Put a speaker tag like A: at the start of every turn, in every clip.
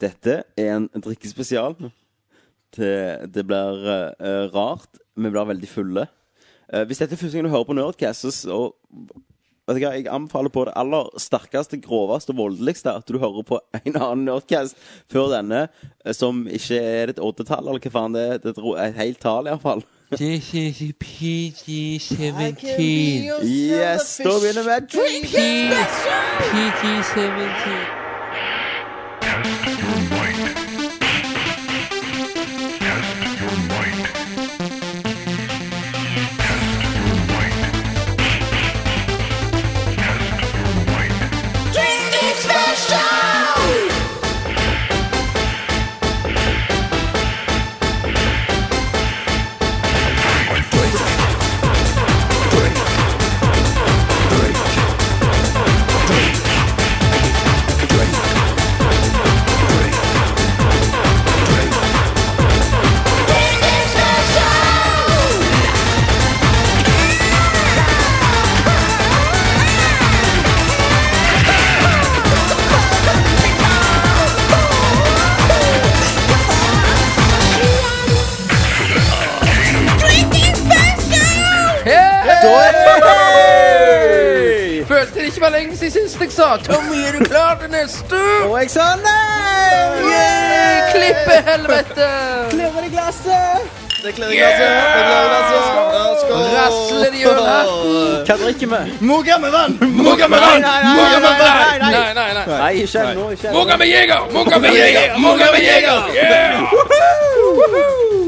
A: Dette er en drikkespesial. Det, det blir eh, rart. Vi blir veldig fulle. Eh, hvis dette er første gang du hører på Nerdcast, så så- vet du hva, jeg anbefaler på det aller sterkeste, groveste og voldeligste at du hører på en annen Nerdcast før denne, eh, som ikke er et oddetall, eller hva faen det er. Det er et ro- et helt tall, iallfall.
B: This is PG-17.
A: Yes, da begynner vi med drink!
B: PG-17.
C: Test your mind. Test your mind. Test your mind. Test your mind.
D: Eh, Følte det ikke var lenge siden sist jeg sa 'Tommy, er du klar til neste?'
A: Og jeg sa nei!
D: Yay! Klippe, helvete!
A: Klirrer i glasset! Det klirrer i glasset. Det klirrer i glasset. Skål!
D: Rasler det gjennom hatten?
A: Hva drikker vi?
E: Moga med vann!
D: Mugga med vann!
A: Nei, nei, nei,
D: Mugga med
A: nei,
D: vann!
A: nei, nei.
D: Nei, nei, nei.
A: Nei, ikke ennå. ikke ennå.
D: Mugga med jeger! Mugga med jeger! Mugga med jeger! Yeah!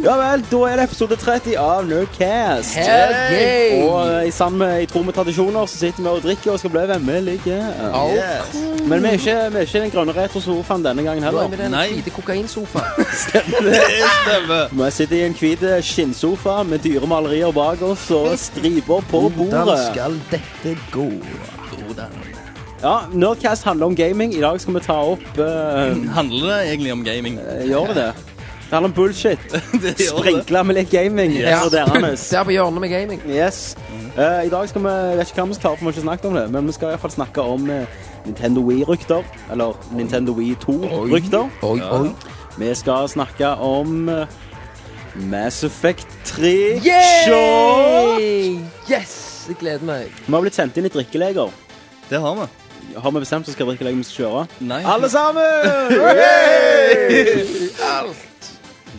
A: Ja vel, da er det episode 30 av Nerdcast.
D: Hell yeah!
A: Og eh, i sammen med i tro med tradisjoner så sitter vi og drikker og skal bli vemmelige. Men vi er ikke, vi er ikke den grønne retrosofaen denne gangen
D: Da er
A: heller.
D: vi den
E: Nei.
D: hvite kokainsofaen.
E: Stemmer.
A: Vi sitter i en hvit eh, skinnsofa med dyre malerier bak oss og striper på bordet.
D: skal dette gå? Hvordan?
A: Ja, Nerdcast handler om gaming. I dag skal vi ta opp eh,
E: Handler det egentlig om gaming?
A: Gjør vi det? Det handler om bullshit.
E: Det gjør det.
A: Sprinkle med litt gaming.
D: Ja,
A: Yes. Yes.
D: der på hjørnet med gaming.
A: Eh, I dag skal vi jeg vet ikke hva vi skal klare, for vi har ikke snakket om det. Men vi skal iallfall snakke om eh, Nintendo Wii-rykter. Eller Nintendo Wii 2-rykter.
D: Oi, oi.
A: Vi skal snakke om eh, Mass Effect 3 Show.
D: Yay! Yes! Jeg gleder meg.
A: Vi har blitt sendt inn i drikkeleger.
E: Det har vi.
A: Har vi bestemt oss hvilken drikkelege vi skal kjøre?
E: Nei.
A: Alle sammen!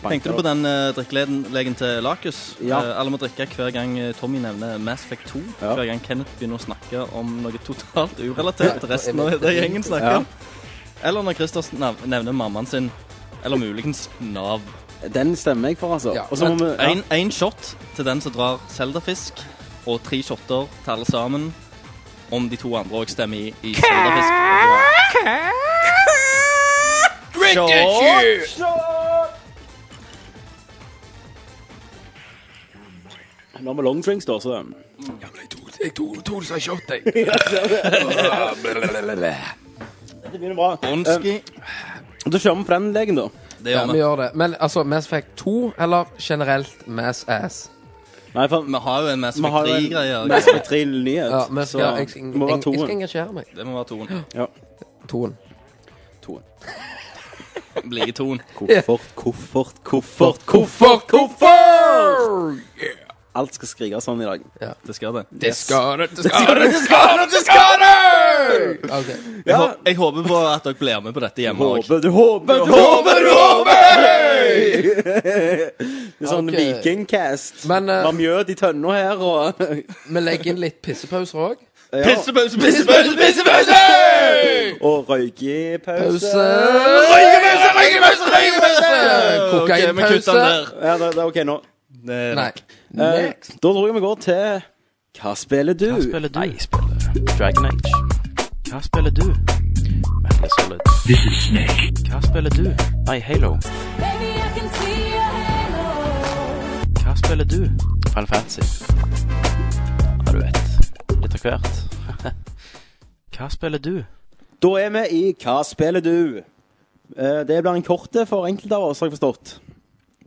E: Tenkte du på den uh, drikkelegen til Lakus?
A: Ja.
E: Eh, alle må drikke hver gang eh, Tommy nevner Mass Effect 2.
A: Ja.
E: Hver gang Kenneth begynner å snakke om noe totalt urelatert til resten av det gjengen snakker.
A: Ja.
E: om. Eller når Christer sn- nav- nevner mammaen sin. Eller muligens Nav.
A: Den stemmer jeg for, altså.
D: Ja,
A: Og så må
D: men-
A: vi ja.
E: Én shot til den som drar Zelda-fisk, og tre shotter til alle sammen. Om de to andre òg stemmer i, i Zelda-fisk.
D: Shot!
A: Nå har vi longdrinks, da, så
D: Jeg tok to som shot, jeg.
A: Det begynner bra.
E: Onski.
A: Eh, da kjører vi på den legen, da.
E: Det
D: Ja,
E: gjør
D: vi
E: vi.
D: gjør det. Men altså, Mass Effect 2, eller generelt Mass Ass?
A: Nei, for
E: Vi har jo en Mass
A: vi har
E: Effect
A: jo en
E: 3-greie.
A: Mass Effect 3 nyhet.
D: Ja, Mass,
A: så
D: ja, jeg,
A: det må være
D: jeg, jeg skal
A: toen.
D: engasjere meg.
E: Det må være toen.
A: Ja.
D: Toen.
A: toen.
E: Blige toen.
A: Koffert, koffert, koffert, koffert.
D: hvorfor?
A: Alt skal skrikes sånn i dag.
E: Det skal det.
D: Det skal det, det skal det, det skal det, det skal det! Ok.
E: Jeg, hå- jeg håper på at dere blir med på dette hjemme òg.
A: Håper du, håper du, håper du! Det er sånn
D: Ok.
A: vikingcast.
D: Men, eh,
A: Var mjød i tønna her og
D: Vi legger inn litt pissepauser òg.
A: ja,
E: Pissepause, pissepause, pissepause!
A: Og røykepause.
D: Pause.
E: Røykepause, røykepause, røykepause!
D: Kokainpause.
E: Ok, vi kutter den der.
A: Ja, det, det er OK nå.
E: Det er
D: Nei.
E: nok.
A: Eh,
D: Next.
A: Da tror jeg vi går til Hva spiller du?
F: Hva spiller du? Jeg spiller Dragon Age. Hva spiller du? Metal Gear Solid. Hva spiller du? Nei, Halo.
G: Baby, I can see your halo.
F: Hva spiller du? Final Fantasy. Ja, du vet. Litt av hvert. Hva spiller du?
A: Da er vi i Hva spiller du? Eh, Det blir en korte for enkelte av oss, har jeg forstått.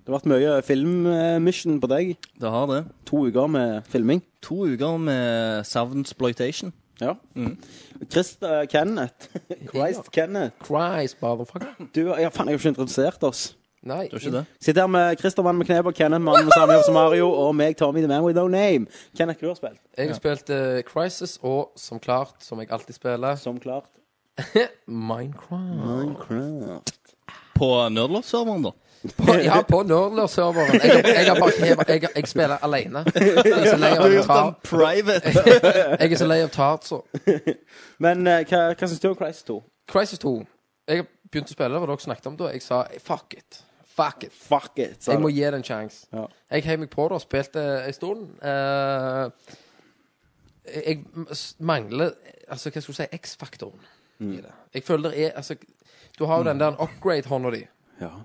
A: Det har vært mye filmmission på deg.
E: Det har det.
A: To uker med filming.
E: To uker med Southern Exploitation.
A: Ja. Christ, eh, Kenneth. Christ Kenneth.
D: Christ, motherfucker.
A: Du, ja, faen, jeg har ikke introdusert oss.
D: Nei.
E: Du er ikke det?
A: Sitter her med Christer, mannen med knebøy, Kenneth, mannen med samme jobb som Mario, og meg, Tommy, the man with no name. Kenneth, hva du har spilt?
D: Jeg har spilt eh, Crisis og, som klart, som jeg alltid spiller,
A: Som klart.
D: Minecraft.
A: Minecraft.
E: På Nerdlot-serveren, da.
D: På, ja, på Nerdler-serveren. Jeg, har- jeg, har bare- jeg, har- jeg, har- jeg spiller alene. Jeg er så lei av tar-
E: private.
D: jeg er så lei av tartser.
A: Men eh, hva, hva syns du om Christ 2?
D: Crisis 2. Jeg begynte å spille, det var det dere snakket om da. Jeg sa fuck it. Fuck it.
A: Fuck it, sa
D: Jeg må
A: du.
D: gi det en sjanse.
A: Ja.
D: Jeg heiv meg på det og spilte en stund. Eh, jeg s- mangler Altså, hva skal jeg si X-faktoren
A: Mm.
D: i det. Jeg føler det er Altså, du har jo den der upgrade-hånda di,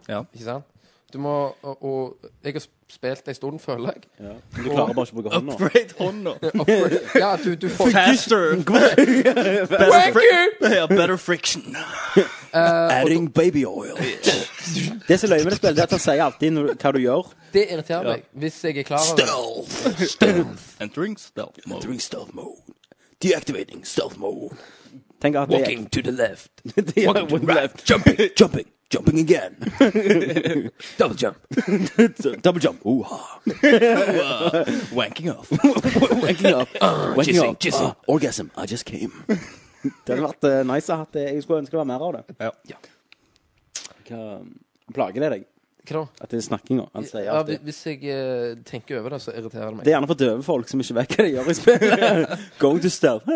A: Ja.
D: ikke sant? Du må Og, og jeg har spilt en stund, føler jeg.
A: ja. Men Du klarer bare ikke å bruke hånda.
E: Upgrade hånda.
D: Upgrade. Ja, du, du får
E: Faster.
D: Thank you!
E: Ja, better friction.
A: Adding baby oil. Det som er løye med det spillet, det er at han sier alltid når, hva du gjør.
D: Det irriterer meg, hvis jeg er klar over det.
E: Entering stealth mode.
A: stealth mode. Deactivating stealth mode. Tenk at det
D: to the left.
A: Det gjør
D: Walking to
A: vondt
D: right.
A: left. Jumping, jumping, jumping again.
D: Double jump.
A: Double jump. Ooh-ha.
E: Wanking off.
A: Waking up. Waking
D: jizzing,
A: up.
D: jizzing.
A: Ah, orgasm. I just came. det hadde vært eh, nice å ha hatt det. Jeg skulle ønske det var mer av det.
E: Ja.
A: Hva plager det deg?
D: Hva da?
A: At det er snakkinga. Han sier
D: Ja, hvi-
A: alltid
D: hvis jeg eh, tenker over det, så irriterer det meg.
A: Det er gjerne for døve folk som ikke vet hva de gjør i spillet. Going to stealth.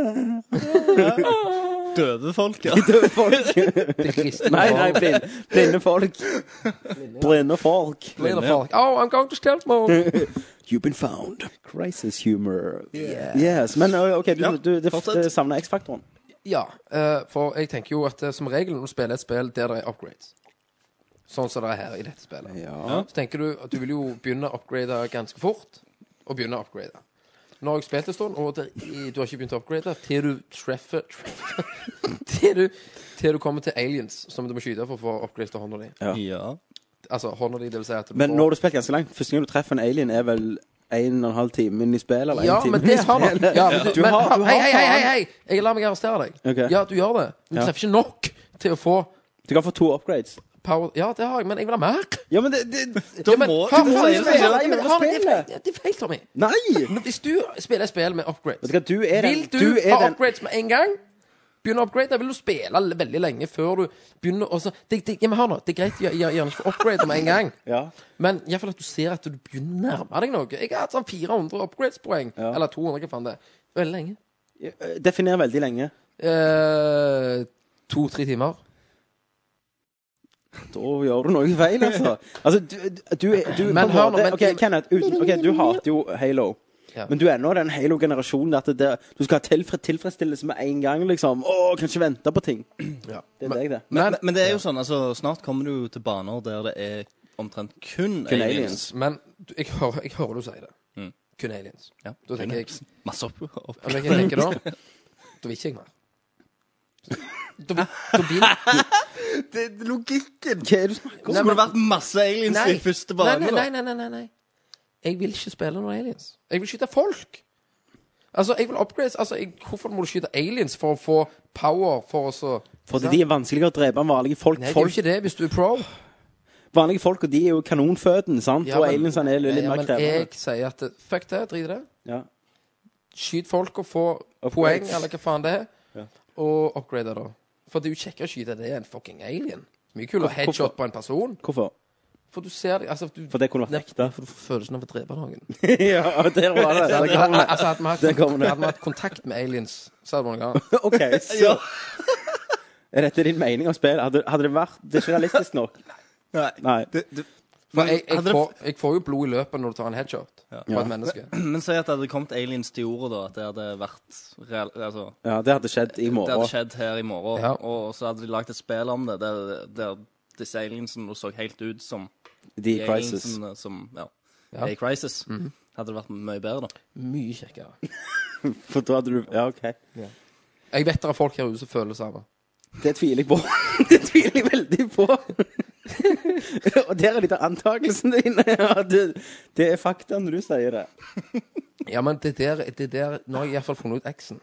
E: Døde folk, ja.
A: Døve folk.
D: Det rister
A: nei,
D: meg
A: nei,
D: over.
A: blind, blinde folk. Blinde folk.
D: Blir det folk? Oh, I'm going to stealth mode.
A: You've been found. Crisis humor. Yes. Men eh, OK, du,
E: Ja,
A: du, du,
E: fortsett.
A: du savner X-faktoren.
D: Ja, eh, for jeg tenker jo at eh, som regel når du spiller et spill der det er upgrades, sånn som det er her i dette spillet,
A: Ja.
D: så tenker du at du vil jo begynne å upgrade ganske fort, og begynne å upgrade. Nå har jeg spilt en stund, og det, i- du har ikke begynt å upgrade til du treffer, treffer til, du, til du kommer til aliens som du må skyte for å få upgrade til hånda di.
E: Ja.
D: Altså, hånda di, det vil si at du
A: Men
D: får-
A: nå har du spilt ganske langt. Første gang du treffer en alien, er vel en og en halv time inn i spillet? Eller
D: Ja,
A: en time
D: men det
A: inn i
D: har du.
A: spillet.
D: Ja, men du,
A: du
D: men,
A: har, du
D: hei,
A: har
D: hei, hei, hei,
A: faen.
D: hei! Jeg lar meg arrestere deg.
A: Ok.
D: Ja, du gjør det. Men du
A: Ja.
D: treffer ikke nok til å få
A: Du kan få to upgrades.
D: power Ja, det har jeg, men jeg vil ha mer.
A: Ja, men det, det
E: Da
D: Ja, men,
E: må
D: faen,
E: du må
D: faen,
A: jo
D: faen,
A: spille
D: faen,
A: gjennom
D: faen, det er
A: spillet.
D: feil- Det er feil, Tommy.
A: Nei!
D: Men Hvis du spiller et spill med
A: Vet
D: upgrades
A: du hva, du er den
D: Vil du,
A: du er
D: ha
A: den-
D: upgrades med en gang? Begynne å upgrade, da vil du spille l- veldig lenge før du begynner å så- det, det, ja, men hør nå, det er greit, jeg- jeg- gjerne ikke upgrade med en gang.
A: Ja.
D: Men i hvert fall at du ser at du begynner å nærme deg noe. Jeg har hatt sånn 400 upgrades-poeng.
A: Ja.
D: Eller 200, hva faen det er. Veldig lenge.
A: Eh, Definer veldig lenge.
D: Eh, To-tre timer.
A: Da gjør du noe feil, altså. Altså, du, du, er- du på
D: Men
A: en
D: hør nå,
A: måte-
D: men-
A: OK, Kenneth. Uten, ok, du hater jo Halo.
D: Ja.
A: Men du er nå den Halo-generasjonen at det, der- du skal ha tilfre, tilfredsstillelse med en gang, liksom. Å, kan ikke vente på ting.
D: Ja.
A: Det er deg, det.
E: Men, men det er jo sånn, altså, snart kommer du til baner der det er omtrent kun,
A: Kun
E: aliens.
A: aliens.
D: Men du, jeg, hører, jeg hører du sier det. Kun aliens.
E: Ja.
D: Da tenker jeg
E: Masse opp. opp.
D: Om jeg tenker da Da vil ikke jeg mer. Da, vil- da vil
E: Det er logikken.
A: Hva er det du snakker om?
E: Hvordan skulle det vært masse aliens i første
D: nei,
E: bane,
D: nei,
E: da?
D: nei, nei, nei, nei, nei. Jeg vil ikke spille noen aliens. Jeg vil skyte folk. Altså, jeg vil upgrades altså, jeg, Hvorfor må du skyte aliens for å få power for å så
A: Fordi de er vanskeligere å drepe enn vanlige folk.
D: Nei, det er jo
A: folk
D: ikke det hvis du er pro.
A: Vanlige folk, og de er jo kanonføden, sant?
D: Ja,
A: og
D: men-
A: aliensene er litt
D: Ja,
A: mer
D: men
A: krevende.
D: jeg sier at det- fuck det, drit i det.
A: Ja.
D: Skyt folk og få poeng, eller hva faen det er. Og upgrade det. For det er jo kjekkere å skyte det enn fucking alien. Mye kulere headshot på en person.
A: Hvorfor?
D: For du ser det altså, du,
A: For det kunne vært
D: Nei,
A: ekte.
D: For du får følelsen av å drepe noen.
A: ja, der var det. Der kom det.
D: Altså, hadde vi hatt,
A: Der kom det.
D: hadde vi hatt kontakt med aliens, så hadde vi noe annet.
A: OK, så Er dette din mening om spillet? Hadde, hadde det vært Det er ikke realistisk nok.
E: Nei.
A: Nei.
E: Det, det,
D: For jeg, jeg,
E: Hadde det-
D: får, jeg får jo blod i løpet når du tar en headshot på et menneske.
E: men si at det hadde kommet aliens til jorda, da. At det hadde vært real, altså,
A: Ja, det hadde skjedd i
E: Det hadde
A: morgen.
E: skjedd her i morgen.
D: Ja.
E: Og så hadde de lagd et spill om det, der, der disse aliensene nå så helt ut som
A: The
E: de
A: Crisis.
E: aliensene som ja,
D: Ja. Mhm.
E: er i Crisis. Hadde det vært mye bedre, da.
D: Mye kjekkere.
A: For da hadde du Ja, OK.
D: Jeg vet det er folk her ute som føler det samme.
A: Det tviler jeg på. det tviler jeg veldig på. og der er litt av antakelsen din. Ja, det, det er fakta når du sier det.
D: Ja, men det der, det der Nå har jeg iallfall funnet ut X-en.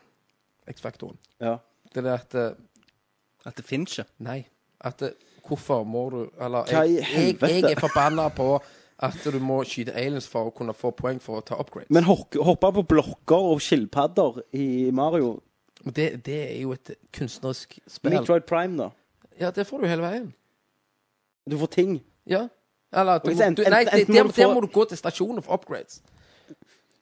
D: X-faktoren.
A: Ja.
D: Det er det at eh,
E: At det finnes ikke.
D: Nei. At eh, hvorfor må du Eller
A: Hva i
D: jeg, jeg, jeg
A: helvete?
D: er forbanna på at du må skyte aliens for å kunne få poeng for å ta upgrades.
A: Men hokke- hoppe på blokker og skilpadder i Mario
D: Men det, det er jo et kunstnerisk spill.
A: Metroid Prime, da.
D: Ja, det får du hele veien.
A: Du får ting.
D: Ja. Eller at du,
A: Og hvis
D: må-
A: enten-
D: du, nei, det,
A: enten må
D: der,
A: du få-
D: der må du gå til stasjonen for upgrades.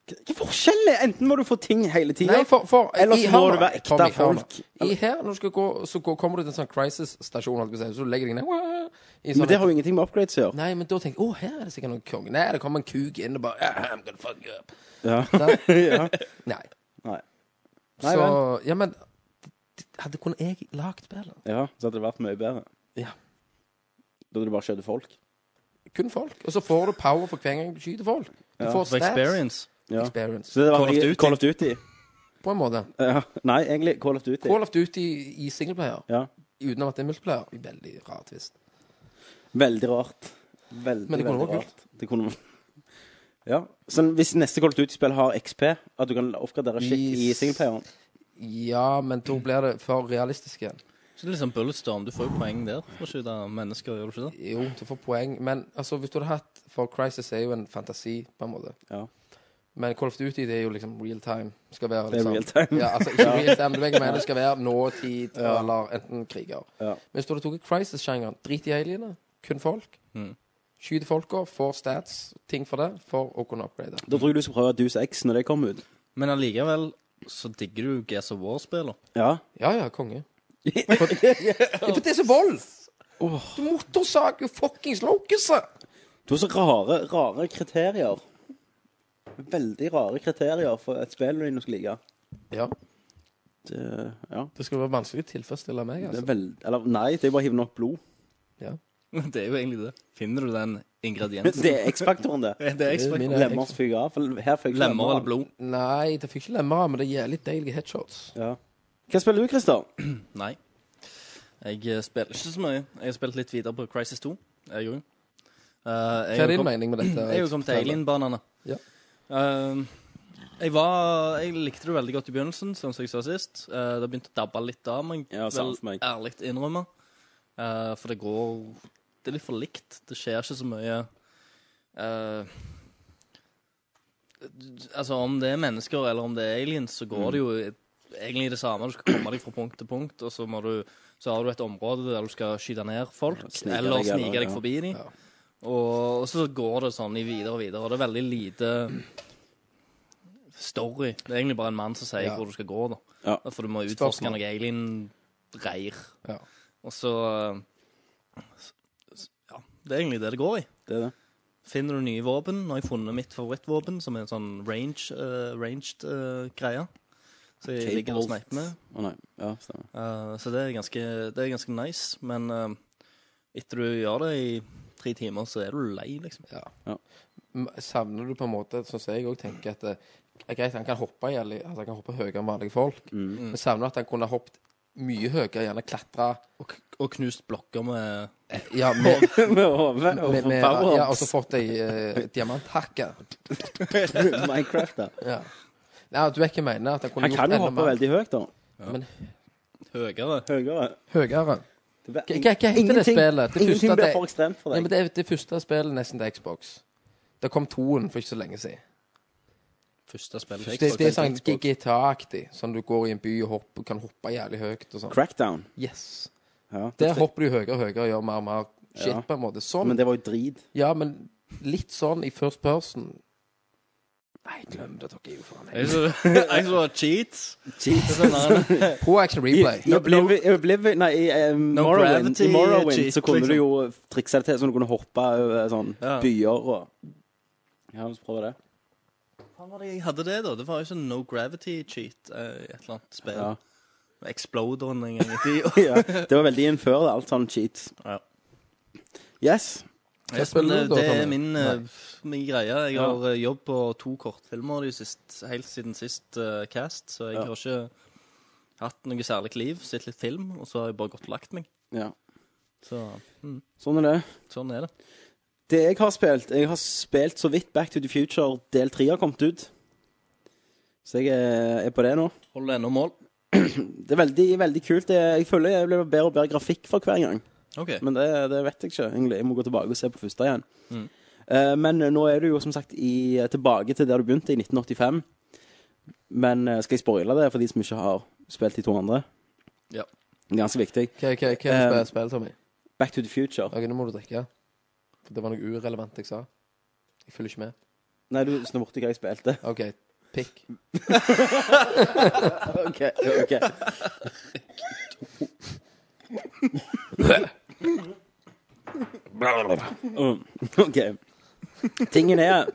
A: Hva er forskjellen? Enten må du få ting hele tida,
D: Nei, for, for
A: eller
D: i
A: så må
D: her-
A: du være ekte
D: Tommy, hør nå.
A: folk.
D: I her, når du skal gå, så går, kommer du til en sånn crisis-stasjon, holdt jeg på å si, så du legger deg ned i sånn-
A: Men det har jo ingenting med upgrades å gjøre.
D: Nei, men da tenker jeg å, her er det sikkert noen konge. Nei, det kommer en kuk inn og bare «Ah, I'm gonna fuck you up.
A: Ja. ja.
D: Nei.
A: Nei. Nei
D: Så Ja, men hadde kunne jeg lagd spillet?
A: ja, så hadde det vært mye bedre.
D: Ja.
A: Da hadde du bare skjøtt folk.
D: Kun folk. Og så får du power for hver gang du skyter folk.
A: Ja,
D: Du får
E: For
D: stats.
E: experience.
A: Ja.
D: Experience.
A: Så det var
E: Call of Duty.
A: Call of Duty.
D: På en måte.
A: Ja. Nei, egentlig Call of Duty.
D: Call of Duty i singleplayer,
A: Ja.
D: utenom at det er multiplayer, veldig rart visst.
A: Veldig rart. Veldig,
D: Men det kunne
A: veldig
D: vært
A: rart. Det kunne Ja. Så hvis neste Call of Duty-spill har XP, at du kan oppgradere shit i
D: Yes.
A: singleplayeren
D: Ja, men da blir det for realistisk igjen.
E: Så det er liksom Bulletstorm. Du får jo poeng der for å skyte mennesker, gjør du ikke det?
D: Jo, du får poeng, men altså, hvis du hadde hatt For Crisis er jo en fantasi, på en måte.
A: Ja.
D: Men Call of Duty det er jo liksom real time. Skal være,
A: Det er
D: liksom.
A: real time.
D: Ja, altså, ikke real time, men jeg mener det skal være nåtid eller enten kriger.
A: Ja.
D: Men hvis du hadde tatt Crisis-sjangeren, drit i alienene, kun folk,
E: Mm.
D: skyter folka, får stats, ting for det, for å kunne upgrade.
A: Da tror jeg du skal prøve Deuce X når det kommer ut.
E: Men allikevel så digger du Gas of War-spiller.
A: Ja.
D: Ja, ja, konge. For, for det er så vold! Du motorsager jo fuckings locuset!
A: Du har så rare, rare kriterier. Veldig rare kriterier for et spill du skal like.
D: Ja,
A: Det, ja.
D: det skal være vanskelig å tilfredsstille meg,
A: Det er
D: altså.
A: veld... Eller nei, det er bare å hive nok blod.
E: Det er jo egentlig det. Finner du den ingrediensen?
A: Det er X-faktoren, det.
E: Det er
D: Det er
E: ekstra
D: mine-
A: Lemmer fyker av. for Her fikk jeg
E: Lemmer eller
A: av.
E: blod?
D: Nei, det fikk ikke lemmer, men det er jævlig deilige headshots.
A: Ja. Hva spiller du, Christer?
E: Nei. Jeg eh, spiller ikke så mye. Jeg har spilt litt videre på Crisis 2. Jeg òg.
D: Hva er din mening med
E: Jeg
D: dette?
E: sånn- Mm, er jo kommet til Alien-banene.
D: Ja.
E: Ehm, jeg, var, jeg likte det veldig godt i begynnelsen, sånn som jeg sa sist. Eh, det begynte å dabbe litt av, må jeg
A: Ja,
E: vel
A: samme for meg.
E: ærlig innrømme. Eh, for det går Det er litt for likt. Det skjer ikke så mye eh, Altså, om det er mennesker eller om det er aliens, så går det jo
A: Mm.
E: egentlig det samme. Du skal komme deg fra punkt til punkt, og så, må du, så har du et område der du skal skyte ned folk,
A: snike
E: eller
A: deg, eller-
E: snike deg
A: ja.
E: forbi dem.
D: Ja.
E: Og, og så går det sånn i videre og videre, og det er veldig lite story. Det er egentlig bare en mann som sier
D: Ja.
E: hvor du skal gå, da.
A: Ja.
E: For du må utforske
D: Spørsmål.
E: noe alien-reir.
D: Ja.
E: Og så eh, s- s- Ja, det er egentlig det det går i.
A: Det er det.
E: Finner du nye våpen? Nå har jeg funnet mitt favorittvåpen, som er en sånn range, eh, ranged eh, greie. Så jeg ligger og
A: Capable.
E: sniper med.
A: Å nei. Ja, stemmer.
E: Eh, så det er, ganske, det er ganske nice, men eh, etter du gjør det i tre timer, så er du lei, liksom.
D: M- Savner du på en måte, sånn som jeg òg tenker, at det er greit, han kan hoppe i alle- altså, han kan hoppe høyere enn vanlige folk, men savner at han kunne hoppet mye høyere, gjerne klatra
E: Og, k- og knust blokker med
D: ja, med,
A: Med hodet og
D: med, med,
A: power-ups.
D: ja, og så fått ei uh, diamanthakke.
A: Minecraft, da.
D: Ja. Nei, du vet ikke hva jeg mener. At han kunne
A: Han kan jo
D: gjort
A: hoppe veldig høyt, da.
D: Men
E: høyere.
A: Høyere.
D: høyere.
A: Det blir-
D: Hva- hva- hva heter det
A: Ingenting-
D: spillet? Det
A: Ingenting
D: første at
A: blir
D: det-
A: for ekstremt for
D: Nei,
A: deg.
D: men det er det første spillet nesten til Xbox. Det kom toen for ikke så lenge siden.
E: Første spill.
D: Det, det er sånn GTA-aktig. Sånn du går i en by og hopper, kan hoppe jævlig høyt og sånn.
A: Crackdown.
D: Yes.
A: Ja.
D: Der hopper du høyere og høyere og gjør mer og mer shit
A: Ja.
D: på en måte. Sånn.
A: Men det var jo drit.
D: Ja, men litt sånn i first person. Nei, glem det. Dere er jo faen
E: Jeg så, jeg så cheats. Det er Sånn, der-
D: Pro action replay.
A: I Oblivion, i Oblivion Nei, i eh, Morrowind,
E: gravity
A: i Morrowind
E: cheat,
A: så kunne
E: liksom.
A: du jo trikse det til så du kunne hoppe over sånn
E: Ja.
A: byer og Ja, la oss prøve det.
E: Hva var det jeg hadde det, da? Det var jo sånn no gravity cheat eh, i et eller annet spill.
A: Ja.
E: Exploderen en gang i tida.
A: ja. Det var veldig inn før det, alt sånn cheats.
E: Ja.
A: Yes.
D: Hva spiller
E: Men,
D: du da,
E: eh, Det er
D: Tommy?
E: min, eh, min greie. Jeg
A: Ja.
E: har eh, jobb på to kortfilmer de sist, helt siden sist eh, cast, så jeg
A: Ja.
E: har ikke hatt noe særlig liv. Sett litt film, og så har jeg bare gått og lagt meg.
A: Ja.
E: Så mm,
A: Sånn er det.
E: sånn er det.
A: Det jeg har spilt Jeg har spilt så vidt Back to the Future del 3 har kommet ut. Så jeg er, er på det nå.
E: Holder ennå mål.
A: Det er veldig, veldig kult. Det, jeg føler jeg blir bedre og bedre grafikk for hver gang.
E: OK.
A: Men det, det vet jeg ikke, egentlig. Jeg må gå tilbake og se på første igjen.
E: Mm.
A: Eh, men nå er du jo som sagt i, eh, tilbake til der du begynte, i 1985. Men eh, skal jeg spoile det for de som ikke har spilt de to andre?
E: Ja.
A: Ganske viktig.
D: Hva hva- hva er det
A: Eh,
D: spill- spill, Tommy?
A: Back to the future.
D: Ok, Nå må du drikke. For det var noe urelevant jeg sa. Jeg følger ikke med.
A: Nei, du snorte hva jeg spilte.
D: OK, pikk.
A: OK. ok Mm, OK. Tingen er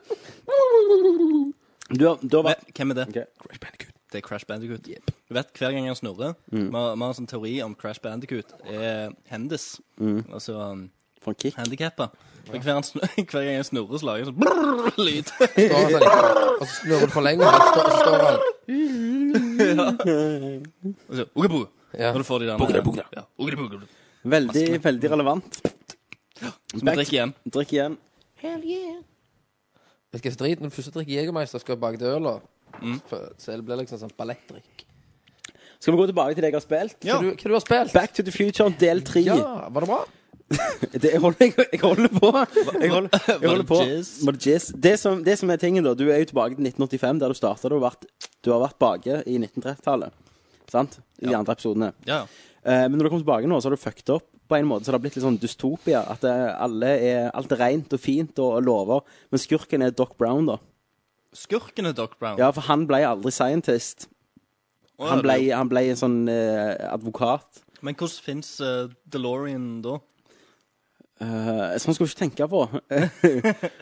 A: Du har, du har vært
E: Hva- Hvem er det?
A: Ok.
E: Crash Bandicoot. Det er Crash Bandicoot. Du vet, hver gang han snurrer
A: Mm.
E: Vi har vi har en sånn teori om Crash Bandicoot er hendis.
A: Mm.
E: Altså um,
A: For en kick.
E: handikappa. Og hver, han snu- hver gang han snurrer, så lager han sånn brrrr lyd.
D: Står han sånn, og så snurrer du for lenge, og så står- så står han
E: Og så Ugebu.
D: Ja.
E: Når du får de der Bugre, bugre. Ja, bugre, bugre.
A: Veldig, veldig relevant.
E: Så må du drikke igjen.
A: Drikk igjen.
D: Vet du hva som er drit? Når du først drikker Jegermeister, skal bak til øl, og-
E: Mm.
D: for- så det blir liksom sånn ballettdrikk.
A: Skal vi gå tilbake til det jeg har spilt?
E: Ja.
D: Hva, du- hva du har spilt?
A: Back to the future del tre.
D: Ja, var det bra?
A: Det, jeg, holder, jeg, jeg holder på. Jeg holder, jeg holder på.
E: Var det jizz?
A: Var det jizz? Det som, det som er tingen, da. Du er jo tilbake til 1985, der du starta. Du, har vært- du har vært bake i 1930-tallet. Sant? I de andre episodene.
E: Ja, ja.
A: Eh, men når du kommer tilbake nå, så har du fucked opp på en måte. Så det har blitt litt sånn dystopia. At det, alle er, alt er rent og fint og, og lover. Men skurken er Doc Brown, da.
E: Skurken er Doc Brown.
A: Ja, for han ble aldri scientist.
E: Å, ja,
A: Han ble,
E: det-
A: han ble en sånn eh, advokat.
E: Men hvordan fins eh, DeLorean da?
A: Eh, så man skulle ikke tenke på.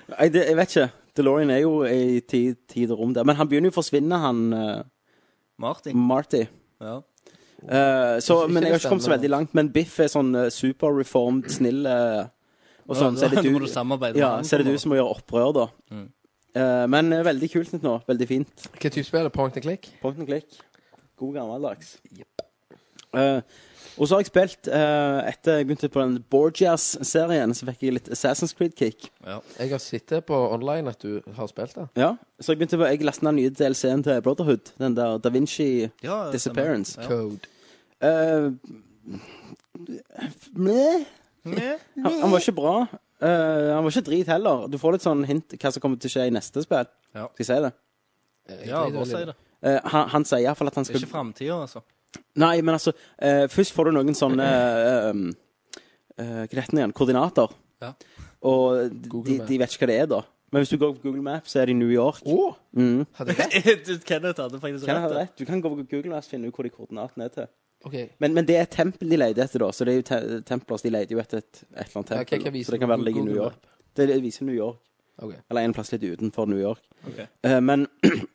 A: Nei, det, jeg vet ikke. DeLorean er jo i ti- tid og rom der. Men han begynner jo å forsvinne, han eh,
E: Martin?
A: Marty.
E: Ja.
A: Eh, så,
D: Ikke-
A: men
D: ikke
A: jeg har
D: det
A: ikke kommet så
D: stemmer.
A: veldig langt. Men Biff er sånn eh, superreformed, snill eh, og sånn. Så er det
E: Da
A: du,
E: må du samarbeide med
A: ja,
E: han
A: så er
E: på
A: det
E: en
A: du som må gjøre opprør, da.
E: Mm.
A: Eh, men eh, veldig kult nå. Veldig fint.
D: Hva type spill er det? Point and click?
A: Point and click. God gammeldags. Eh, og så har jeg spilt eh, Etter jeg begynte på den Borgias-serien, så fikk jeg litt Assassin's Creed-kick.
E: Ja.
D: Jeg har sittet på online at du har spilt det.
A: Ja, så jeg begynte på, jeg lastet den nye DLC-en til Brotherhood, den der Da Vinci
E: Ja, det
A: Disappearance.
E: stemmer.
D: Code.
A: Eh, Meh.
E: Ja.
A: Han, han var ikke bra. Eh, han var ikke drit heller. Du får litt sånn hint hva som kommer til å skje i neste spill.
E: Ja.
A: Skal jeg si det?
D: Jeg
E: Ja,
D: driter
E: bare
D: litt i
E: si det.
A: Eh, han, han sier iallfall at han
E: Det er
A: skal
E: ikke framtida, altså.
A: Nei, men altså eh, Først får du noen sånne eh, um, eh, Hva heter det igjen? Koordinater.
E: Ja.
A: Og
D: Google
A: de,
D: Maps.
A: de vet ikke hva det er, da. Men hvis du går på Google Maps, så er det i New York.
D: Åh,
A: Mm.
D: hadde jeg rett?
E: Kenneth hadde faktisk
A: Kan jeg ha
E: rett.
A: rett? Du kan gå på Google Maps og finne ut hvor de koordinatene er til.
D: Ok,
A: Men, men det er et tempel de leter etter, da. Så det er jo te templer, så de leter jo etter et, et eller annet
D: Ja,
A: tempel.
D: hva- hva viser
A: så det kan
D: du
A: være
D: på
A: det ligger i
D: Google
A: New York. Det, det viser New York.
D: ok.
A: Eller en plass litt utenfor New York.
E: Ok.
A: Eh, men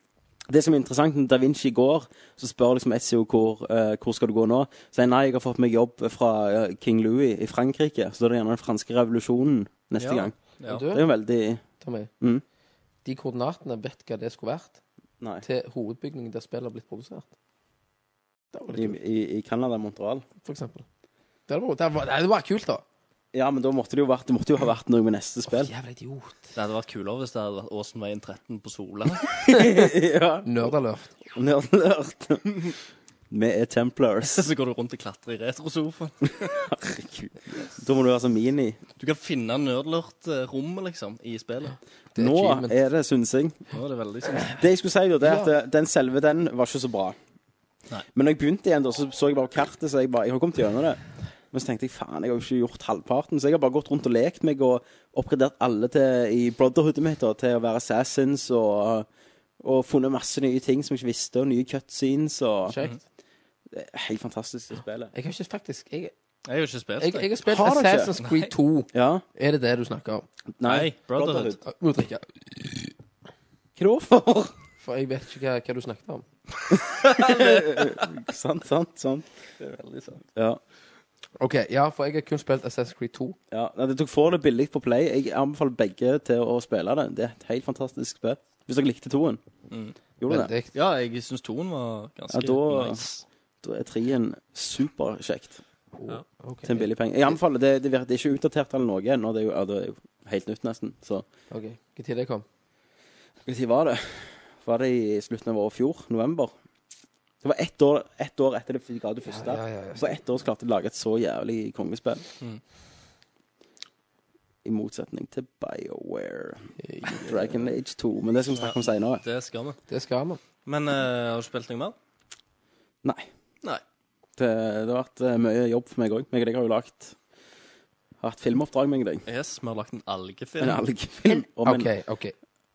A: det som er interessant, når Da Vinci går, så spør liksom Ezio hvor, eh, hvor skal du gå nå. Så sier han, nei, jeg har fått meg jobb fra eh, King Louis i Frankrike. Så da er det gjerne den franske revolusjonen neste
E: Ja.
A: gang.
E: Ja.
D: Og du,
A: Det er jo veldig
D: Tommy,
A: Mm.
D: de koordinatene vet hva det skulle vært
A: Nei.
D: til hovedbygningen der spillet har blitt produsert. Det var
A: I,
D: litt kult,
A: i, i Canada, Montreal.
D: for eksempel. Det var, det var, nei, det var kult, da.
A: Ja, men da måtte det jo, vært, det måtte jo ha vært noe med neste spill.
D: Jævla idiot.
E: Det hadde vært kulere hvis det hadde vært Åsenveien 13 på Sola.
A: ja.
D: Nerdalert.
A: Nerdlert. Vi er Templars.
E: Så går du rundt og klatrer i retrosofaen.
A: Herregud. Da må du være som Mini.
E: Du kan finne nerdlert-rommet, liksom, i spillet.
D: Det er
A: Nå
D: achievement.
A: er det synsing.
E: Nå er det veldig sånn.
A: Det jeg skulle si, da, det er at eh, den selve den var ikke så bra.
E: Nei.
A: Men når jeg begynte igjen, da, så så jeg bare kartet, så jeg bare Jeg har kommet gjennom det. Men så tenkte jeg faen, jeg har jo ikke gjort halvparten, så jeg har bare gått rundt og lekt meg og oppgradert alle til, i brotherhoodet mitt da, til å være assassins og, og funnet masse nye ting som jeg ikke visste, og nye cutscenes og
D: Kjekt.
A: Helt fantastisk det spillet.
D: Jeg har ikke faktisk Jeg,
E: Jeg har jo ikke spilt
D: jeg,
E: det.
D: jeg har spilt
A: Altså, Har du ikke?
D: Assassin's Creed 2.
A: Ja.
D: Er det det du snakker om?
E: Nei, Brotherhood.
D: Jeg Må drikke.
A: Hva da for?
D: For jeg vet ikke hva, hva du snakket om.
A: sant, sant, sant.
E: Det er veldig sant.
A: Ja.
D: OK, ja, for jeg har kun spilt Assassin's Creed 2.
A: Ja, nei, det- Dere får det billig på Play. Jeg anbefaler begge til å spille det. Det er et helt fantastisk spill. Hvis dere likte toen. Gjorde dere det?
D: Veldig.
E: Ja, jeg syns toen var ganske
A: Ja, da-
E: nice.
A: Da er trien superkjekt
D: Ok.
A: til en billig penge. Jeg anbefaler det. Det, virker, det er ikke utdatert eller noe ennå. Det, er jo- ja, det er jo helt nytt, nesten. Så
D: Ok, Hva tid det kom?
A: Hvilken tid var det? Var det i slutten av året i fjor? November? Det var ett år, ett år etter det ga du første.
D: Ja, ja, ja, ja.
A: Så ett år så klarte de å lage et så jævlig kongespill. I motsetning til BioWare. Dragon Age 2. Men det skal vi snakke om seinere.
E: Det skal vi.
D: Det skal vi.
E: Men eh, har du spilt noe mer?
A: Nei.
E: Nei.
A: Det, det har vært eh, mye jobb for meg òg. Meg og deg har jo lagt Hatt filmoppdrag med deg.
E: Yes, vi har lagt en algefilm.
A: En algefilm. om en-
D: OK, OK.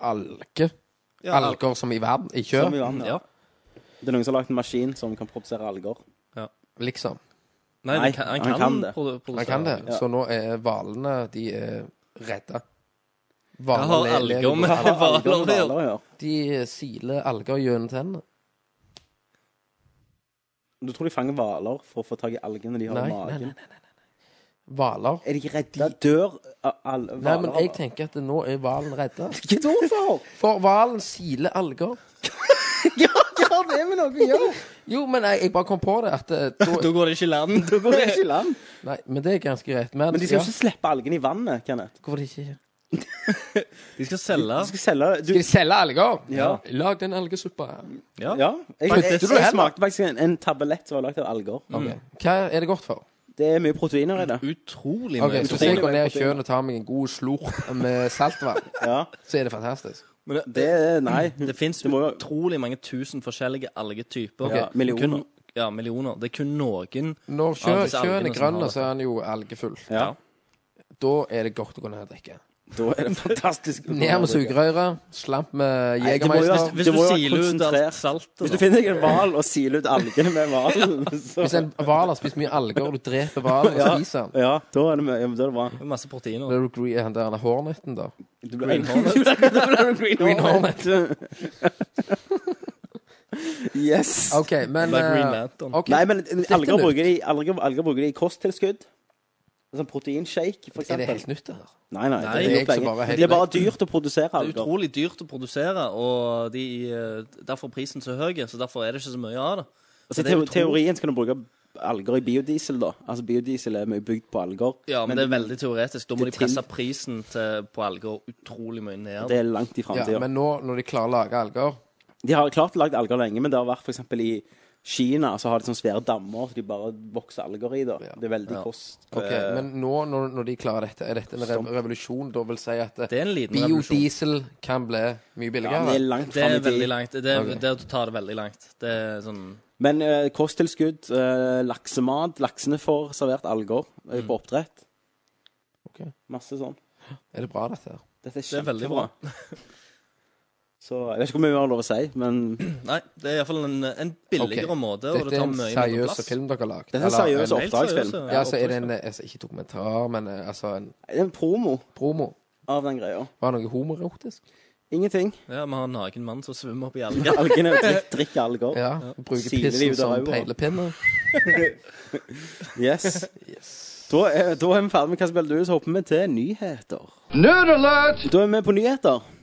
D: Alke.
E: Ja,
D: Alger som i verden. I
A: som
D: kjør,
A: i vann, ja.
E: Ja.
A: Det er noen som har lagd en maskin som kan produsere alger.
D: liksom.
E: Nei,
A: Nei,
E: den kan, han,
A: han
E: kan
A: kan det.
E: produ-
D: Man
E: produsere.
D: kan det.
A: Ja.
D: Så nå er hvalene De er redda.
E: Jeg har
D: le- lever
E: alger
D: godt.
E: med
A: Alger og
E: hvaler.
A: hvaler å gjøre.
D: De siler alger gjennom tennene.
A: Du tror de fanger hvaler for å få tak i algene de har
D: Nei,
A: i
D: nei, nei,
A: magen?
D: Hvaler.
A: Er de ikke redde? Dør a- al-
D: Nei, men
A: hvaler?
D: jeg tenker at nå er hvalen redda.
A: Hva tror du for?
D: For hvalen siler alger.
A: Ja, hva har det med noe å gjøre?
D: Jo, men jeg, jeg bare kom på det at eh, da,
E: Da går det ikke i land.
A: Det går ikke i land.
D: Nei, men det er ganske greit. Men,
A: Men de skal jo ikke slippe algene i vannet, Kenneth.
D: ja, hvorfor ikke?
E: De
A: Du
E: skal selge.
A: skal selge det.
D: Skal
A: Du,
D: de selge alger?
A: Ja. Mm.
D: Lag den algesuppa.
A: ja.
E: Ja.
A: Jeg, jeg, jeg,
E: Faktisk.
A: smakte faktisk en, en tablett som var lagd av alger.
D: Ok. Hva er det godt for?
A: Det er mye proteiner i det.
E: Utrolig
D: Ok,
E: mye.
D: Så
A: tror
D: hvis jeg
A: det
D: går
A: er
D: ned i
A: protein.
D: kjøen og tar meg en god slurk med saltvann,
A: Ja.
D: så er det fantastisk.
E: Men det,
A: Det er Nei.
E: det fins
A: må jo-
E: utrolig mange tusen forskjellige algetyper.
A: Ja, millioner.
E: Kun, ja, millioner. Det er kun noen.
D: Når sjø,
E: Ja, disse
D: sjøen
E: algene
D: er
E: som
D: grønn,
E: har det.
D: så er den jo algefull.
A: sånn Ja.
D: Da er det godt å gå ned og drikke.
A: Da er det fantastisk.
D: Ned med sugerøret, slamp med
A: Nei, det må jo
D: Jegermeister.
E: Hvis
A: Det
E: du
A: må jo være
E: siler ut
A: konsentrert.
E: alt saltet
A: Hvis du
E: da.
A: finner deg en hval og siler ut algene med hvalen, så
D: Hvis en hval har spist mye alger, og du dreper hvalen og
A: Ja.
D: spiser den
A: Ja, da er det, mye- ja, da er det bra.
E: Det er Masse proteiner.
D: Da er du green- han der horneten, da.
A: Du blir Green Hornet.
D: Green Hornet.
A: yes.
D: OK, men
E: Like Green
D: eh,
E: Lantern.
D: ok.
A: Nei, men alger
D: nytt.
A: bruker, de, alger, alger bruker de i kosttilskudd. Sånn proteinshake, for
D: Er det
A: eksempel.
D: helt nytt, det her?
A: Nei, nei.
E: Nei,
A: det, er
E: det er
A: gjort
D: ikke så
A: lenge.
D: bare helt
A: det er bare
D: nytt.
A: dyrt å produsere
E: Det er
A: alger.
E: utrolig dyrt å produsere, og de, eh, derfor er prisen så høy. Så derfor er det ikke så mye av det.
A: Så i
E: Så det er
A: Altså, teo-
E: utro-
A: teorien skal du bruke alger i biodiesel, da. Altså biodiesel er mye bygd på alger.
E: Ja, men, det er veldig teoretisk. Da må
A: det
E: de
A: til-
E: presse prisen til, på alger utrolig mye ned.
A: Det er langt i
D: Ja,
A: framtida.
D: men nå når de klarer å lage alger
A: De har klart lagd alger lenge, men det har vært for eksempel i Kina så har de sånne svære dammer så de bare vokser alger i. da Det er veldig
E: Ja.
A: kost.
D: Ok,
A: eh,
D: Men nå når, når de klarer dette, er dette en rev revolusjon? Da vil si at eh,
E: Det er en liten revolusjon.
D: biodiesel kan bli mye
A: ja,
D: billigere?
A: men det er langt
E: Det
A: frem
E: er
A: i
E: veldig
A: tid.
E: langt. Det, er,
D: Ok.
E: det er å ta det veldig langt. Det er sånn
A: Men eh, kosttilskudd, eh, laksemat Laksene får servert alger eh, på oppdrett.
D: Ok.
A: Masse sånn.
D: Er det bra, dette? her?
A: Dette er
E: er veldig
A: kjempebra. så jeg vet ikke hvor mye vi har lov å si, men
E: Nei, det er iallfall en, en billigere
D: Ok.
E: måte, og
D: Dette
E: det
D: er
E: tar
D: en
E: mye mindre
D: seriøs
E: plass.
D: film dere har lagd?
A: dette er en
D: eller
A: seriøs
D: en-
E: Helt
A: oppdragsfilm.
E: seriøs,
D: Ja, så er det en, eh, altså, ikke dokumentar, men eh, altså en
A: Det er en promo
D: promo.
A: av den greia.
D: Var det noe homoerotisk?
A: Ingenting.
E: Ja, vi har en naken mann som svømmer oppi alger.
A: Algene drikk- drikker alger.
D: Ja. Bruker
A: Siler de
D: pissen
A: ut av øynene?
D: som peilepinne?
A: Yes. Da, er, da er vi ferdig med hva spiller du, så hopper vi til nyheter. Da er vi på nyheter.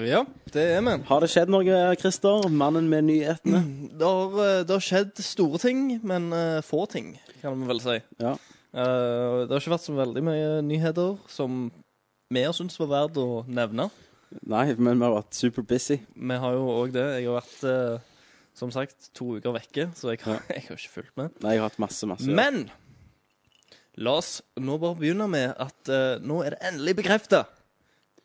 E: Ja, det er vi.
A: Har det skjedd noe, Christer? Mannen med nyhetene?
E: Det har, eh, det har skjedd store ting, men eh, få ting, kan vi vel si.
A: Ja.
E: Eh, det har ikke vært så veldig mye nyheter som vi har syntes var verdt å nevne.
A: Nei, men vi har vært super busy.
E: Vi har jo òg det. Jeg har vært, eh, som sagt, to uker vekke, så jeg har, jeg har ikke fulgt med.
A: Nei, jeg har hatt masse, masse å gjøre.
E: Men la oss nå bare begynne med at eh, nå er det endelig bekrefta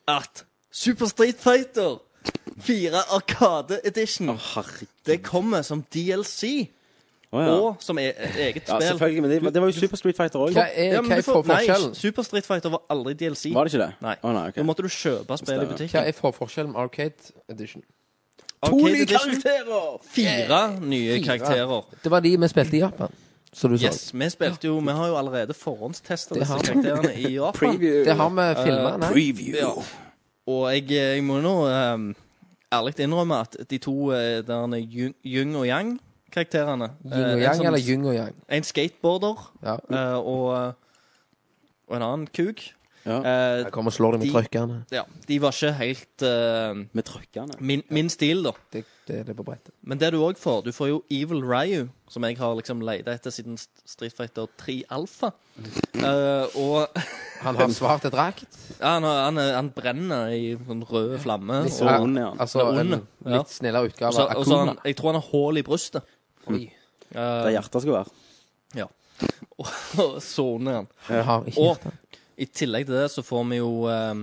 E: at Super Street Fighter 4 Arcade Edition
A: Herregud.
E: Det kommer som DLC,
A: Å, ja.
E: og som e et eget
A: ja,
E: spill.
A: selvfølgelig. Men det, det var jo Super Street Fighter òg.
D: Hva er,
E: Ja, men
D: hva
E: du
D: er for
E: får- nei,
D: forskjellen?
E: Super Street Fighter var aldri DLC.
A: Var det ikke det?
E: Nei.
A: Å, nei ok.
E: Da måtte du kjøpe spillet i
A: Stemmer.
D: Hva
E: butikken.
D: er for forskjellen med Arcade Edition?
A: To
E: Arcade
A: nye
E: Edition,
A: karakterer!
E: Fire nye
D: Fire.
E: karakterer.
D: Det var de vi spilte i Japan. Så du
E: Yes, Vi spilte jo, vi har jo allerede forhåndstesta
D: Det
E: disse
D: har vi.
E: karakterene i Japan.
A: Preview.
D: så. Det har vi
E: Eh,
D: filma, nei?
A: Preview.
E: Ja. Og jeg, jeg må nå ehm, ærlig innrømme at de to eh, derne Yung Yung og eh, Yang-karakterene
D: Yin og yang eller yin og yang?
E: En skateboarder
D: Ja.
E: eh, og, eh, og en annen kuk.
A: Ja.
E: Eh,
D: Jeg kommer og slår deg med
E: De-
D: trøkkene.
E: ja, de var ikke helt eh,
A: Med trøkkene.
E: min, min stil, da.
D: Det, det, det er på brettet.
E: Men det du òg får, du får jo Evil Ryu, som jeg har liksom leita etter siden St- Street Fighter 3 Alpha. Eh, og
D: Han har svart et rakt.
E: ja, han, han, han brenner i sånn rød flamme.
A: Litt
E: og-
A: Så
D: Ja,
A: ond er han.
D: Altså
E: Han er ond,
D: en
E: ja.
D: litt snillere
E: Og
D: utgave
E: så,
D: av
E: og så han,
D: Akuna.
E: jeg tror han har hull i brystet.
D: Oi.
E: Uh,
A: Der hjertet skal være.
E: og soner han.
D: Han har ikke
E: Og-
D: gjort det.
E: I tillegg til det så får vi jo um,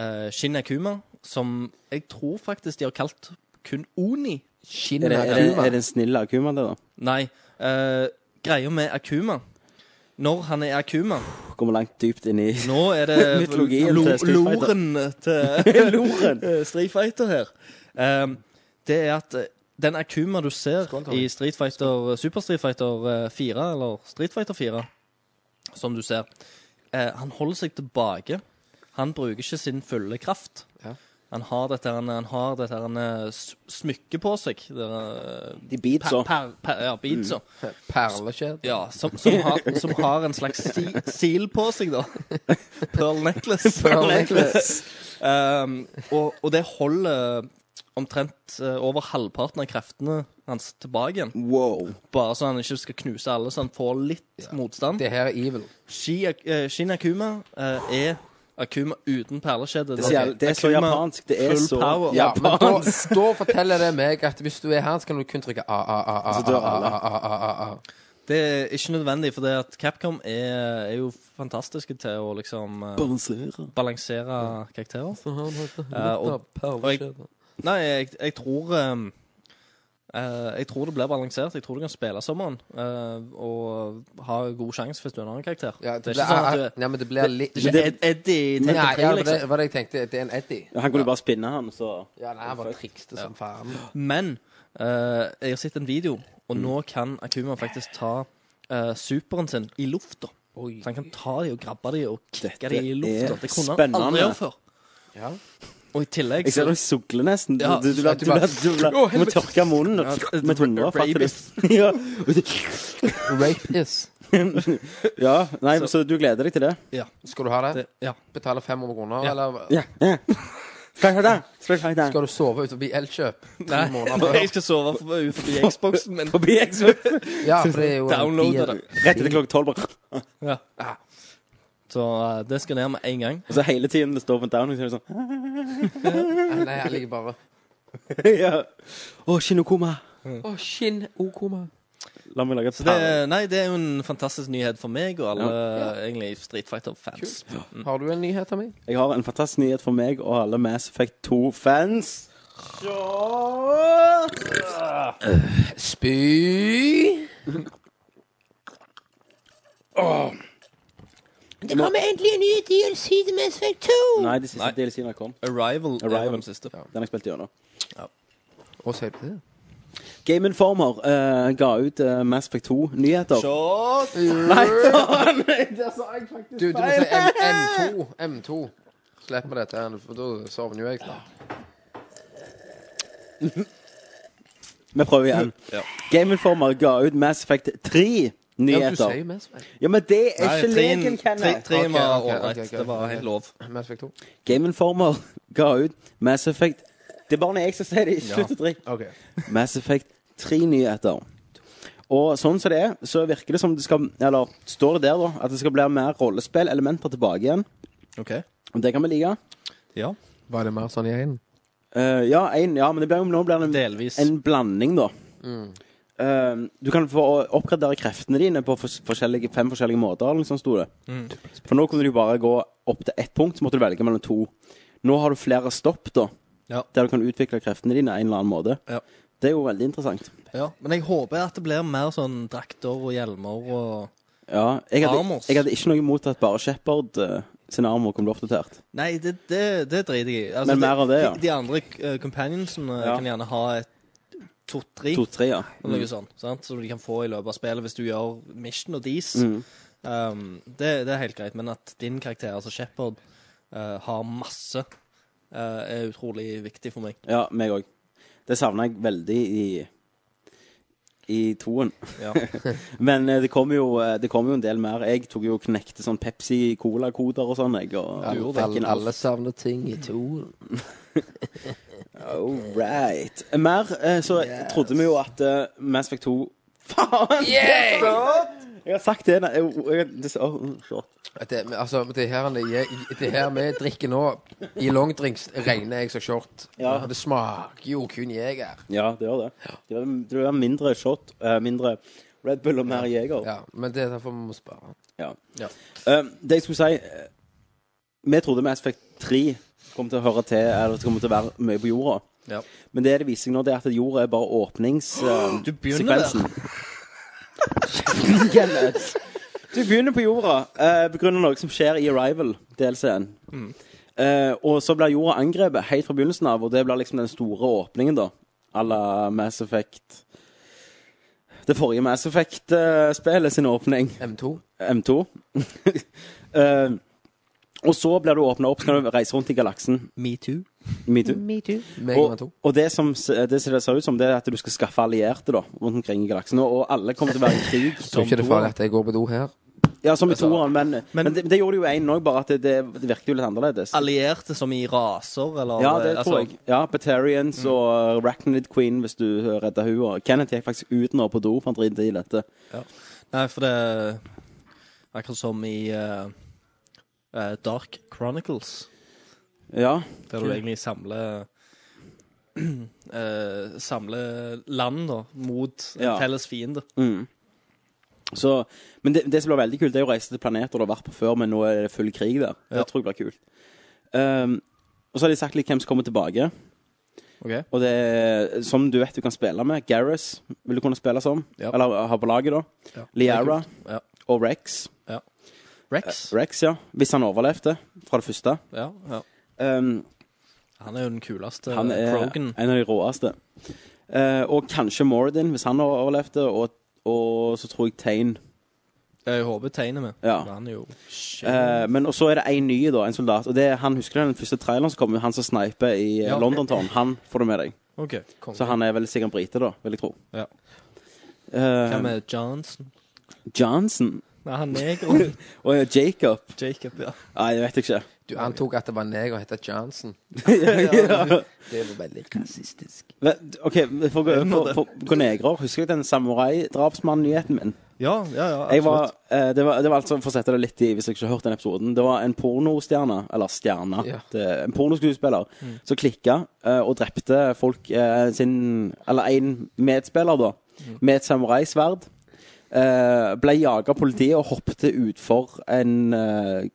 E: uh, Shin Akuma, som jeg tror faktisk de har kalt kun Oni.
A: Er
D: Skinnet
A: det,
D: av
A: er det,
D: Akuma.
A: er det en snill Akuma, det, da?
E: Nei, eh, greia med Akuma Når han er Akuma
A: Kommer langt dypt inn i
E: Nå er det
A: Mytologien
E: lo-
A: til Street Fighter.
E: loren til
A: loren.
E: eh, Street Fighter her. Ehm, det er at eh, den Akuma du ser
D: Skål, Tommy.
E: i Street Fighter, Super Street Fighter eh, 4, eller Street Fighter 4, som du ser, eh, han holder seg tilbake. Han bruker ikke sin fulle kraft.
D: Ja.
E: Han har dette, han, han har dette han, eh, s- smykket på seg. Det, er, eh,
A: De biter
E: per,
A: så.
E: per, per,
D: Mm.
E: ja, beatsa.
D: Perlekjede.
E: Ja, som, som, har, som har en slags si, sil på seg, da. Pearl necklace.
D: Pearl necklace.
E: um, og, og det holder omtrent eh, over halvparten av kreftene hans tilbake igjen.
A: Wow.
E: Bare så han ikke skal knuse alle, så han får litt motstand.
D: Det her er evil.
E: Shi, eh, Shin Akuma eh, er Akuma uten perlekjede.
A: Det er så jævlig- det er så
E: Akuma
A: japansk, det er
E: full
A: så-
E: power.
A: Ja.
D: Ja, men da, da forteller det meg at hvis du er her, så kan du kun trykke A, A, A, A,
A: Så
D: A,
A: dør
D: A,
A: alle.
D: A, A, A, A, A.
E: Det er ikke nødvendig, for det at Capcom er, er jo fantastiske til å liksom eh,
A: Balansere.
E: balansere karakterer. Eh, og, og jeg,
D: Perlekjede.
E: nei, jeg, jeg tror um, eh, Jeg tror det blir balansert. Jeg tror du kan spille sommeren eh, og ha god sjanse hvis du er en annen karakter.
D: Ja,
E: det,
D: det
E: er ikke sånn at
D: blir
E: du
D: Nei, men det blir litt
E: det er ikke Ed- Eddie
D: Nei,
E: til
D: ja, det
E: Capri,
D: var det
E: liksom.
D: var det jeg tenkte. Det er en Eddie.
A: Han kunne jo bare spinne, han, så
D: Ja, nei, han bare trikste som faen.
E: Men eh, jeg har sett en video, og nå kan Akuma faktisk ta eh, superen sin i lufta.
D: Oi.
E: Så han kan ta de og grabbe de og kicke
A: Dette
E: de i lufta.
A: er
E: Det kunne han
A: spennende.
E: aldri gjøre før.
D: Ja.
E: Og i tillegg
A: Jeg ser deg sugle nesten. Du,
E: Ja,
A: du, du, blir- du, blir- du, blir-
D: Å,
A: du må tørke munnen
E: Ja, det-
A: med tunga. fatter du?
E: rabies.
A: Ja.
D: Rape is.
A: ja. Nei, så. du gleder deg til det?
D: Skal du ha det?
E: det, Ja.
D: Betale 500 kroner,
E: Ja.
D: eller
A: Ja. Skal jeg ha det? Skal jeg ha det?
D: skal du sove utenfor Elkjøp tre
E: Nei,
D: måneder
E: jeg
D: før?
E: skal sove for- forbi Xboxen, men
A: Forbi Xbox.
D: Ja, for det er jo en
E: downloade
D: deal.
E: det.
A: Rett etter klokka tolv, bare.
E: Ja. Så eh, det skal ned med en gang.
A: Og så hele tiden det står på en down, og så er det sånn
D: Nei, jeg ligger bare
A: ja. Å, Shinokuma.
B: Oh,
D: Å, skinn okoma.
A: La meg lage et
E: Så det,
A: par.
E: nei, det er jo en fantastisk nyhet for meg og alle eh, egentlig Street Fighter-fans.
D: Har du en nyhet av meg?
A: Jeg har en fantastisk nyhet for meg og alle Mass Effect 2-fans.
D: Spy
A: Det kommer
B: endelig en ny DLC til Mass Effect 2!
A: Nei, de siste
E: Nei.
A: DLC-ene har kommet.
E: Arrival, er
A: Arrival.
E: den siste.
A: Den har jeg spilt gjennom.
D: Og sier du det?
A: Game Informer eh, ga ut eh, Mass Effect 2-nyheter.
D: Nei, faen! Du, du må si M M2. M2. Slipp meg dette, her, for da sovner jo jeg snart.
A: Vi prøver igjen. Game Informer ga ut Mass Effect 3
D: Ja, du sier
A: nyheter.
D: jo Mass Effect.
A: Ja, men det er
E: Nei,
A: ikke
E: treen-
A: leken,
E: tre-
A: Kenneth.
E: treen var
D: Ok, ok, ok,
E: ålreit.
D: ok.
E: Det var helt lov.
D: Mass Effect 2.
A: Game Informer ga ut Mass Effect Det er bare jeg som sier det. Slutt å drikke.
D: OK.
A: Mass Effect 3-nyheter. Og sånn som det er, så virker det som det skal Eller står det der, da, at det skal bli mer rollespillelementer tilbake igjen.
E: Ok.
A: Og det kan vi like.
E: Ja.
D: Var det mer sånn i én?
A: Eh, ja, en, ja, men det blir jo, nå blir det en
E: Delvis.
A: en blanding, da.
E: Mm.
A: Eh, du kan få oppgradere kreftene dine på fors- forskjellige, fem forskjellige måter. eller noe sånt sto det.
E: Mm.
A: For nå kunne du bare gå opp til ett punkt, så måtte du velge mellom to. Nå har du flere stopp, da.
E: Ja.
A: Der du kan utvikle kreftene dine en eller annen måte.
E: Ja.
A: Det er jo veldig interessant.
E: ja. Men jeg håper at det blir mer sånn drakter og hjelmer og
A: Ja, jeg, hadde,
E: Armors.
A: jeg hadde ikke noe imot at bare Shepherd eh, sin armor kom oppdatert.
E: Nei, det, det, det driter jeg i. Altså,
A: Men mer av det, ja.
E: De, de andre uh, companionsene
A: Ja.
E: kan gjerne ha et to-tre.
A: To-tre, ja.
E: Eller noe sånt, sant? Som du kan få i løpet av spillet hvis du gjør mission og dis.
A: Mm.
E: Um, det, det er helt greit, men at din karakter, altså Shepherd, eh, har masse, eh, er utrolig viktig for meg.
A: Ja, meg òg. Det savna jeg veldig i i toen.
E: Ja.
A: Men eh, det kommer jo, eh, det kommer jo en del mer. Jeg tok jo og knekte sånn Pepsi-Cola-koder og sånn. Jeg, og
D: Alle,
A: fikk en
D: alle, alle savner ting i to.
A: All right. Mer eh, så trodde vi jo at eh, Mass Effect 2 Faen! Jeg har sagt det. Nei, jeg, jeg, det oh, shit.
D: At Det, men altså, det her, han er- det her vi drikker nå, i longdrinks, regner jeg som short.
A: Ja.
D: Det smaker jo kun jeger.
A: Ja, det gjør det. Det var, det var mindre shot, eh, mindre Red Bull og mer Jeger.
D: Ja, men det er derfor vi må spare.
A: Ja.
D: Ja.
A: Eh, det jeg skulle si eh, Vi trodde Mass Effect 3 kom til å høre til Eller det kom til å være mye på jorda.
E: Ja.
A: Men det det viser seg nå, det er at jorda er bare eh,
E: Du begynner der.
A: åpningssekvensen. Kenneth. Du begynner på jorda eh, på grunn av noe som skjer i Arrival, DLC-en.
E: Mm.
A: Eh, og så blir jorda angrepet helt fra begynnelsen av, og det blir liksom den store åpningen, da. À la Mass Effect Det forrige Mass Effect-spillet sin åpning.
D: M2.
A: M2. Eh, og så blir du åpna opp, så kan du reise rundt i galaksen.
E: Metoo.
A: Metoo.
D: Megaman
A: Og,
D: 2.
A: og det som s- eh, det ser det ser ut som, det er at du skal skaffe allierte da, rundt omkring i galaksen. Og, og alle kommer til å være i krig.
D: Tror ikke det er farlig Altså- at jeg går på do her.
A: Ja, som i toeren, men, men,
E: Men-
A: det, det gjorde jo én òg, bare at det, det, det virket jo litt annerledes.
E: Allierte som i raser, eller
A: Ja, det
E: eh,
A: tror
E: altså,
A: jeg. Ja, Batarians
D: Mm.
A: og Racknid Queen, hvis du eh, redder henne. Kenneth gikk faktisk ut nå på do, for han driter i dette.
E: Nei, for det er akkurat som i eh, eh, Dark Chronicles,
A: Ja.
E: der du egentlig samler eh, Samler land da, mot en
A: Ja.
E: felles fiende.
A: Mm. Så, men det, det som blir veldig kult, det er jo å reise til planeter du har vært på før, men nå er det full krig der.
E: Ja.
A: Det tror jeg blir kult. Ehm, og så har de sagt litt hvem som kommer tilbake.
E: Ok.
A: Og det er, som du vet du kan spille med, Gareth vil du kunne spille som.
E: Ja.
A: Eller ha på laget, da.
E: Ja.
A: Liara
E: Det er kult. Ja.
A: og Rex.
E: Rex.
A: Rex, ja. Hvis han overlevde fra det første.
E: Ja, ja.
A: Ehm,
E: Han er jo den kuleste
A: han er
E: Krogan.
A: en av de råeste. Eh, og kanskje Mordin, hvis han overlevde. Og, og så tror jeg Tane.
E: Jeg håper tegner med.
A: Ja.
E: Men han er jo shit.
A: Eh, men og så er det en ny, da, en soldat. Og det er, han Husker du den første traileren som kom? Han som sniper i eh,
E: Ja.
A: London-tårn. Han får du med deg.
E: OK.
A: Så han er vel sikkert brite, da, vil jeg tro.
E: Ja.
A: Eh,
E: Hvem er Johnson?
A: Johnson?
E: Nei, han er negro.
A: Og ja, Jacob?
E: Jacob, ja.
A: Nei, det vet jeg ikke.
D: Du antok at det var neger og het Johnson. Det er jo veldig rasistisk.
A: Men, OK, for å gå over på, på, på negrer. Husker du den samurai-drapsmann-nyheten min?
E: Ja, ja, ja
A: Jeg var, eh, det, var, det var altså, For å sette det litt i, hvis jeg ikke har hørt den episoden Det var en pornostjerne, eller stjerne
D: Ja.
A: det, En pornoskuespiller Som klikka eh, og drepte folk eh, sin, Eller en medspiller da Med et samuraisverd eh, Ble jaget av politiet Og hoppte ut for en eh,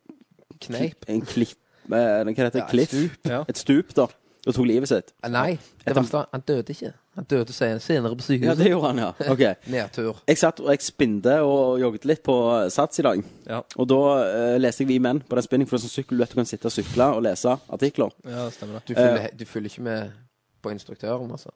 D: Kneip.
A: En klipp eh, Hva heter det?
D: Ja, et
A: Kliff?
D: stup,
E: ja.
A: Et stup da Og tok livet sitt
D: Ah, Nei, det verste var- han døde ikke. Han døde sen- senere på
A: Ja,
D: sykehuset.
A: det gjorde han ja Ok
D: Nedtur.
A: Jeg satt og jeg spinde og jogget litt på Sats i dag.
E: Ja.
A: Og da eh, leste jeg Vi Menn på den spinning, for det er sånn sykkel du vet du kan sitte og sykle og lese artikler.
E: Ja, stemmer det.
D: Du
A: Eh.
D: følger, du følger ikke med på instruktøren, altså?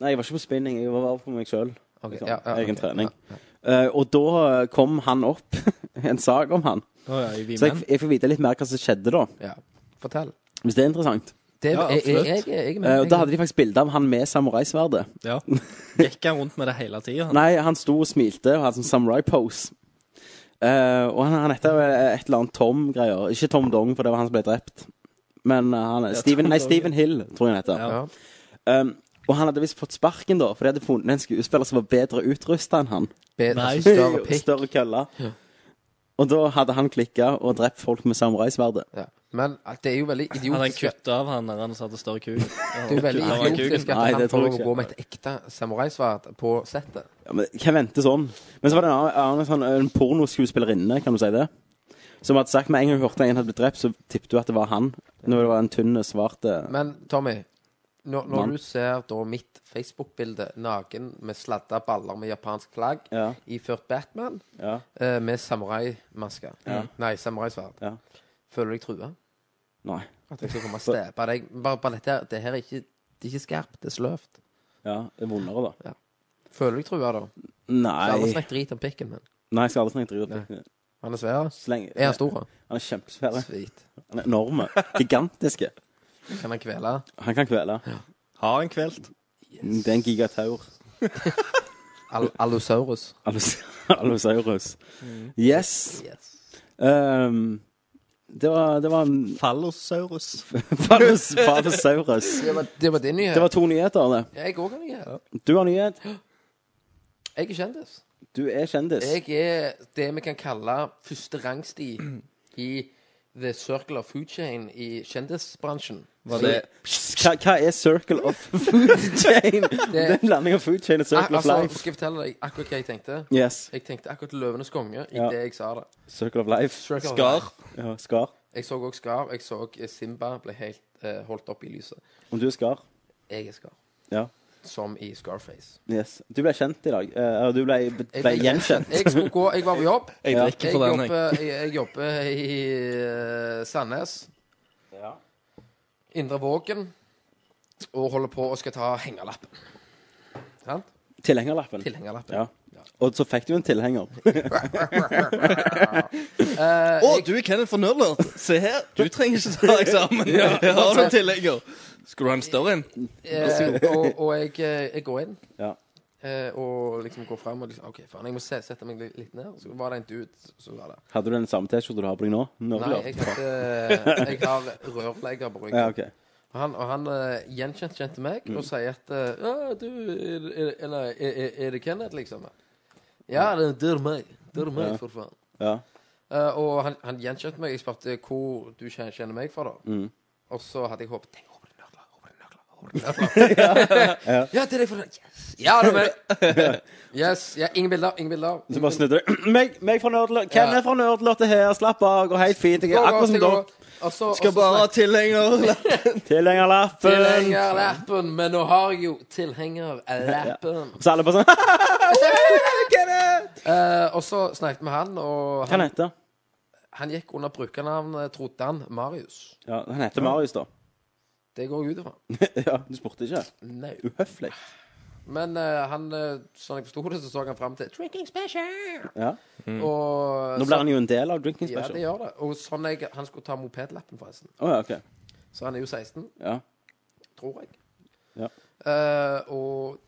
A: Nei, jeg var ikke på spinning, jeg var bare for meg sjøl.
D: Ok,
A: Liksom,
D: ja, ja,
A: egen
D: ok,
A: trening.
D: ja, ja.
A: Eh, og da kom han opp, en sak om han.
E: Å ja, i
A: Så jeg,
E: Vimen.
A: jeg får vite litt mer hva som skjedde da,
D: Ja. Fortell.
A: hvis det er interessant.
D: Det,
E: Ja,
D: jeg, jeg,
E: absolutt.
D: jeg, jeg, jeg,
A: Eh, og da hadde de faktisk bilde av han med samuraisverdet.
E: Ja. Gikk han rundt med det hele tida?
A: Nei, han sto og smilte og hadde sånn samurai-pose. Eh, og han, han heter vel et eller annet Tom-greier. Ikke Tom Dong, for det var han som ble drept. Men eh, han, Steven,
E: Tom
A: nei,
E: Dong,
A: Steven Hill, tror jeg han heter.
D: ja.
A: Um, og han hadde visst fått sparken, da, for de hadde funnet en skuespiller som var bedre utrusta enn han.
D: Bedre,
E: Nei.
D: altså, større pikk.
A: Større kølle. Og da hadde han klikka og drept folk med samuraisverdet.
D: Ja. Men at det er jo veldig
E: Hadde han
D: idiotisk at-
E: kutta av han der han satt og større kuk?
D: Det er jo veldig
E: Kutta av han
D: idiotisk
E: kuken.
D: at
A: Nei,
D: han
A: det tror
D: prøver
A: jeg
D: å
A: ikke.
D: gå med et ekte samuraisverd på settet.
A: Ja, men Hvem venter sånn? Men så var det en annen, annen sånn, en pornoskuespillerinne, kan du si det, som hadde sagt med en gang hun hørte en hadde blitt drept, så tippet hun at det var han. Når det var en tynn, svart eh,
D: Men Tommy, når,
A: Mann.
D: når du ser da mitt Facebook-bilde naken med sladda baller med japansk flagg,
A: Ja.
D: iført Batman,
A: Ja.
D: eh, med samuraimaske Nei, samuraisverd,
A: Ja.
D: føler du deg trua?
A: Nei.
D: At jeg skal komme og stepe deg? Bare, bare dette her, det her er ikke, det er ikke skarpt, det er sløvt.
A: Ja, det er vondere, da.
D: Føler du deg trua, da? Alle
A: Nei.
D: snakker drit om pikken min.
A: Nei, jeg skal aldri snakke dritt om det.
D: Han er svær.
A: Så lenge-
D: Er han stor?
A: Han er kjempesvær.
D: Svit.
A: Han er enorm. Gigantiske.
D: Kan han kvele?
A: Han kan kvele.
E: Har han kvelt?
A: Det er en gigataur.
D: Al Allosaurus.
A: Allos- Allosaurus. Mm. Yes. Ehm, det var, det var en
E: Fallosaurus.
A: Fallos- Fallosaurus.
D: Det var, det var din nyhet.
A: Det var to nyheter, det.
D: Jeg òg har nyhet.
A: Du har nyhet.
D: Jeg er kjendis.
A: Du er kjendis.
D: Jeg er det vi kan kalle første rangsti i The Circle of Food Chain i kjendisbransjen.
E: Var det
A: Hva, hva er circle of food chain? Det er en blanding av food chain og
D: Ah,
A: circle of
D: altså,
A: life.
D: skal jeg fortelle deg akkurat hva jeg tenkte?
A: Yes.
D: Jeg tenkte akkurat Løvenes konge i
A: Ja.
D: det jeg sa det.
A: Circle of life.
D: Circle of
E: Skar?
D: Life.
A: Ja, skar.
D: Jeg så òg Skar. Jeg så eh, Simba ble helt eh, holdt opp i lyset.
A: Om du er skar?
D: Jeg er Skar.
A: Ja.
D: Som i Scarface.
A: Yes. Du ble kjent i dag. Eh, eller du ble,
D: Jeg
A: ble gjenkjent.
D: Jeg skulle gå, jeg var på jobb.
E: Jeg drikker
D: Jeg
E: for den, jeg.
D: jobber, jeg, jeg jobber i eh, Sandnes. Indre Vågen. Og holder på og skal ta hengerlappen. Sant?
A: Tilhengerlappen.
D: Tilhengerlappen.
A: Ja. Og så fikk du en tilhenger.
E: Å, du er Kenneth fra Nerdlert. Se her, du trenger ikke ta eksamen. Her har du en tillegger. Skulle du ha en større en?
D: Eh, og og jeg, eh, jeg går inn.
A: Ja.
D: Eh, og liksom går fram og liksom OK, faen, jeg må se, sette meg litt, litt ned. Så var det en dude som var der.
A: Hadde du den samme T-skjorta du har på deg nå?
D: Nei,
A: Nerdlert?
D: jeg, heter, jeg har rørlegger på ryggen.
A: Ja, Mm. ok.
D: Og han, og han eh, gjenkjent kjente meg og sier at eh, «Å, du, er, er, eller, er, er- er det Kenneth, liksom? Ja, det, det er meg. Det er meg, for faen.
A: Ja.
D: Eh, og han, han gjenkjente meg. Jeg spurte hvor du kjenner, kjenner meg fra, da.
A: Mm.
D: Og så hadde jeg håpet «Tenk, håper det er Nerdler, håper det er Nerdler, håper det er Nerdler». Ja, det er deg, for faen. Yes. Ja, det er meg. Yes. Ja, ingen bilder. Ingen bilder.
A: Så bare snudde du. Meg, meg fra Nerdlert. Kenneth fra Nerdlert er her. Slapp av. Går helt fint. Jeg
D: Gå,
A: er
D: gå,
A: akkurat som
D: stikk over.
A: dere.
D: Og så- og så
E: Skal bare ha tilhenger.
A: Tilhengerlappen.
D: Tilhengerlappen, men nå har jeg jo tilhengerlappen.
A: Så alle bare sånn Kenneth!
D: Eh, og så snakket vi med han, og
A: Hva han
D: han,
A: heter
D: han gikk under brukernavnet, trodde han, Marius.
A: Ja, han? heter Marius, da.
D: Det går jeg ut ifra.
A: ja, du spurte ikke.
D: Nei.
A: Uhøflig.
D: Men eh, han, eh, sånn jeg forsto det, så så han fram til Drinking Special.
A: Ja.
D: Og
A: Mm. Nå blir han jo en del av Drinking
D: ja, det
A: Special. Å ja,
D: gjør det. Og sånn jeg, han skulle ta mopedlappen, forresten.
A: ok.
D: Så han er jo 16,
A: Ja.
D: tror jeg.
A: Ja.
D: Eh, og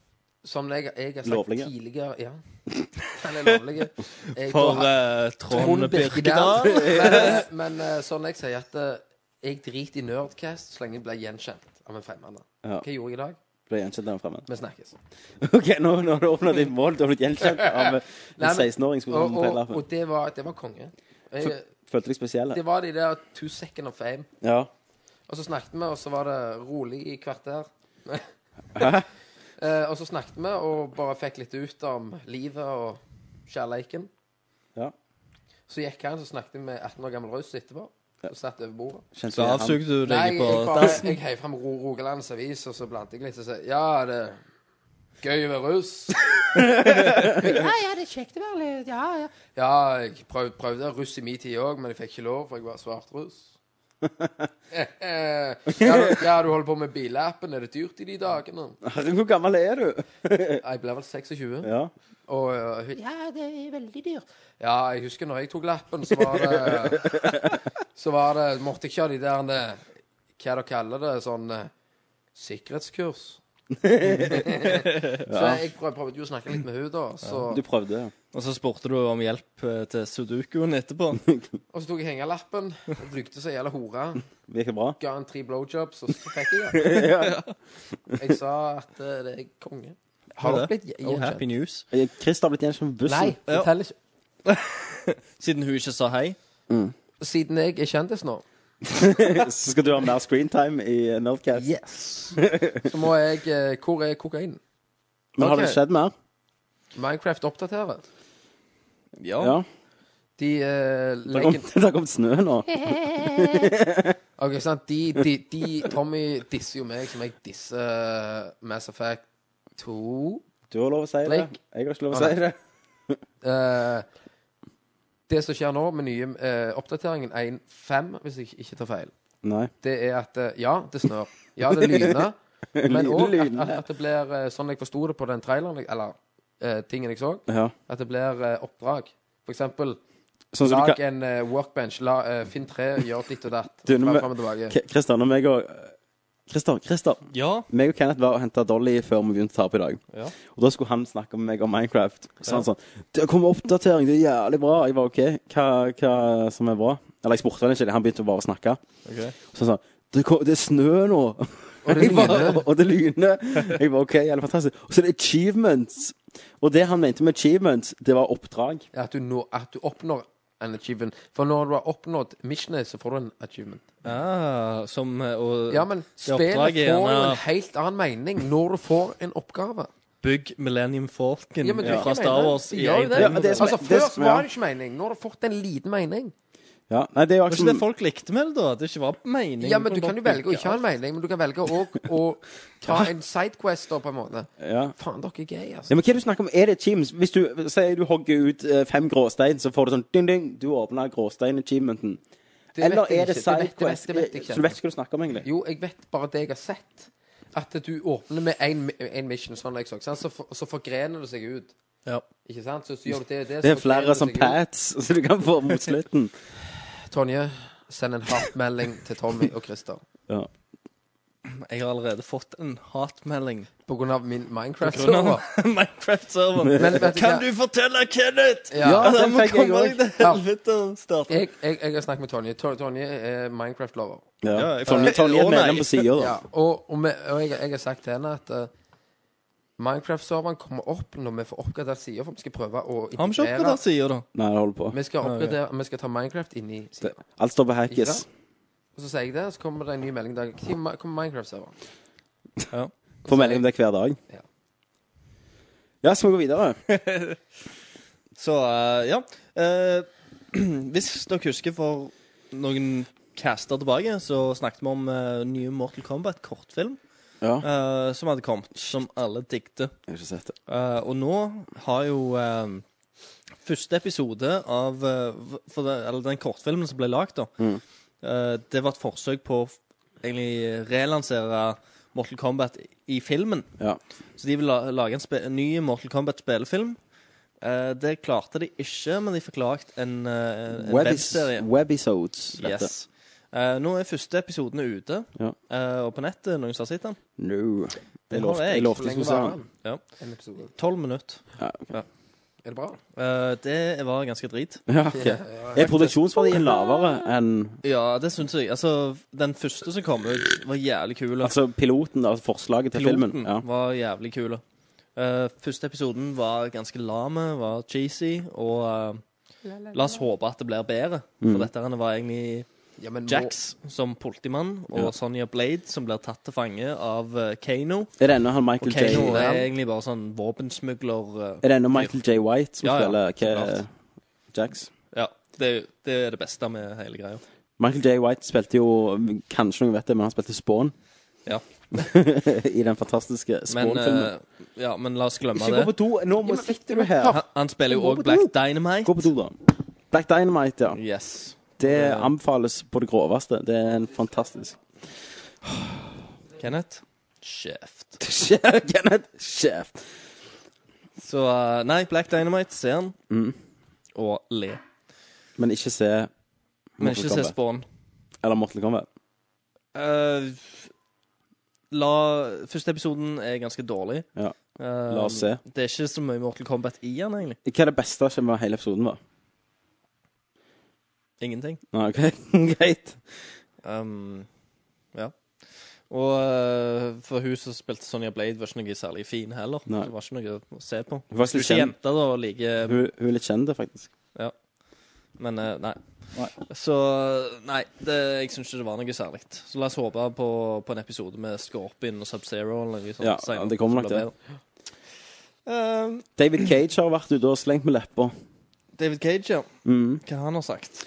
D: som jeg, jeg har sagt
A: Lovlige.
D: tidligere Ja. Han er lovlig. Jeg-
E: For eh, Trond Birkedal.
D: Birkedal. Men, men eh, sånn jeg sier at eh, jeg driter i Nerdcast så lenge jeg blir gjenkjent av en fremmed.
A: Ja.
D: Hva gjorde jeg i dag?
A: Ble gjenkjent der fremme.
D: Vi snakkes.
A: OK, nå, nå har du åpna ditt mål. Du har blitt gjenkjent av en
D: Nei, men-
A: 16-åring som
D: Og,
A: skulle ta
D: og,
A: lappen.
D: og det, var, det var konge. Jeg,
A: Følte deg spesiell?
D: det var de der two second of fame.
A: Ja.
D: Og så snakket vi, og så var det rolig i kvarter. Eh, og så snakket vi og bare fikk litt ut om livet og kjærleiken.
A: Ja.
D: Så gikk han, så snakket vi med 18 år gammel russ etterpå. Og satt over bordet.
A: Kjente
E: Så avsugde du
D: Nei,
E: deg
D: jeg,
E: på
D: bare,
E: dass.
D: jeg heiv fram Ro- Rogalands avis, og så blant jeg litt og sa Ja, det er gøy å være russ.
B: Ja, ja, det er kjekt å være litt Ja, ja.
D: Ja, jeg prøvde, prøvde russ i min tid òg, men jeg fikk ikke lov, for jeg var svartruss. Eh, eh, ja, du- ja, du holder på med bilappen. Er det dyrt i de dagene?
A: Herregud, hvor gammel er du?
D: Jeg ble vel 26.
A: Ja.
D: Og eh, hun-
B: Ja, det er veldig dyrt.
D: ja, jeg husker når jeg tok lappen, så var det Så var det Måtte jeg ikke ha de der eh, Hva dere kaller det? Sånn eh, sikkerhetskurs. så jeg prøv- prøvde jo å snakke litt med hun da. Så
A: Du prøvde, ja.
E: Og så spurte du om hjelp eh, til sudokuen etterpå. Oh,
D: Og så tok jeg hengerlappen, brukte seg jævla hore,
A: Gikk det bra?
D: ga han tre blowjobs, og så fikk jeg den. Jeg sa at eh, det er konge. Har dere blitt
E: Oh, happy
D: gjenkjent?
E: news.
A: Eh, Chris har blitt gjenkjent på
D: Nei,
A: bussen.
D: det teller ikke.
E: Siden hun ikke sa hei.
D: Siden jeg er kjendis nå,
A: Så skal du ha mer screentime i eh, Nerdcast.
D: yes, så må jeg eh, Hvor er kokainen?
A: Men har
D: Ok.
A: det skjedd mer?
D: Minecraft oppdaterer.
A: Ja.
D: De
A: Det
D: eh,
A: har
D: legger
A: kommet- det har kommet snø nå.
D: OK, sant. De, de, de Tommy disser jo meg som jeg disser eh, Mass Effect 2.
A: Du har lov å si det.
D: Blake.
A: Jeg har ikke lov å
D: Å,
A: si det.
D: Eh, det som skjer nå med nye eh, oppdateringen 1.5, hvis jeg ikke tar feil,
A: Nei.
D: det er at eh, ja, det snør. Ja, det lyner. Men òg at, at, at det blir eh, sånn jeg forsto det på den traileren, jeg- eller eh, tingen jeg så,
A: Ja.
D: at det blir eh, oppdrag. For eksempel
A: Sånn som du
D: lag
A: kan
D: en eh, workbench, la, eh, finn tre, gjør ditt og datt.
A: Du,
D: Fram
A: nå må-
D: fram og tilbake.
A: K- Kristian, når meg og Christer, Christer.
E: Ja.
A: Meg og Kenneth var og henta Dolly før vi begynte å ta opp i dag.
E: Ja.
A: Og da skulle han snakke med meg om Minecraft. Så han sånn 'Det kommer oppdatering, det er jævlig bra.' Jeg var OK. Hva, hva som er bra? Eller jeg spurte vel ikke, han begynte bare å snakke.
E: Ok.
A: Så han sa 'Det, kom, det er snø nå'. Og
D: det lyner.
A: og det lyner. Jeg var OK, jævlig fantastisk. Og så er det achievements. Og det han mente med achievements, det var oppdrag.
D: Ja, At du, nå, at du oppnår en achievement. For når du har oppnådd missionet, så får du en achievement.
E: Ah, som eh, å
D: Ja, men
E: det
D: spillet får
E: oppdraget er
D: jo
E: gjerne-
D: en helt annen mening når du får en oppgave.
E: Bygg Millennium Falcon
D: Ja, men det er
E: fra
D: ikke
E: Star
D: meningen.
E: Wars
D: De
E: i
D: gjør jo
E: en
D: det.
A: Ja, men det som er-
D: Altså,
A: det
D: Først
A: som-
D: var
A: ja.
D: det ikke mening. Nå har du fått en liten mening.
A: Ja, nei, det er jo
E: Det var ikke det
A: akkurat
E: folk likte med det, da. Det ikke var meningen.
D: Ja, men Du
E: på
D: kan jo
E: dere.
D: velge å ikke ha en mening, men du kan velge òg å ta en sidequest, da, på en måte.
A: ja.
D: Faen, dere er gay, altså.
A: Ja, men hva er det du snakker om? Er det achievements? Hvis du sier du hogger ut eh, fem gråstein, så får du sånn ding, ding, du åpner gråstein-achievementen.
D: Det vet
A: Eller
D: jeg
A: er det
D: ikke. vet-
A: sidequest?
D: Det vet, det vet
A: Så
D: jeg
A: du
D: ikke.
A: vet hva du snakker om, egentlig?
D: Jo, jeg vet bare det jeg har sett. At du åpner med én mission, sånn jeg så, sant? så, for, så forgrener det seg ut.
E: Ja.
D: Ikke sant? Så, så gjør du det og det.
A: Det
D: så
A: er flere
D: forgrener
A: som
D: seg ut.
A: pads, så du kan få mot slutten.
D: Tonje, send en hatmelding til Tommy og Christer.
A: Ja.
E: Jeg har allerede fått en hatmelding.
D: På grunn av min
E: Grunn
D: Minecraft-server.
E: av Minecraft-serveren.
D: Men vet du
E: Kan
D: hva?
E: du fortelle Kenneth
D: Ja.
E: at
A: den
E: han må
A: fikk jeg
E: komme
A: også.
E: deg til helvete og starte?
D: Jeg, jeg, jeg har snakket med Tonje. Tor- Tonje er Minecraft-lover.
A: Ja.
E: Ja, jeg-
A: Tonje Tonje er
E: Å, nei.
A: medlem på sida, da.
D: Ja, og og, vi, og jeg, jeg har sagt til henne at eh, Minecraft-serveren kommer opp når vi får oppgradert sider, for vi skal prøve å
E: Har vi ikke oppgradert sida, da?
A: Nei, det holder på.
D: Vi skal, oppgradere, vi skal ta Minecraft inn i sida.
A: Alt står på
D: Ikke
A: hackes.
D: sant? Og så sier jeg det, så kommer det en ny melding i dag. Når kommer Minecraft-serveren?
A: Får melding om det hver dag.
D: Ja.
A: Ja, skal vi gå videre?
E: Så eh, ja. Eh, hvis dere husker for noen caster tilbake, så snakket vi om eh, nye Mortal Kombat-kortfilm
A: Ja. Jeg
E: eh, som hadde kommet, som alle digget.
A: har ikke sett det.
E: Eh, og nå har jo eh, første episode av eh, v- for det, Eller den kortfilmen som ble lagd, da.
A: Mm.
E: eh, det var et forsøk på å f- egentlig relansere Mortal Kombat i filmen.
A: Ja.
E: Så de vil la, lage en, spe, en ny Mortal Kombat-spelefilm. Eh, det klarte de ikke, men de fikk lagd en, eh, en
A: Webis,
E: webserie.
A: webisodes. heter det.
E: Yes. Eh, nå er første episoden ute,
A: Ja.
E: eh, og på nettet. Noen som har sett den?
A: No.
E: har
A: Jeg lovte
E: jeg.
A: jeg lovte jeg
D: Hvor
A: skulle
D: lenge
A: se
D: varer
A: den.
D: den?
E: Ja.
D: En episode.
E: Tolv minutter.
A: Ja, ok.
D: Er det bra?
E: Eh, det var ganske drit.
A: Ja, ok. Er produksjonsverdien lavere enn
E: Ja, det syns jeg. Altså, den første som kom ut, var jævlig kul.
A: Altså piloten, altså forslaget til
E: Piloten
A: filmen. Ja.
E: var jævlig kul. Eh, første episoden var ganske lame, var cheesy, og eh, la oss håpe at det blir bedre.
A: Mm.
E: For dette her var egentlig
D: Ja, men må-
E: Jax som politimann, og
A: Ja.
E: Sonja Blade som blir tatt til fange av eh, Kano.
A: Er det ennå han Michael
E: Og Kano
A: J.
E: er egentlig bare sånn våpensmugler eh,
A: Er det ennå Michael J. White som
E: Ja, ja,
A: spiller
E: klart.
A: Ke- Jax?
E: Ja, det, det er det beste med hele greia.
A: Michael J. White spilte jo Kanskje noen vet det, men han spilte Spawn.
E: Ja.
A: I den fantastiske
E: Men,
A: Spawn-filmen.
E: eh, ja, men la oss glemme
A: Ikke gå på
E: det.
A: do! Nå må sitter du her.
E: Han, han spiller jo
A: Gå
E: òg
A: på
E: Black
A: do.
E: Dynamite.
A: Gå på do, da. Black Dynamite, ja.
E: Yes.
A: Det anbefales på det groveste. Det er en fantastisk
E: Kenneth? Kjeft.
A: Sjef, Kenneth! Sjef!
E: Så eh, nei, Black Dynamite, se han.
A: Mm.
E: Og le.
A: Men ikke se
E: Men ikke se
A: Kombat.
E: Spawn.
A: Eller Mortal Kombat.
E: Eh, la Første episoden er ganske dårlig.
A: Ja.
E: Eh,
A: La oss se.
E: Det er ikke så mye Mortal Kombat i han, egentlig.
A: Hva er det beste som var hele episoden, var?
E: Ingenting.
A: Nei, OK. Greit.
E: Um, ja. Og eh, for hun som spilte Sonja Blade, var ikke noe særlig fin heller.
A: Nei.
E: Det var ikke noe å se på.
A: Hun var
E: Du
A: ikke
E: er ikke
A: kjent.
E: jente, da, og liker
A: Hun, hun er litt kjent, faktisk.
E: Men eh, nei. Så nei, det, jeg syns ikke det var noe særlig. Så la oss håpe på, på en episode med Scorpion og Sub-Zero eller noe sånt.
A: Ja,
E: senere,
A: det kommer nok
E: så blir det bedre. Eh,
A: David Cage har vært ute og slengt med leppa.
E: David Cage, ja. Hva han har sagt?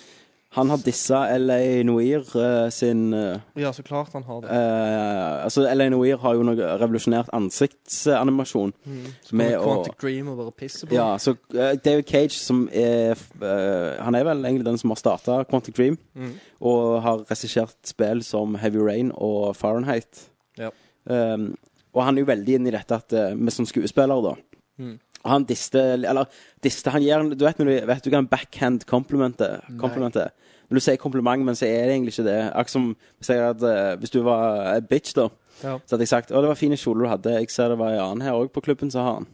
A: Han har dissa LA Noir eh, sin eh,
E: Ja, så klart han har det.
A: eh, Altså, LA Noir har jo noe revolusjonert ansiktsanimasjon.
E: Mm. Så kommer
A: med å-
E: Quantic Dream og bare pisser på.
A: Ja, så eh, David Cage, som er eh, Han er vel egentlig den som har starta Quantic Dream,
E: Mm.
A: og har regissert spill som Heavy Rain og Fahrenheit.
E: Ja.
A: Um, og han er jo veldig inne i dette at eh, vi som skuespillere, da.
E: Mm.
A: Og han diste Eller diste han gir en- Du vet, når du, vet du hva en backhand compliment er? Compliment er? vil du si kompliment, men så er det egentlig ikke det. Akkurat som hvis, jeg hadde, hvis du var eh, bitch, da,
E: Ja.
A: så hadde jeg sagt 'Å, det var fin kjole du hadde. Jeg ser det var en annen her òg på klubben som har den'.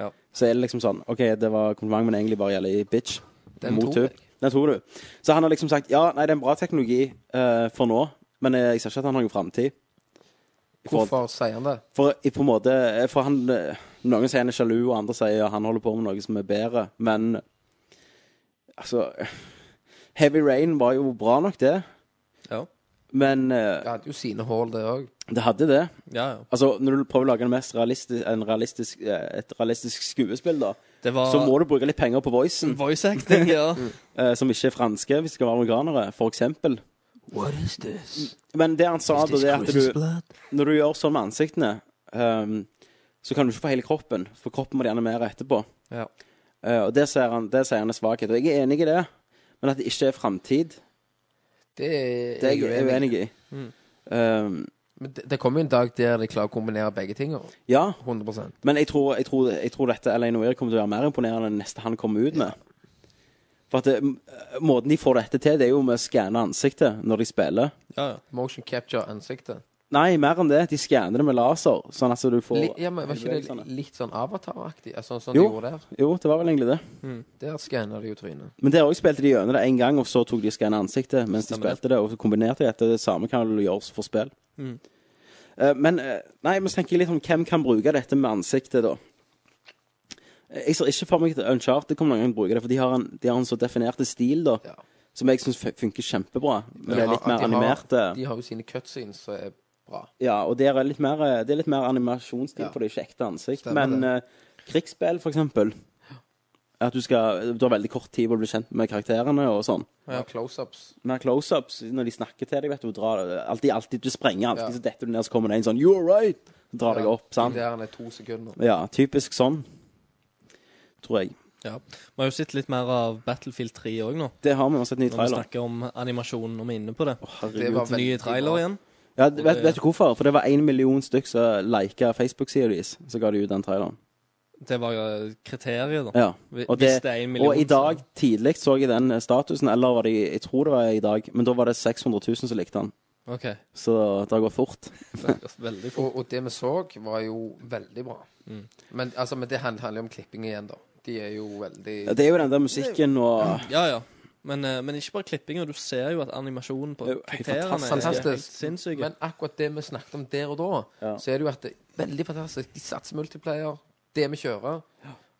E: Ja.
A: Så er det liksom sånn OK, det var kompliment, men egentlig bare gjelder i bitch.
D: Den
A: mot hun.
D: tror jeg.
A: Den tror du. Så han har liksom sagt 'Ja, nei, det er en bra teknologi eh, for nå, men eh, jeg ser ikke at han har noen framtid'.
D: Hvorfor sier han det?
A: For i- på en måte For han eh, Noen sier han er sjalu, og andre sier han holder på med noe som er bedre, men Altså Heavy Rain var jo bra nok, det,
E: Ja.
A: men eh,
D: Det hadde jo sine hull, det òg.
A: det hadde det.
E: Ja, ja.
A: Altså, når du prøver å lage en mest realistisk, en realistisk, eh, et realistisk skuespill, da,
E: Det var
A: så må du bruke litt penger på voicen,
E: voice acting, ja.
A: eh, som ikke er franske, hvis det skal være amerikanere, for eksempel.
D: What is this?
A: Men det han sa, da, det er at du Når du gjør sånn med ansiktene, ehm, så kan du ikke få hele kroppen, for kroppen må de animere etterpå.
E: Ja.
A: Eh, og det sier han, det sier han er svakhet. Og jeg er enig i det, men at det ikke er framtid,
D: Det er,
A: det er jeg uenig i.
D: Mm.
A: Ehm,
D: Men det, det kommer jo en dag der de klarer å kombinere begge tinga.
A: ja,
D: 100
A: men jeg tror, jeg tror, jeg tror dette Elaine Weir kommer til å være mer imponerende enn det neste han kommer ut med. For at det, måten de får dette til, det er jo med å skanne ansiktet når de spiller.
E: ja, ja.
D: Motion capture ansiktet.
A: Nei, mer enn det. De skanner det med laser, sånn at du får
D: Li, ja, men Var ikke
A: bevegelsene.
D: det litt sånn Avatar-aktig? Altså, sånn som de
A: Jo.
D: gjorde der?
A: Jo, det var vel egentlig det.
D: Der skanner de jo trynet.
A: Men der òg spilte de gjennom det én gang, og så tok de skann ansiktet mens de
E: Stemmer det.
A: spilte det, og så kombinerte de dette. Det samme kan du gjøre for spill.
D: Mm.
A: Eh, men eh, nei, men så tenker jeg litt om hvem kan bruke dette med ansiktet, da. Eh, Jeg ser ikke for meg at Uncharted kommer noen gang til å bruke det, for de har en, de har en så definerte stil, da,
D: Ja.
A: som jeg syns funker kjempebra. Men det er litt
D: De har-
A: mer
D: de har-
A: animerte.
D: De har jo sine cutscenes som er bra.
A: Ja, og det er litt mer, eh, det er litt mer animasjonsstil
D: Ja.
A: på det, ikke ekte ansikt.
D: Stemmer
A: men eh, krigsspill, for eksempel At du skal Du har veldig kort tid på å bli kjent med karakterene og sånn.
D: Ja. Close-ups.
A: Mer close-ups når de snakker til deg, vet du. Og drar, alltid, alltid, du sprenger alltid,
D: Ja.
A: så detter du ned, så kommer det en sånn You're right! Så drar deg opp, sant?
D: Der han er to sekunder.
A: Ja, typisk sånn. Tror jeg.
E: ja. Vi har jo sett litt mer av Battlefield 3 òg nå.
A: Det har vi vi har sett ny
E: Når vi
A: trailer.
E: snakker om animasjon når vi er inne på det.
D: Det var veldig
E: Nye trailer
D: bra.
E: igjen.
A: Ja, vet, vet du hvorfor? For det var én million stykk som lika Facebook-sida deres, så ga de ut den traileren.
E: Det var eh, kriteriet, da.
A: Ja.
E: Hvis
A: Og,
E: det
A: det,
E: er en million,
A: og i
E: så-
A: dag tidlig så jeg den eh, statusen, eller var det i- Jeg tror det var i dag, men da var det 600 000 som likte den.
E: OK.
A: Så det har gått fort.
E: Veldig fort.
D: Og, og det vi så, var jo veldig bra.
E: Mm.
D: Men, altså, men det hand- handler jo om klipping igjen, da. De er jo veldig
A: Det er jo den der musikken og
E: Ja, ja. Men, eh, men ikke bare klippinga. Du ser jo at animasjonen på
A: Det er jo helt
E: kriteriene er
D: fantastisk.
E: helt sinnssyke.
D: Men akkurat det vi snakket om der og da,
A: Ja.
D: så er det jo at det er veldig fantastisk. De satser multiplayer, det vi kjører.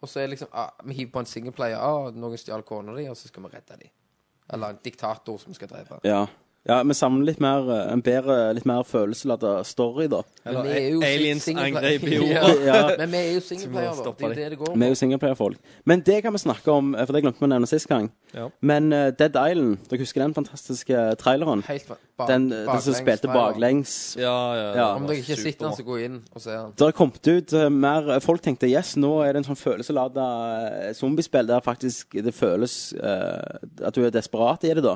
D: Og så er det liksom ah, Vi hiver på en singleplayer. Ah, noen stjal kona di, og så skal vi redde dem. Eller en diktator som vi skal drepe.
A: Ja. Ja, Vi savner litt mer eh, en bedre, litt mer følelsesladet story, da.
D: Men
E: Eller
D: vi er jo
E: aliens
D: singleplayer-
E: angrep i jorda.
D: ja.
A: Ja.
D: Men vi er jo singleplayer,
E: Så vi må
D: da.
E: stoppe
D: Det er jo det det går
A: Vi er
D: på.
A: jo singleplayerfolk. Men det kan vi snakke om, eh, for det glemte vi å nevne sist gang.
E: Ja.
A: Men eh, Dead Island, dere husker den fantastiske traileren?
D: Helt fa- bak-
A: Den, eh, den som
D: baklengs
A: spilte
D: trailer.
A: baklengs.
E: Ja, ja, ja.
A: Ja.
E: det
D: Om
E: var
D: dere ikke sitter
E: superbra.
D: den, så gå inn og se den.
A: Det har kommet ut eh, mer Folk tenkte yes, nå er det en sånn følelselada eh, zombiespill der faktisk det føles eh, at du er desperat i det, da.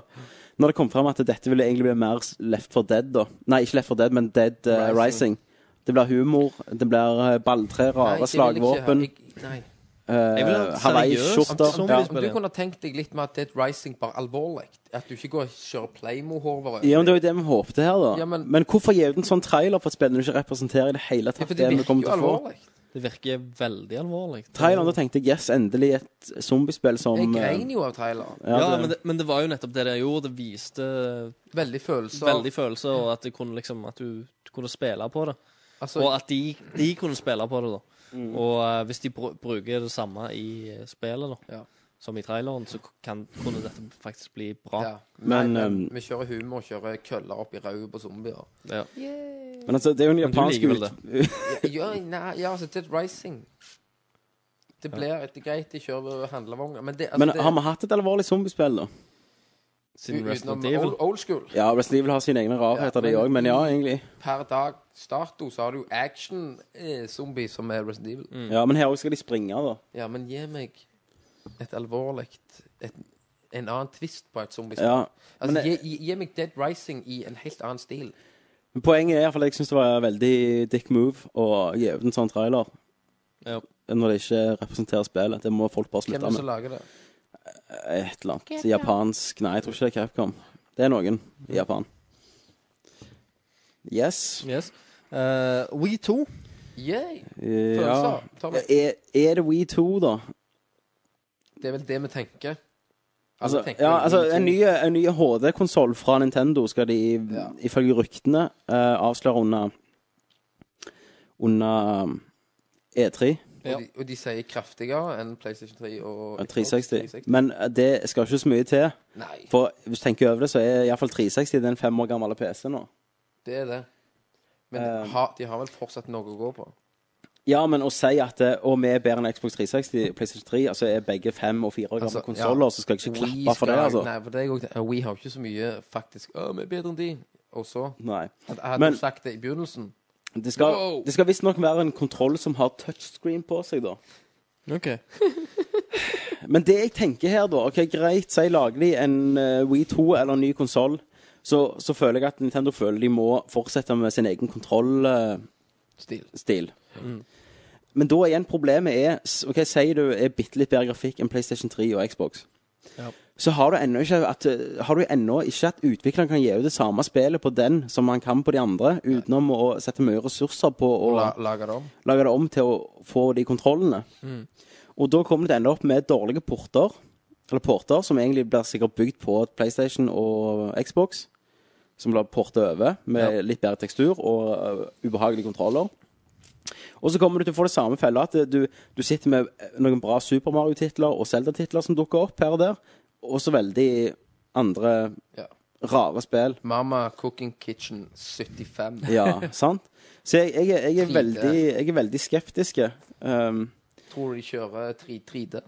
A: Når det kom fram at dette ville egentlig bli mer Left for Dead, da. Nei, ikke Left for Dead, men Dead eh,
D: Rising.
A: Rising. Det blir humor, det blir eh, balltre,
D: Nei,
A: rare
D: det vil jeg ikke.
A: slagvåpen,
D: Jeg- Nei.
E: Jeg vil ha sånn et
A: eh,
E: seriøst
A: hawaiiskjorter
D: Om,
A: ja.
E: zombiespill.
D: om du kunne tenkt deg litt med at Dead Rising bare alvorlig At du ikke går og kjører Playmo-horver
A: ja, men Det var jo det vi håpte her, da.
D: Ja,
A: men...
D: men-
A: hvorfor gi ut en sånn trailer for et spill når du ikke representerer i det hele tatt
D: For
A: det
D: det
A: vi
D: virker
A: kommer
D: jo
A: til å få?
D: alvorlig
E: Det virker veldig alvorlig.
A: Traileren, da tenkte jeg yes, endelig et zombiespill som
D: Jeg
A: eh,
D: grein jo av traileren
A: ja,
E: Ja,
A: det-
E: men, det, men det var jo nettopp det det gjorde. Det viste
D: Veldig følelser
E: veldig følelser, og at, det kunne liksom, at du, du kunne spille på det.
D: altså,
E: og at de, de kunne spille på det, da.
D: Mm.
E: Og eh, hvis de bru- bruker det samme i eh, spillet, da,
D: Ja.
E: som i traileren, så kan, kunne dette faktisk bli bra.
D: ja.
A: Men,
D: Men, men
A: ehm,
D: vi kjører humor og kjører køller opp i rauet på zombier
E: Ja.
A: Men altså, det er jo en
E: Men du
A: japansk
E: liker vel
A: ut...
D: ja, nei, ja, altså Dead Rising Det blir etter greit De kjører handlevonger Men det, altså,
A: Men
D: det
A: har vi hatt et alvorlig zombiespill, da?
E: Siden
D: u-
E: Resident
D: utenom
E: Evil.
D: old, old school
A: Ja, Resident Evil har sine egne rarheter,
D: Ja,
A: de
D: men-
A: òg, men ja, egentlig.
D: Per dag starto så har du jo action eh, Zombie som er Resident Evil
A: Ja, Men her òg skal de springe, da.
D: Ja, men gi meg et alvorlig et, En annen twist på et zombie
A: Ja.
D: Altså,
A: men det-
D: gi, gi, gi meg Dead Rising i en helt annen stil
A: Men Poenget er i hvert fall at jeg syns det var veldig dick move å gi ut en sånn trailer
E: Ja.
A: når det ikke representerer spillet. Det må folk bare
D: Hvem
A: slutte
D: er det som
A: med.
D: lager det?
A: et eller annet.
B: Capcom.
A: Japansk Nei, jeg tror ikke det er Capcom. Det er noen i Japan. Yes.
E: Yes. Eh, We 2.
D: Yay.
A: Ja.
D: Følelser. Ta med.
A: Er, er det We2, da?
D: Det er vel det vi tenker. Alle
A: Altså,
D: tenker
A: ja, altså,
D: Wii
A: en
D: to.
A: ny, en ny HD-konsoll fra Nintendo skal de, ifølge ryktene, eh, avsløre under Under um, E E3
D: og, de, og de sier kraftigere enn PlayStation 3 og
A: eh,
D: Xbox
A: 360. Men eh, det skal ikke så mye til.
D: Nei,
A: For hvis du tenker over det, så er iallfall 360 den fem år gamle PC nå.
D: det er det. Men de, har, de har vel fortsatt noe å gå på.
A: Um, Ja, men å si at eh, Og vi er bedre enn Xbox 360, PlayStation 3, altså er begge fem og fire år gamle
D: Altså, ja.
A: konsoller, så skal jeg ikke
D: Wii
A: klappe for det,
D: skal-
A: altså.
D: Nei, for det er jo, ikke- We har jo ikke så mye faktisk Å, vi er bedre enn de. Og så
A: Nei.
D: Hadde
A: Men-
D: du sagt det i begynnelsen
A: Det skal,
D: Wow.
A: det skal visstnok være en kontroll som har touchscreen på seg, da.
E: Okay.
A: Men det jeg tenker her, da Ok, Greit, si lager de en uh, Wii 2 eller en ny konsoll, så, så føler jeg at Nintendo føler de må fortsette med sin egen kontrollstil.
D: Stil.
A: Men da igjen, problemet er s- Ok, Sier du er bitte litt bedre grafikk enn PlayStation 3 og Xbox,
E: Ja.
A: så har du ennå ikke at, eh, har du ennå ikke at utvikleren kan gi ut det samme spillet på den som han kan på de andre, utenom å sette mye ressurser på å
D: La, lager det om.
A: lage det om til å få de kontrollene. Og da kommer det til å ende opp med dårlige porter, eller porter som egentlig blir sikkert bygd på PlayStation og Xbox, som blir portet over med litt bedre tekstur og øh, ubehagelige kontroller. Og så kommer du til å få det samme fella, at du, du sitter med noen bra Super Mario-titler og Zelda-titler som dukker opp her og der, og så veldig andre
D: Ja.
A: rare spill.
D: Mama Cooking Kitchen 75.
A: Ja, sant? Så jeg, jeg, er- jeg, er,
D: Trite.
A: veldig, jeg er veldig skeptiske. Um,
D: Tror du de kjører 3, 3D?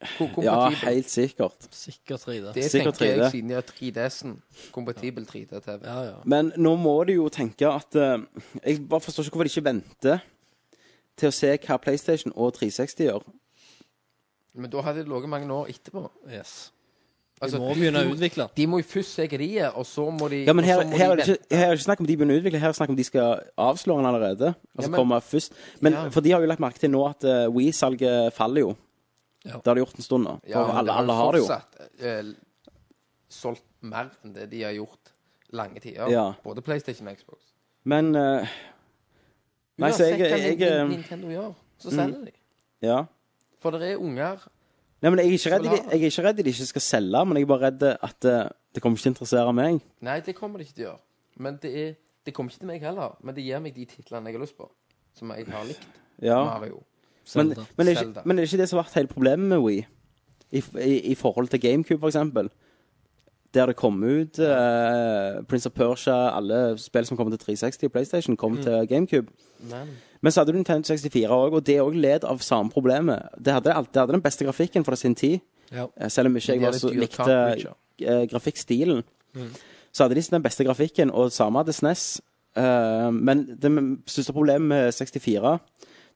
A: Ja,
D: Kompatibel.
A: helt sikkert.
E: Sikkert 3D.
D: det
A: sikkert
D: tenker
A: 3D.
D: jeg siden de har 3DS-en. Kompatibel 3D-TV.
E: Ja, ja.
A: Men nå må du jo tenke at eh, Jeg bare forstår ikke hvorfor de ikke venter til å se hva PlayStation og 360 gjør.
D: Men da hadde det ligget mange år etterpå.
E: Yes. Vi
D: Altså,
E: må begynne å utvikle.
D: De må jo først se hva de er, og så må de
A: Ja, men
D: og
A: her,
D: så må
A: her,
D: de
A: er det ikke, her er det ikke snakk om de begynner å utvikle, her er det snakk om de skal avsløre den allerede. Altså
D: Ja, men-
A: komme først. Men
D: Ja.
A: for de har jo lagt merke til nå at uh, We-salget faller jo.
E: Ja.
A: Det har de gjort en stund nå. For
D: Ja, men
A: alle, alle har det jo.
D: fortsatt, eh, solgt mer enn det de har gjort lange tider.
A: Ja.
D: Både PlayStation og Xbox.
A: Men eh, Nei, så jeg,
D: Uansett hva
A: jeg, eh, Mm. jeg
D: Nin- Nintendo gjør, så selger de.
A: Ja.
D: For det er unger
A: Nei, men jeg er, ikke redd,
D: vil
A: de-
D: ha det.
A: jeg er ikke redd de ikke skal selge, men jeg er bare redd at eh, det kommer ikke til å interessere meg.
D: Nei, det kommer det ikke til å gjøre. Men det, er, det kommer ikke til meg heller. Men det gir meg de titlene jeg har lyst på. Som jeg har likt.
A: Ja.
D: Mario.
A: Men,
E: Zelda.
A: men, er det
D: Zelda.
A: ikke, men er det ikke det som har vært hele problemet med Wii? I, i, i forhold til GameCube, for eksempel. Der det kom ut eh, Prince of Persia, alle spill som kom til 360 og PlayStation, kom til GameCube.
D: Mm. Men
A: Men så hadde du Nintendo 64 òg, og det òg led av samme problemet. Det hadde, alt- det hadde den beste grafikken fra sin tid,
E: Ja.
A: eh, selv om ikke jeg
D: Men
A: var
D: det
A: så
D: er et dyrt
A: likte
D: cartridge,
A: eh, grafikkstilen.
D: Mm.
A: Så hadde de den beste grafikken, og samme hadde SNES. Eh, men det største problemet med 64,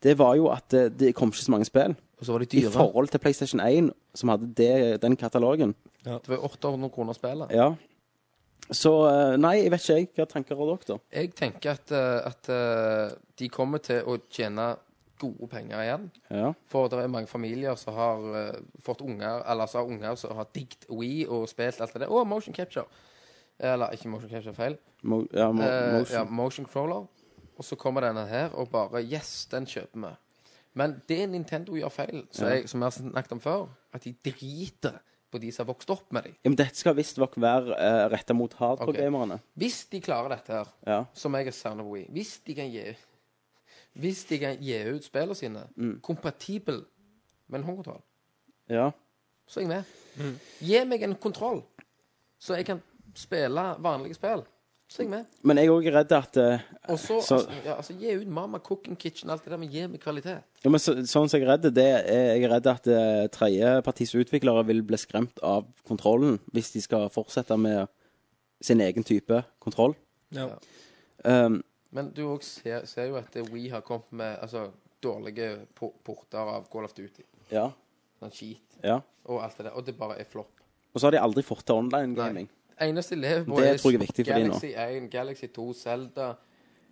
A: det var jo at det, det kom ikke så mange spill.
D: Og så var de
A: I
D: dyre.
A: forhold til PlayStation 1, som hadde det, den katalogen.
D: Det var jo 800 kroner spillet.
A: Ja. Så eh, nei, jeg vet ikke jeg. Hva tanker har dere?
D: Jeg tenker at, eh, at eh, de kommer til å tjene gode penger igjen.
A: Ja.
D: For det er mange familier som har eh, fått unger, eller som har unger som har digget We og spilt alt det der. Å, motion capture! Eller ikke motion capture, feil.
A: Mo ja, mo
D: Eh, ja,
A: motion.
D: motion crawler. Og så kommer denne her, og bare Yes, den kjøper vi. Men det Nintendo gjør feil, så jeg, som jeg har snakket om før, at de driter på de som har vokst opp med dem.
A: ja, men dette skal visstnok være uh, retta mot hardcore-gamerne.
D: Hvis de klarer dette her,
A: Ja.
D: som jeg har savnet på Wii Hvis de kan gi Hvis de kan gi ut spillene sine
A: Mm.
D: kompatibel med en håndkontroll,
A: ja.
D: så er jeg med. Gi meg en kontroll, så jeg kan spille vanlige spill. Så er jeg med.
A: Men jeg er òg redd at eh,
D: Og så,
A: Så-
D: altså, ja, altså, gi ut Mama Cooking Kitchen, alt det der, men gi meg kvalitet.
A: ja, men så, Sånn som jeg er redd, det er jeg er redd at uh, tredjepartis utviklere vil bli skremt av kontrollen hvis de skal fortsette med sin egen type kontroll.
E: Ja.
A: Um,
D: Men du òg ser, ser jo at We har kommet med altså, dårlige po- porter av Call of Duty.
A: ja.
D: Sånn skit
A: ja.
D: og alt det der. Og det bare er flopp.
A: Og så har de aldri fått til online gaming.
D: Eneste lever på
A: Det tror jeg er viktig for de nå.
D: Galaxy 1, Galaxy 2, Zelda,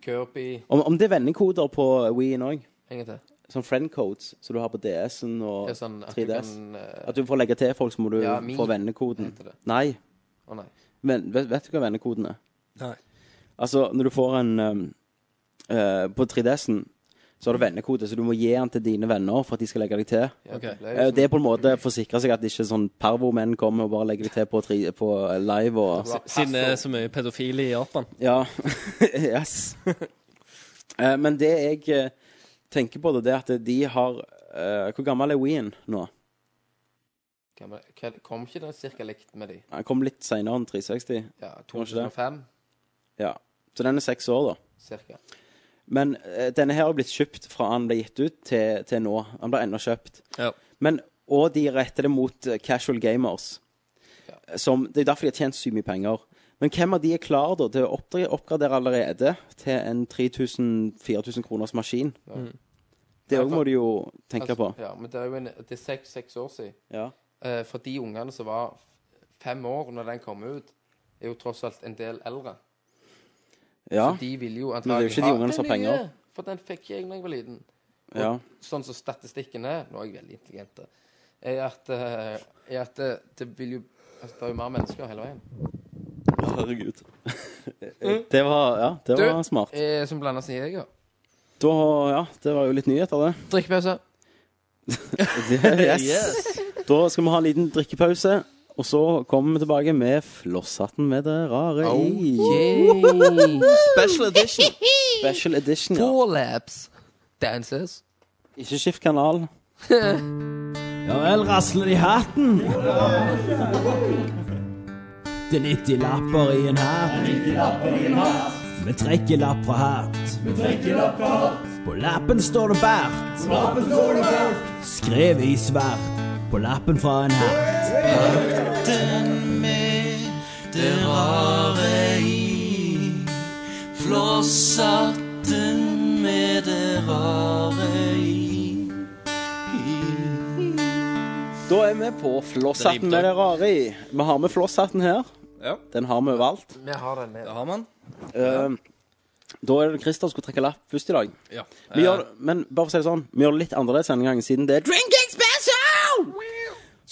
D: Kirby
A: Om, om det er vendekoder på Wien òg.
D: En gang til.
A: sånn friend codes som du har på DS-en og
D: Det er sånn at du
A: 3DS.
D: kan eh,
A: At du får legge til folk, så må du
D: Ja, min
A: få vennekoden.
D: heter det.
A: Nei.
D: Å nei.
A: Men vet, vet du hva vennekoden er?
E: Nei.
A: Altså, når du får en um, eh, På 3DS-en så har du vennekode, så du må gi den til dine venner for at de skal legge deg til.
D: Ja, liksom.
E: Ok.
D: det ble
A: Eh,
D: jo
A: Det er på en måte for å sikre seg at ikke sånn pervomenn kommer og bare legger deg til på, tri, på eh, live og
D: sånn-
E: Siden det er så mye pedofile i Japan.
A: Ja. yes. Eh, Men det jeg eh, tenker på, da, det er at de har eh, Hvor gammel er Wien nå?
D: Kan man- kan- Kom ikke den cirka likt med de?
A: Han kom litt seinere enn 360.
D: Ja,
A: Var ikke det?
D: 2005
A: Ja. Så den er seks år, da.
D: cirka.
A: Men eh, denne her har blitt kjøpt fra han ble gitt ut, til, til nå. Han ble ennå kjøpt.
E: Ja.
A: Men, og de retter det mot eh, casual gamers. Som, det er derfor de har tjent sykt mye penger. Men hvem av de er klar da, til å oppdre- oppgradere allerede til en 3000-4000 kroners maskin? Det òg må du jo tenke på.
D: Altså, Ja, men det er jo en, det er seks, seks år siden.
A: Ja.
D: Eh, for de ungene som var f- fem år når den kom ut, er jo tross alt en del eldre.
A: ja.
D: Så de ville jo
A: Men det er jo ikke de
D: ha
A: ungene som
D: den
A: har penger.
D: nye, For den fikk jeg da jeg var liten.
A: ja.
D: sånn som statistikken er, nå er jeg veldig intelligent, da, er at, eh, er at eh, det vil jo altså, Det er jo mer mennesker hele veien.
A: Herregud. det var, ja, det
D: Du,
A: var smart.
D: eh, som blander seg i jeger.
A: Da, ja, det var jo litt nyheter, det.
D: Drikkepause.
A: Yes. Da skal vi ha en liten drikkepause, og så kommer vi tilbake med Flosshatten med det rare i.
E: Oh, Special edition.
A: Special edition, ja.
D: Forlaps. Dances.
A: Ikke skift kanal.
H: Ja vel, rasler det i hatten. Det er 90 lapper i en hatt. Vi trekker lapp fra hatt. På lappen står det bært. Skrevet i svart på lappen fra en hatt.
A: Da er vi på Flosshatten med det rare i. Vi har med Flosshatten her.
E: Ja.
A: Den har vi overalt.
D: Vi har den med.
E: Da har man.
A: Eh, Da er det Christer som skulle trekke lapp først i dag.
E: Ja.
A: Vi gjør, men bare for å si det sånn, vi gjør det litt annerledes denne gangen, siden det er drinking special!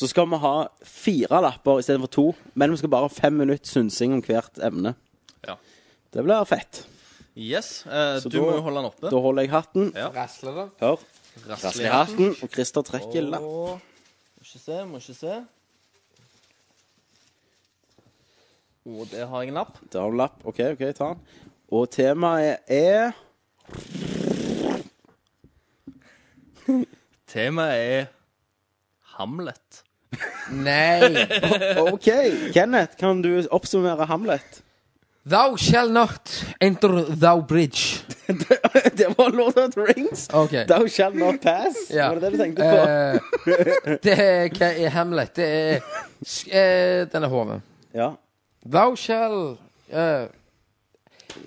A: Så skal vi ha fire lapper istedenfor to, men vi skal bare ha fem minutter synsing om hvert emne.
E: Ja.
A: Det blir fett.
E: Yes. eh,
A: Så
E: du
A: da-
E: må jo holde den oppe.
A: Da holder jeg hatten.
D: Rasler det?
A: Hør.
E: Rassle
A: I hatten, og Christer trekker lapp.
E: Må ikke se, må ikke se. Og der har jeg en lapp.
A: Der har du lapp. OK, ok, ta den. Og temaet er
E: Temaet er Hamlet.
D: Nei.
A: OK, Kenneth, kan du oppsummere Hamlet?
D: Thou shall not enter thou bridge.
A: det var Lord of the Rings.
D: OK.
A: Thou shall not pass.
D: Ja.
A: Var det det du tenkte på?
D: Eh, det er Hva er Hamlet? Det er sk- eh, Denne hoven.
A: Ja.
D: Thou shall eh,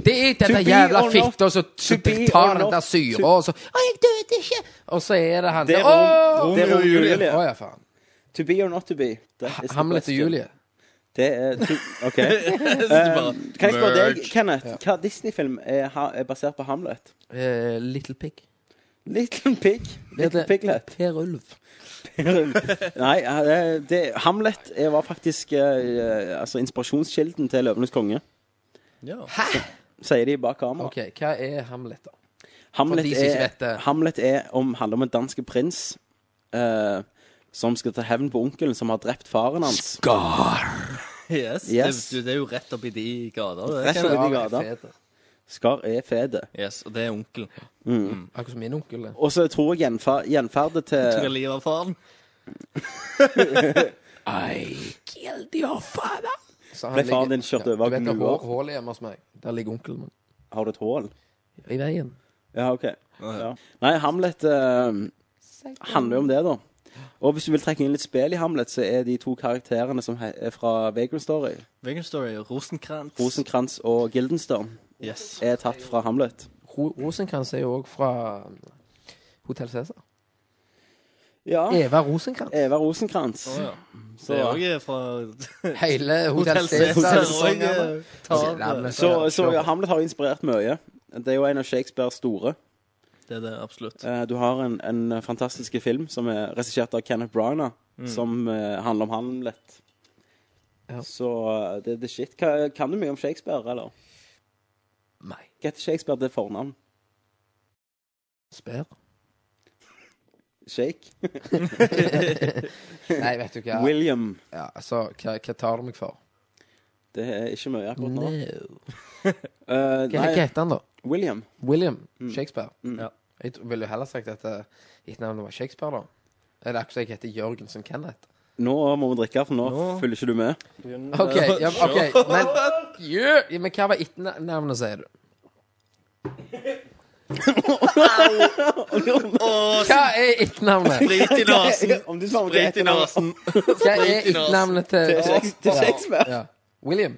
D: Det er denne
A: be
D: jævla
A: or not-
D: fitta som som
A: be or
D: tar den
A: not
D: der
A: to-
D: syra, og så Å, jeg døde ikke! Og så er det han
A: Det er
D: der
A: Rom-
D: Å,
A: det er Romeo og Julie.
D: Å, ja, faen.
A: To be or not to be. That is the
D: Hamlet og
A: question.
D: Julie.
A: Det er to... OK. Um, kan jeg spørre deg, Kenneth, hva Disney-film er, ha- er basert på Hamlet?
D: Eh, Little Pig.
A: Little Pig? Little
D: Little-
A: Piglet?
D: Per Ulv.
A: Nei, eh, det, Hamlet er- var faktisk eh, altså inspirasjonskilden til Løvenes konge.
D: Hæ?!
A: Sier de bak kamera.
D: OK, hva er Hamlet, da?
A: Hamlet,
D: For de som ikke vet
A: er,
D: det.
A: Hamlet er om, handler om en dansk prins eh, som skal ta hevn på onkelen som har drept faren hans.
E: Yes.
A: Yes.
E: Det, du, det er jo rett oppi de gater.
A: Rett
E: Det.
A: oppi de
D: Ja,
A: gater.
D: fete.
A: Skar er fede.
E: Yes, og det er onkel.
D: Akkurat som min onkel. det.
A: Og så tror jeg gjenfer- gjenferdet
E: Tok
A: til
E: jeg livet av faren?
D: Så han
A: Ble faren
D: ligger-
A: din kjørt over
D: Du vet
A: av
D: det
A: gnuer?
D: hå- hullet hjemme hos meg? Der ligger onkelen min.
A: Har du et hull?
D: I veien.
A: Ja, OK. Ja. Nei, Hamlet eh, handler jo om det, da. Og hvis du vil trekke inn litt spill i Hamlet, så er de to karakterene som he- er fra Vagrant Story,
E: Vegan Story, Rosenkrantz.
A: Rosenkrantz og Gildenstern,
E: Yes.
A: er tatt fra Hamlet.
D: Ro- Rosenkrantz er jo òg fra Hotell Cæsar.
A: Ja.
D: Eva Rosenkrantz.
A: Eva Rosenkrantz.
E: Å, ja.
A: Så,
E: Det er òg fra
D: Hele Hotell
E: Hotell Cæsar. og,
D: Cæsar-sesongen.
E: eh, tar-
A: så, så ja, Hamlet har jo inspirert mye. Det er jo en av Shakespeares store.
E: Det er det absolutt.
A: Eh, Du har en, en fantastisk film som er regissert av Kenneth Branagh, som eh, handler om Hamlet.
D: Mm. Ja.
A: Så eh, det det er shit. Ka- Kan du mye om Shakespeare, eller?
D: Nei.
A: Hva heter Shakespeare til fornavn?
D: Spør.
A: Shake?
D: Nei, vet du hva.
A: William.
D: Ja, altså, hva, hva tar du meg for?
A: Det er ikke mye akkurat nå.
D: No.
A: Eh,
D: Hva hva
A: nei,
D: heter han, da?
A: William.
D: William Shakespeare.
A: Mm.
E: Ja.
D: Jeg tro- ville jo heller sagt at eh, etternavnet var Shakespeare, da. Eller akkurat som jeg heter Jørgensen Kenneth.
A: Nå må vi drikke, for nå,
E: Nå.
A: følger ikke du med.
D: OK, ja, ok, men, yeah, ja, men hva var etternavnet, sier du? Hva er etternavnet?
E: Sprit i
D: Altså,
E: nasen!
A: Om du svarer på
E: Sprit i
A: etternavn-
E: nasen!
D: Hva er etternavnet til
A: Til Shakes- til Shakespeare.
D: Ja. William?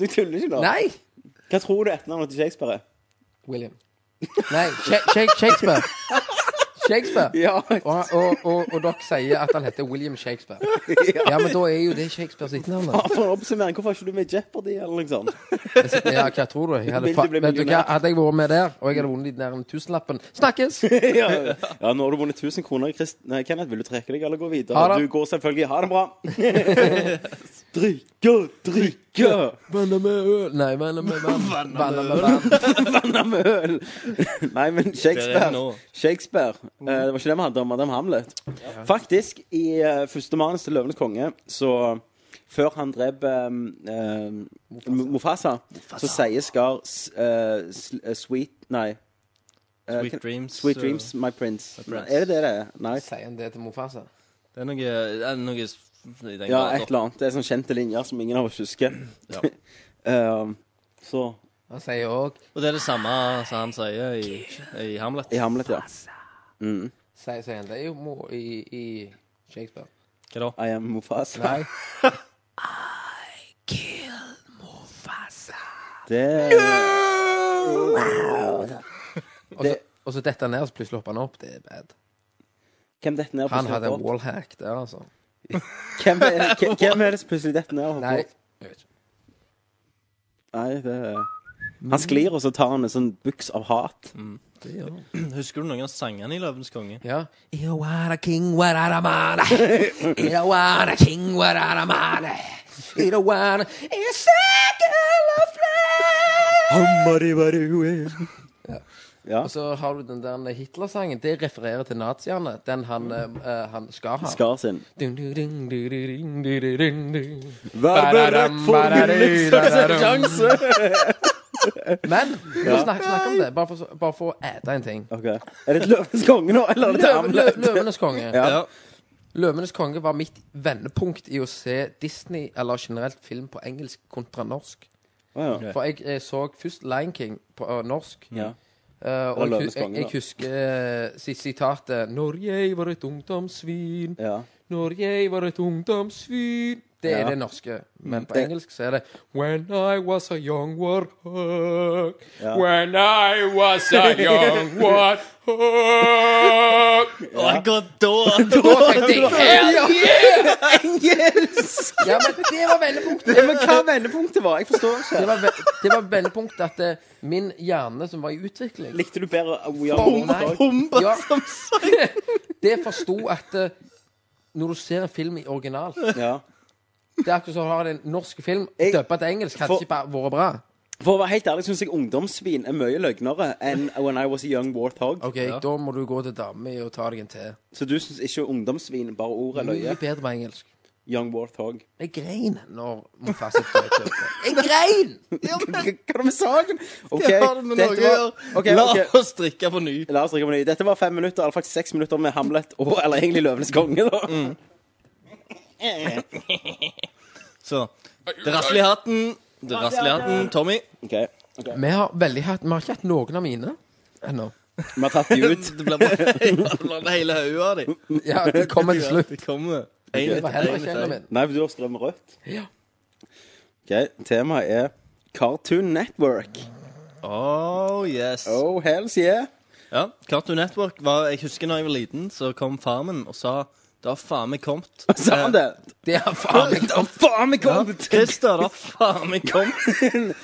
A: Du tuller ikke nå?
D: Nei!
A: Hva tror du etternavnet til Shakespeare er?
D: William. Nei, Sha- Sha- Shakespeare. Shakespeare.
A: Ja.
D: Og, og, og, og dere sier at han heter William Shakespeare. Ja, men da er jo det Shakespeares etternavn. da.
A: For en oppsummering, hvorfor er ikke du med i Jeopardy, eller noe sånt?
D: Ja, hva tror du? Jeg hadde,
A: Vil du
D: fa
A: bli
D: vet du hva?
A: millionær?
D: hadde jeg vært med der, og jeg hadde vunnet den der tusenlappen Snakkes!
A: ja, ja, nå har du vunnet 1000 kroner. Krist Nei, Kenneth, vil du trekke deg eller gå videre?
D: Ha det.
A: Du går selvfølgelig. Ha det bra. drikke, drikke,
D: Vanna med øl Nei, vanna med vann. Vanna med vann.
A: vanna med øl. Nei, men
E: Der er
A: Shakespeare.
E: nå.
A: Shakespeare. Eh, det var ikke det vi hadde om Madame Hamlet. Faktisk, i eh, første manus til Løvenes konge, så før han drep eh, eh, Mofasa, så sier Skar s- eh, s- eh, Sweet Nei. eh,
E: Sweet
A: kan-
E: dreams.
A: Sweet
E: så-
A: dreams, my prince.
E: prince.
A: Er det det det er? Nei.
D: Sier han det til Mofasa?
E: Det er noe, det er noe s- i den
A: Ja,
E: graden.
A: et eller annet. Det er sånne kjente linjer som ingen av oss husker. Ehm, så
D: Han sier òg
E: Og det er det samme som han sier i, i Hamlet.
A: I Hamlet, ja.
D: Sier sier han det er jo mo i, i Shakespeare.
E: Hva da?
A: I am Mufasa.
D: Nei.
A: Det
D: Og så- Og så detter han ned, og så plutselig hopper han opp. Det er bad.
A: Hvem detter ned og
D: Han
A: plutselig
D: hadde
A: hopper opp?
D: en wallhack der, altså.
A: Hvem er, hvem- hvem er det som plutselig detter ned og hopper
D: Nei.
A: opp? Nei, det er Han sklir, og så tar han en sånn buks av hat.
D: Mm.
E: Husker du noen av sangene i Løvens konge?
D: Ja. You are a king, what are a man? You are a king, what are a man? You are a circle of life.
A: Ja.
D: Og så har du den der Hitler-sangen. Det refererer til naziene. Den han, eh, han skal ha.
A: Skar sin.
D: Dun, dun, dun, dun, dun, dun, dun, dun, dun.
A: Vær beredt for min
D: Liksom,
A: livsløse sjanse!
D: Men ja. snakk, snakk om det. Bare for, så- bare for å ete en ting.
A: Ok. Er det et Løvenes konge nå, eller er det til
D: Løve, lø-
A: Hamlet?
D: løvenes konge.
A: Ja.
D: Løvenes konge var mitt vendepunkt i å se Disney, eller generelt film på engelsk kontra norsk.
A: Å, ja.
D: For jeg, eh, så først Lion King på eh, norsk.
A: Ja.
D: Eh, og jeg,
A: Løvenes
D: hu- jeg,
A: konge,
D: jeg
A: da.
D: husker eh, si- sitatet 'Når jeg var et ungdomssvin,
A: Ja.
D: når jeg var et ungdomssvin' Det er
A: Ja.
D: det norske. Men på
A: Det-
D: engelsk så er det 'When I was a young warthog'.
A: Ja.
D: When I was a young warthog.
E: Og akkurat da!
D: Da fikk de hell yeah!
A: Yes!
D: Ja, men det var vendepunktet.
A: Ja, men hva vendepunktet var? Jeg forstår ikke.
D: Det var, ve det var vendepunktet at eh, min hjerne som var i utvikling
A: Likte du bedre We Are
D: Bom,
A: Warthog?
E: Bomba
D: Ja.
E: som s-
D: Det forsto at eh, når du ser en film i original
A: Ja.
D: Det er akkurat som å ha en norsk film
A: Jeg-
D: døpa til engelsk. Hadde
A: For-
D: ikke bare vært bra.
A: For å være helt ærlig syns jeg ungdomssvin er mye løgnere enn When I Was A Young Warthog.
D: Ok, Da må du gå til dama mi og ta deg en te.
A: Så du syns ikke ungdomssvin bare ordet er
D: Mye
A: løye?
D: bedre på engelsk.
A: Young Warthog.
D: Jeg grein når Mofasa døde. Jeg grein!
A: Hva er det med saken? OK,
E: Hva har det med Norge å
A: dette var
E: gjøre?
A: ok,
E: La
A: ok.
E: oss drikke på ny.
A: La oss drikke på ny. Dette var fem minutter, eller faktisk seks minutter med Hamlet og Eller egentlig Løvenes konge, da.
E: Så. Det rasler i hatten. Det rasler i hatten. Tommy.
A: OK. ok.
D: Vi har veldig hatt Vi har ikke hatt noen av mine ennå.
A: Vi har tatt de ut.
E: Det blir bare det blir hele hodet av dem.
D: Ja, det kommer til slutt.
E: Det kommer.
D: Det var heller ikke en av
E: Egentlig.
D: mine.
A: Nei, for du har strøm rødt.
D: Ja.
A: OK. Temaet er Cartoon Network.
E: Oh, yes.
A: Oh, hells yeah.
E: Ja, Cartoon Network var Jeg husker da jeg var liten, så kom farmen og sa det har faen meg kommet. Eh,
A: Sa han det?
D: Det er faen meg
A: Å, faen, vi kom!
E: Christer, det har faen meg kommet.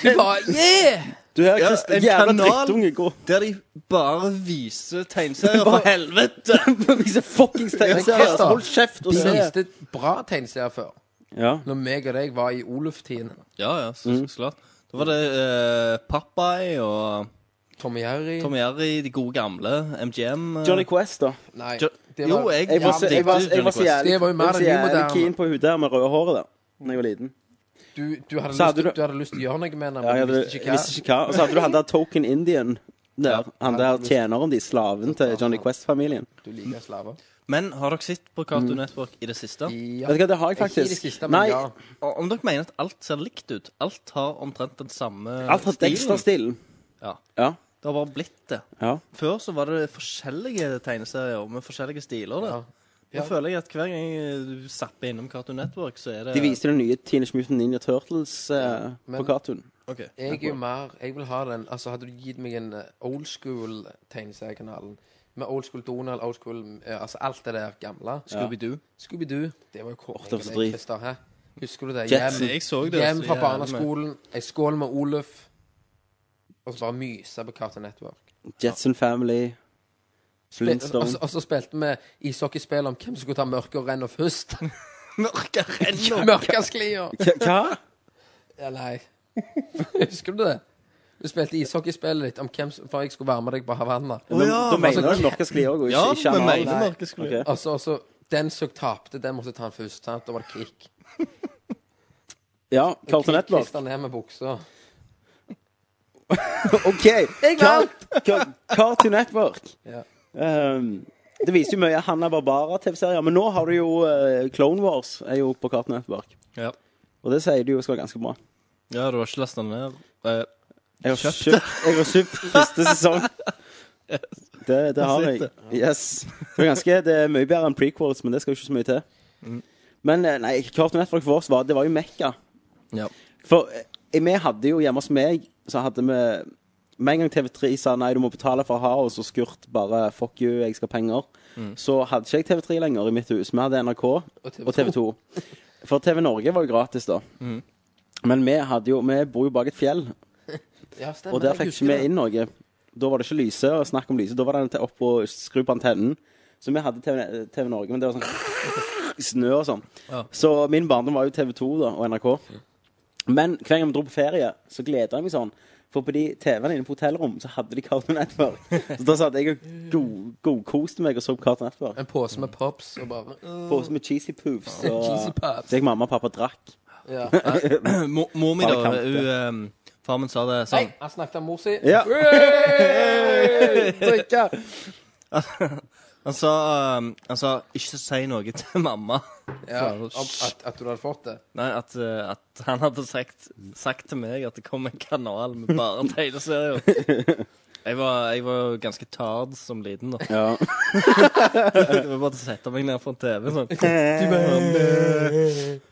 D: Du bare Yeah!
A: Du Du her, Chris,
E: Ja, en
A: jævla
E: kanal.
A: drittunge, gå.
E: Der de bare viser tegneserier.
A: Bare-
E: For helvete!
A: Vise fuckings
D: Ja,
A: tegneserier.
D: Chris,
A: altså.
D: da.
A: Hold kjeft og
D: De
A: se.
D: viste bra tegneserier før,
A: Ja.
D: når meg og deg var i Oluf-tiden.
E: Ja, ja, så,
A: Mm.
E: så klart. Da var det eh, Popeye og
D: Tom og Jerry
E: Tom Jerry, de gode gamle. MGM. eh.
A: Johnny Quest, da.
D: Nei.
E: Jo-
D: Det
E: jo,
D: var,
E: jeg,
A: Jeg var, så- jeg var, jeg var så jævlig,
D: Det var jo mer
A: jeg så
D: enn
A: jævlig
D: nymoderne.
A: keen på hun der med røde håret der da jeg var liten.
D: du, du, hadde
A: Så
D: lyst,
A: hadde
D: du,
A: du-
D: hadde lyst til å gjøre noe med den,
A: Ja, jeg,
D: men du
A: hadde,
D: visste
A: jeg
D: ikke hva.
A: visste ikke hva. Og så hadde du han der Token Indian. Der, han der tjeneren de, slaven til Johnny Quest-familien.
D: Du liker slaver.
E: Men har dere sett på Cartoon
A: Mm.
E: Network i det siste?
A: Vet du hva, det har jeg
D: Ikke i det
A: faktisk.
D: siste, men
A: Nei,
D: ja.
E: Og Om dere mener at alt ser likt ut? Alt har omtrent den samme
A: alt har Dexter-stilen.
E: Ja.
A: Ja.
E: Det har bare blitt det.
A: ja.
E: Før så var det forskjellige tegneserier med forskjellige stiler.
D: Ja.
E: Da Nå føler jeg at hver gang du zapper innom Cartoon Network, så er det
A: De viste den nye Teenage Mutant Ninja Turtles eh,
D: men-
A: på Cartoon.
E: Ok.
D: Jeg er jo mer Jeg vil ha den Altså, hadde du gitt meg en eh, old school tegneseriekanalen med old school Donald, old school eh, Altså alt det der gamle.
E: Scooby-Doo.
D: Scooby-Doo. Det var jo kort.
A: det var så drit.
D: Hæ? Husker du det?
A: Jetson.
E: Jeg så det,
D: hjem
E: så
D: fra
E: jævlig
D: barneskolen, ei skål med Oluf, og så bare myse på Cartoon Network.
A: Jetson Family. Flintstone.
D: Og så- Og så spilte vi ishockeyspill om hvem som skulle ta Mørkerenna først. Mørkasklia!
A: Hva- Hva?
D: Ja, nei. Husker du det? Du spilte ishockeyspillet ditt om hvem som For jeg skulle være med deg på Havanna.
A: Nå- Da mener
D: altså-
A: du Norske Skli òg, og
E: Ja,
A: ikke- ikke
E: vi
A: Anna?
E: mener Norske Skli.
A: Ok.
D: Og så, og så Den som tapte, den måtte ta den først. Sant? Da var det kick.
A: Ja, Cartoon Network.
D: Kristian ned med buksa.
A: OK. Car- Car- Cartoon Network.
D: Ja.
A: Ehm, det viser jo mye Hanna Barbara-TV-serier, men nå har du jo eh, Clone Wars er jo på Cartoon Network.
E: Ja.
A: Og det sier de jo skal være ganske bra.
E: ja, du har ikke lasta den ned? Eh,
A: Jeg har
E: Kjøpt.
A: kjøpt, jeg har kjøpt første sesong. Det, det har
E: Jeg
A: jeg.
E: sitter.
A: Yes. Det er, ganske, det er mye bedre enn prequels, men det skal jo ikke så mye til.
E: Mm.
A: Men eh, nei, Cartoon Network for oss var, det var jo Mekka.
E: Ja.
A: For eh, vi hadde jo hjemme hos meg, så hadde vi Med en gang TV3 sa nei, du må betale for å ha oss, og Skurt bare fuck you, jeg skal ha penger,
E: Mm.
A: så hadde ikke jeg TV3 lenger i mitt hus. Vi hadde NRK
D: TV2.
A: og TV2. For TV Norge var jo gratis, da.
E: Mm.
A: Men vi, hadde jo, vi bor jo bak et fjell,
D: Ja, stemmer.
A: og der
D: jeg
A: fikk
D: husker
A: ikke vi
D: det.
A: inn noe. Da var det ikke lyse, og snakk om lyse. Da var det til opp og skru på antennen. Så vi hadde TV, TV Norge, men det var sånn snø og sånn.
E: Ja.
A: Så min barndom var jo TV 2 da, og NRK. Men hver gang vi dro på ferie, så gleda jeg meg sånn. For på de TV-ene inne på hotellrom, så hadde de Cartoon Network. Så da satt jeg og go- godkoste meg og så på Cartoon Network.
D: En pose med pops og bare øh,
A: Pose med cheesy poofs. Og
D: Cheesy pops.
A: så jeg mamma og pappa drakk.
D: ja.
E: Mo- Mor mi, da.
A: Bare kant,
E: Hun, ehm, far min sa det
D: Nei,
E: sånn.
D: han snakket om mor si.
A: Ja.
D: Drikke!
E: Han sa, ehm, han sa 'ikke si noe til mamma'.
D: Ja,
E: Så-
D: om at, at du hadde fått det.
E: Nei, at, eh, at han hadde sagt, sagt til meg at det kom en kanal med bare tegneserier. Jeg var, jeg var jo ganske tard som liten, da.
A: Ja.
E: Det var bare å sette meg ned foran TV-en sånn. Du bare-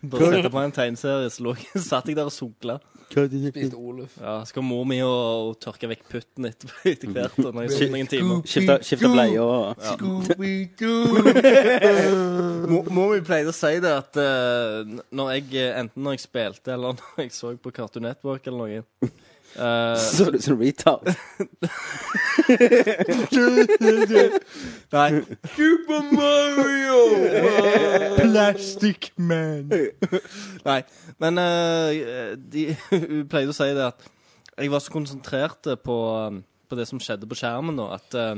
E: Bare sette på en tegneserie, så lå jeg- satt jeg der og sogla.
D: Spiste Oluf.
E: Ja, så kom mor mi og, og tørka vekk putten etter, etter hvert. da, Når jeg sov noen timer.
A: Skifta, skifta bleie og
E: Mor mor mi pleide å si det at eh, n- når jeg, eh, enten når jeg spilte eller når jeg så på Cartoon Network eller noe eh,
A: Så du ut som en retard.
E: Nei. Super Mario! Plastic Man. Nei, men eh, de, hun pleide å si det at jeg var så konsentrert på, eh, på det som skjedde på skjermen, da, at eh,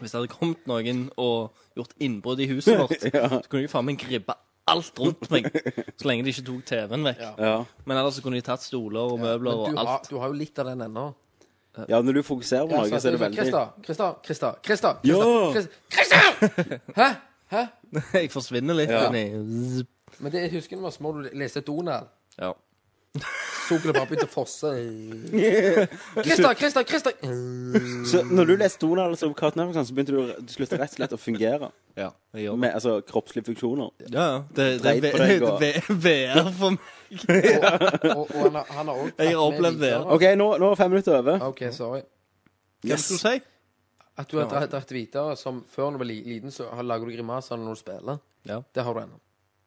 E: hvis det hadde kommet noen og gjort innbrudd i huset vårt, så kunne de faen meg gribbe alt rundt meg, så lenge de ikke tok TV-en vekk.
D: Ja.
A: Ja.
E: Men ellers så kunne de tatt stoler og
D: Men
E: møbler
D: du,
E: og
D: har,
E: alt.
D: du har jo litt av den ennå.
A: Ja, når du fokuserer på noe, så er det veldig
D: Krista, Krista, Krista, Krista,
A: Ja.
D: Krista, Krista! Hæ? Hæ?
E: Jeg forsvinner litt
A: Ja.
E: inni
D: Men det jeg husker når jeg var små, du leste Donald.
E: ja.
D: Så kunne det bare begynt å fosse. Krista, Krista, Krista!
A: Så når du leste Donald altså, på Cartoon Network, så begynte du, å- du sluttet rett og slett å fungere
E: ja. Jeg gjør det.
A: med altså, kroppslige funksjoner.
E: Ja, ja. Det, det,
A: Dreit på deg og-
E: det er VR for meg.
D: Og, og han har- han har også
E: Jeg har
D: tatt med
E: opplevd det.
D: videre.
A: OK, nå, nå er fem minutter over.
D: OK, sorry.
E: Hva skulle du si?
D: At du har dratt, dratt videre som før du var li- liten, så har- lager du grimaser når du spiller.
E: Ja.
D: Det har du ennå.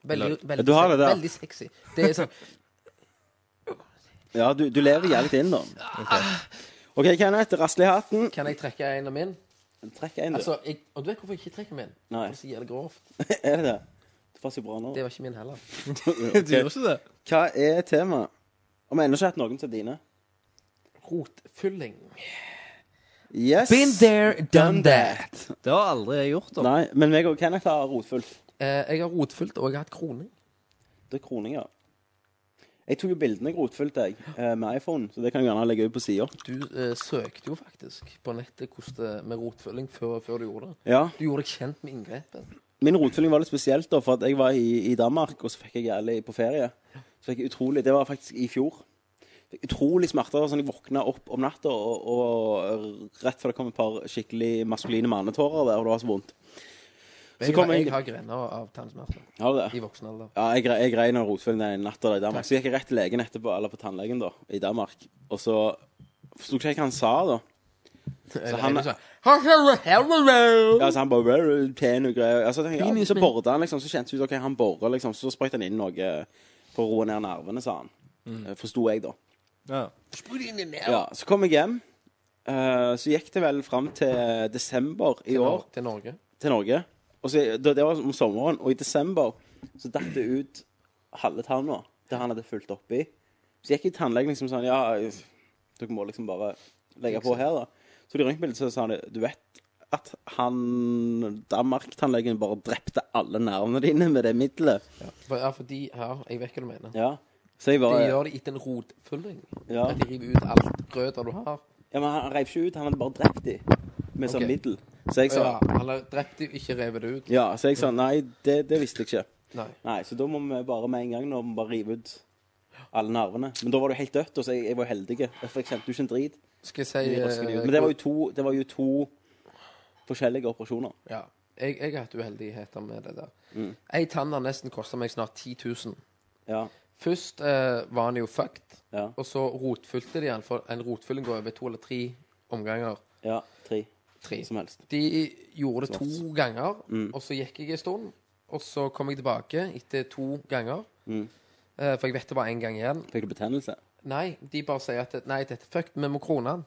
D: Veldig, veldig,
A: Du har det der.
D: veldig sexy. Det er sånn
A: Ja, du, du lever jævlig inn, da. OK, Kenneth. Rasle i hatten.
D: Kan jeg trekke en av min?
A: Trekk en, du.
D: Altså, jeg, og du vet hvorfor jeg ikke trekker min?
A: Nei.
D: For det er så jævlig grovt.
A: er det det? Det passer jo bra nå.
D: Det var ikke min heller.
E: Du gjør ikke det?
A: Hva er temaet? Og vi har ennå ikke hatt noen til dine.
D: Rotfylling.
A: Yes.
D: there, done that.
E: Det har aldri jeg gjort. da.
A: Nei, men meg og Kenneth har rotfullt.
D: Eh, jeg har rotfylt, og jeg har hatt kroning.
A: Det er kroninger. Jeg tok jo bildene jeg rotfulgte jeg, eh, med iPhone, så det kan jeg gjerne legge ut på sida.
D: Du eh, søkte jo faktisk på nettet hvordan det- med rotfylling før, før du gjorde det.
A: Ja.
D: Du gjorde deg kjent med inngrepet.
A: Min rotfylling var litt spesielt, da, for at jeg var i, i Danmark, og så fikk jeg jævlig på ferie. Så fikk jeg utrolig, Det var faktisk i fjor. Fikk utrolig smerter. sånn Jeg våkna opp om natta, og, og rett før det kom et par skikkelig maskuline mannetårer der, og det var så vondt. Så
D: Jeg,
A: kom
D: har-
A: jeg-
D: jeg har grener av tannsmerter
A: Har du det?
D: i voksen alder.
A: Ja, jeg, gre- jeg grein av rotfylling den natta da i Danmark. Så gikk jeg rett til legen etterpå, eller på tannlegen da, i Danmark. Og så forsto ikke jeg hva han sa, da. Så han, ja, så altså, han bare "Rrr, ten og greier. Altså, jeg, ja, så borret han, liksom. Så kjente jeg ut ok, han borer, liksom. Så sprøyt han inn noe for å roe ned nervene, sa han. Eh, Forsto jeg, da.
E: Ja.
A: Ja, så kom jeg hjem. Eh, så gikk det vel fram til desember i år
D: Nor- Til Norge.
A: til Norge. Og så, det, det var om sommeren, og i desember så datt det ut halve tanna der han hadde fulgt opp i. Så gikk jeg til tannlegen liksom sånn Ja, dere må liksom bare legge på her, da. Så de røntgenbildet så sa han Du vet at han Danmark-tannlegen bare drepte alle nervene dine med det middelet?
D: For, ja, for de her Jeg vet hva du mener.
A: Ja. Så jeg
D: De
A: bare
D: gjør det etter en rotfylling.
A: Ja.
D: At de river ut alt grøter du har.
A: Ja, men han reiv ikke ut, han hadde bare drept de med sånn
D: Ok.
A: middel. Så jeg sa
D: Ja, han har drept dem, ikke revet det ut.
A: Ja, så jeg sa nei, det, det visste jeg ikke.
D: Nei.
A: Nei, så da må vi bare med en gang nå, må vi bare rive ut alle nervene. Men da var det jo helt dødt, og så jeg, jeg var jo heldig. For jeg kjente jo ikke en drit.
D: Skal jeg si eh,
A: Jeg vasket de ut. Men det var jo to, det var jo to forskjellige operasjoner.
D: Ja. Jeg, jeg har hatt uheldigheter med det der.
A: Mm.
D: Ei tann har nesten kosta meg snart 10 000.
A: Ja,
D: Først eh, var han jo fucked,
A: ja,
D: og så rotfylte de han. For en rotfylling går over to eller tre omganger.
A: ja, tre.
D: Tre.
A: Som Mm. helst.
D: De gjorde det to ganger, og så gikk jeg en stund. Og så kom jeg tilbake etter to ganger.
A: Mm.
D: Eh, for jeg vet det var én gang igjen.
A: Fikk du betennelse?
D: Nei, de bare sier at Nei, dette er fucked, vi må krone han.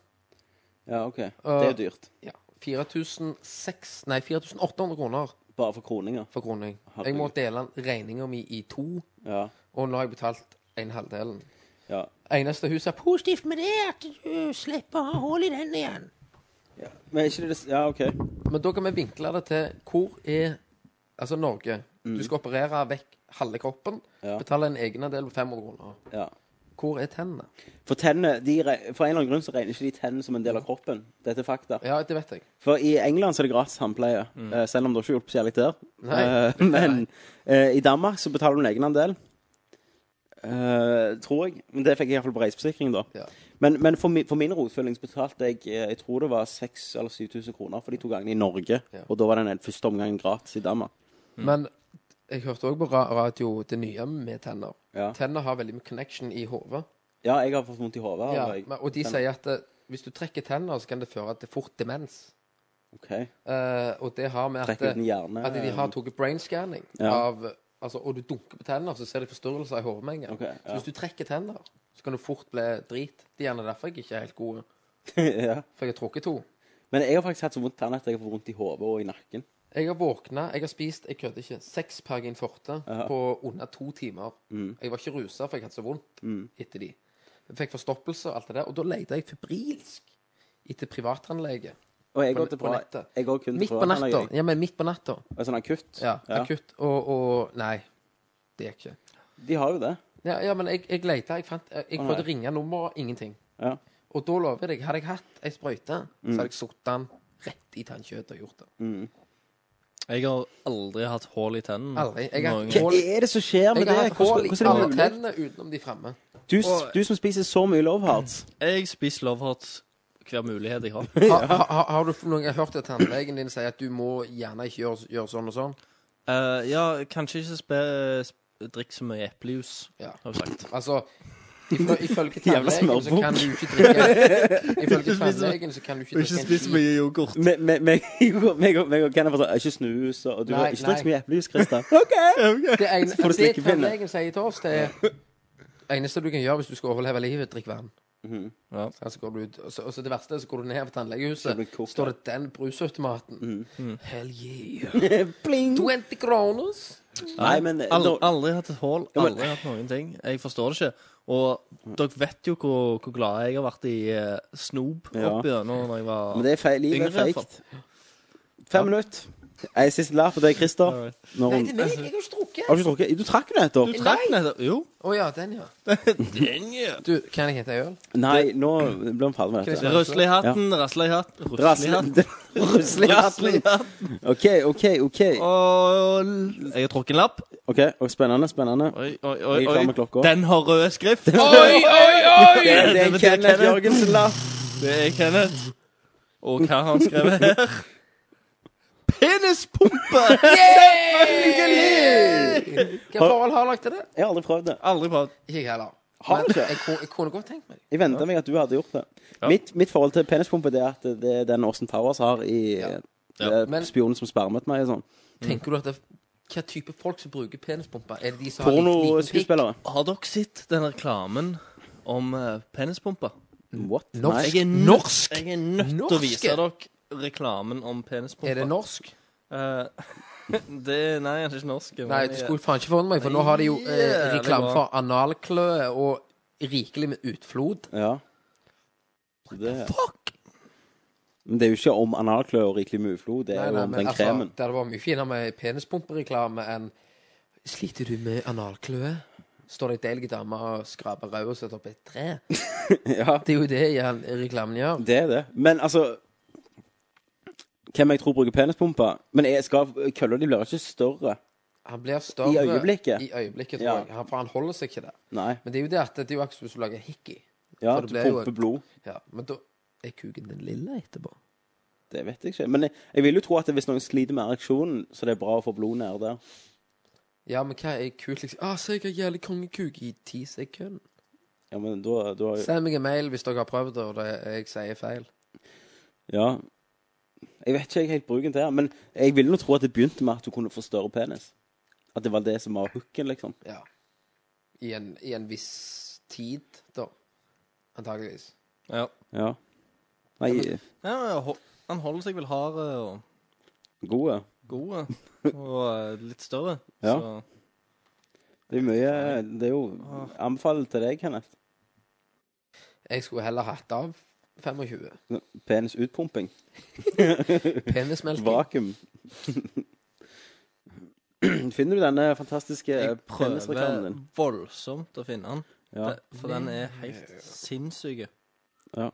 A: Ja, OK. Det er jo dyrt.
D: Ja. 4006 Nei, 4800 kroner
A: Bare for kroninger.
D: for kroning.
A: Herregud.
D: Jeg må dele regninga mi i to,
A: Ja.
D: og nå har jeg betalt en halvdelen.
A: Ja.
D: Eneste huset er på
B: Positivt med det er at du slipper å ha hull i den igjen.
A: ja. Men er ikke det det Ja, OK.
D: Men da kan vi vinkle det til hvor er Altså Norge. Du skal operere vekk halve kroppen.
A: Mm. Ja.
D: Betale en egenandel på 500 kroner.
A: Ja.
D: Hvor er tennene?
A: For tennene de, re- For en eller annen grunn så regner ikke de tennene som en del av kroppen. Dette er fakta.
D: Ja, det vet jeg.
A: For i England så er det gratis tannpleie, eh, selv om det har ikke hjulpet så jævlig der.
D: Mm. Nei.
A: Eh, men eh, i Danmark så betaler du en egenandel. Eh, tror jeg. Men det fikk jeg iallfall på reiseforsikring, da.
D: Ja.
A: Men, men for, mi, for min rotfylling så betalte jeg eh, jeg tror det var 6000 eller 7000 kroner for de to gangene i Norge.
D: Ja.
A: Og da var den første omgangen gratis i Danmark.
D: Men jeg hørte òg på ra- radio det nye med tenner.
A: Ja,
D: Tenner har veldig mye connection i hodet.
A: ja jeg har fått vondt i hodet.
D: Ja,
A: har jeg.
D: men- og de sier at eh, hvis du trekker tenner, så kan det føre til fort demens.
A: OK.
D: Eh, og det har med at,
A: Trekker uten
D: eh,
A: hjerne.
D: at de har tatt brain scanning
A: Ja.
D: av altså, Og du dunker på tenner, så ser de forstyrrelser i hodet med en gang.
A: Ok, ja.
D: Så hvis du trekker tenner, så kan du fort bli drit. Det er gjerne derfor jeg ikke er helt god.
A: ja.
D: For jeg har trukket to.
A: Men jeg har faktisk hatt så vondt i tennene at jeg har fått vondt i hodet og i nakken.
D: Jeg har våkna, jeg har spist, jeg kødder ikke, seks Pergin Forte på under to timer. Jeg var ikke rusa, for jeg hadde så vondt etter de. Jeg fikk forstoppelse og alt det der. Og da lette jeg febrilsk etter privattannlege.
A: Og jeg
D: På-
A: går til
D: på
A: privat-
D: nettet.
A: Jeg går kun til
D: Midt på
A: privattannlege,
D: natta.
A: jeg.
D: Ja, men midt på natta.
A: Og Sånn akutt.
D: Ja, akutt. Og, og Nei, det gikk ikke.
A: De har jo det.
D: Ja, ja men jeg, jeg lette, jeg fant eh, Jeg jeg prøvde å ringe nummeret, ingenting.
A: Ja. Mm.
D: Og da lover jeg deg, hadde jeg hatt ei sprøyte, så hadde jeg satt den rett i tannkjøttet og gjort det.
E: Jeg har aldri hatt hull i tennene.
D: Aldri. Jeg har
E: Noen
A: Hva
E: gang.
D: Hull-
A: er det som skjer med
D: Jeg har
A: det?
D: hatt hull
A: Hvordan,
D: i
A: hvordan er
D: alle
A: det mulig?
D: tennene utenom de fremme.
A: Du, s- du som spiser så mye Love Hearts.
E: Jeg spiser Love Hearts hver mulighet jeg har.
D: Har, har, har du noen gang hørt at tannlegen din sier at du må gjerne ikke gjøre, gjøre sånn og sånn?
E: Eh, ja, kanskje ikke spe, sp drikk så mye eplejus,
D: Ja.
E: har jeg sagt.
D: Altså, ifø- ifølge
A: Jævla
D: tannlegen så
A: smørbukk.
D: kan du ikke drikke Ifølge tannlegen så kan du ikke drikke en skit.
E: mye yoghurt.
A: Me- me- Meg meg og meg og Kenneth var sånn Ikke snus, og du
D: Nei,
A: har ikke drikk så
D: nei.
A: mye eplejus, Christer. OK!
D: Det,
A: får
D: ene-
A: du
D: det
A: slikkepinne.
D: tannlegen sier til oss, det er eneste du kan gjøre hvis du skal overleve livet, drikk vann.
A: Mhm.
E: Ja.
D: Så altså går du ut, og, så, og så det verste er så går du ned på
A: blir Mhm.
D: tannlegehuset,
A: kokt,
D: står det den brusautomaten. Mhm. Hell yeah. 20 kroner.
A: Nei, men eh,
E: Aldri,
A: nå-
E: aldri hatt et hull,
A: Ja, men-
E: aldri hatt noen ting. Jeg forstår det ikke. Og dere vet jo hvor, hvor glad jeg har vært i eh, snop
A: Ja.
E: opp igjennom når jeg var
A: Men det er feil. Livet
E: Yngre,
A: er
D: altså.
A: feigt. Fem minutter. En siste lapp, og det er Christer.
E: Alright.
A: Når
D: Nei,
A: hun
D: det er meg. Jeg har ikke drukket.
A: Har du ikke drukket? Du trakk jo nettopp.
E: Du trakk nettopp Jo.
D: Altså, Å ja, den, ja. Du, kan jeg hente en øl?
A: Nei, nå ble vi ferdig med dette.
D: Christer.
E: Rusle i hatten, rasle i hatt, rusle i hatt.
A: Ruslehatten. OK, OK, OK.
E: Og l- Jeg har trukket en lapp.
A: Ok, og Spennende, spennende.
E: Oi, oi,
A: Jeg er klar med klokka.
E: Den har rød skrift.
D: Oi, oi, oi!
A: Det er en
E: det-
A: Kenneth
E: det- Kenneth.
A: Jørgensen-lapp.
E: Det er Kenneth. Og hva har han skrevet her? Penispumpe!
D: Hvilke forhold har dere til det?
A: Jeg har aldri prøvd det.
E: Aldri prøvd.
D: Ikke jeg heller.
A: Har du
D: Men
A: ikke?
D: jeg, ku- jeg kunne godt tenkt meg det.
A: Jeg venta meg at du hadde gjort det. Mitt, mitt forhold til penispumpe det er at det er den Austin Powers har i eh,
D: Ja.
A: det
E: Ja.
A: er
D: Men-
A: Spionen som spermet meg og sånn.
D: Tenker du at det, hva type folk som bruker penispumper? Er det de som har liten- liten pikk?
A: Pornoskuespillere.
E: Har dere sett den reklamen om uh, penispumper?
A: What?
D: Norsk?
E: Jeg er
D: Norsk?
E: Jeg er nødt til å
D: Norske?
E: vise dere reklamen om penispumper.
D: Er det norsk?
E: Eh, det, nei, han er ikke norsk. men
D: Nei, det
E: jeg-
D: skulle faen ikke forundre meg, for nå har de jo eh,
E: Jævlig
D: reklame
E: bra.
D: for analkløe og rikelig med utflod.
A: Ja. Det, men det er jo ikke om analklø og rikelig med uflo, det er jo om
D: altså-
A: den kremen.
D: det hadde vært mye finere med penispumpereklame enn Sliter du med analkløe? Står det ei deilig dame og skraper ræva og setter opp et tre?
A: Ja,
D: Det er jo det igjen reklamen gjør.
A: det er det. Men altså Hvem jeg tror bruker penispumper? Men jeg skal, kølla de blir ikke større.
D: Han blir større
A: I øyeblikket?
D: I øyeblikket, tror
A: Ja.
D: jeg. Han, for han holder seg ikke der.
A: Nei.
D: Men det er jo det at det er jo akkurat som hvis du lager hickey.
A: Ja,
D: For
A: du
D: det blir jo-
A: pumper blod.
D: Ja, men da er kuken den lille etterpå.
A: Det vet jeg ikke. Men jeg, jeg vil jo tro at hvis noen sliter med ereksjonen, så det er bra å få blod ned der.
D: Ja, men hva er kult, liksom? Ah, se, jeg har jævlig kongekuk i ti sekunder.
A: Ja, men da, da
D: Send meg en mail hvis dere har prøvd det, og det, jeg sier feil.
A: Ja. Jeg vet ikke jeg helt bruken til det, men jeg vil nå tro at det begynte med at du kunne få større penis. At det var det som var hooken, liksom.
D: Ja. I en, i en viss tid, da. Antakeligvis.
E: Ja.
A: Ja. Nei,
E: Ja, men ho- han holder seg vel hard eh, og
A: gode.
E: god eh, og eh, litt større.
A: Ja.
E: Så
A: Det er mye Det er
E: Ah,
A: jo Anbefaler til deg, Kenneth.
D: Jeg skulle heller hatt av 25.
A: Penisutpumping.
D: Penismelking.
A: Vakuum. Finner du denne fantastiske
E: jeg prøver
A: penisreklamen din?
E: voldsomt å finne han,
A: Ja.
E: Det- for den er helt sinnssyk.
D: Hvor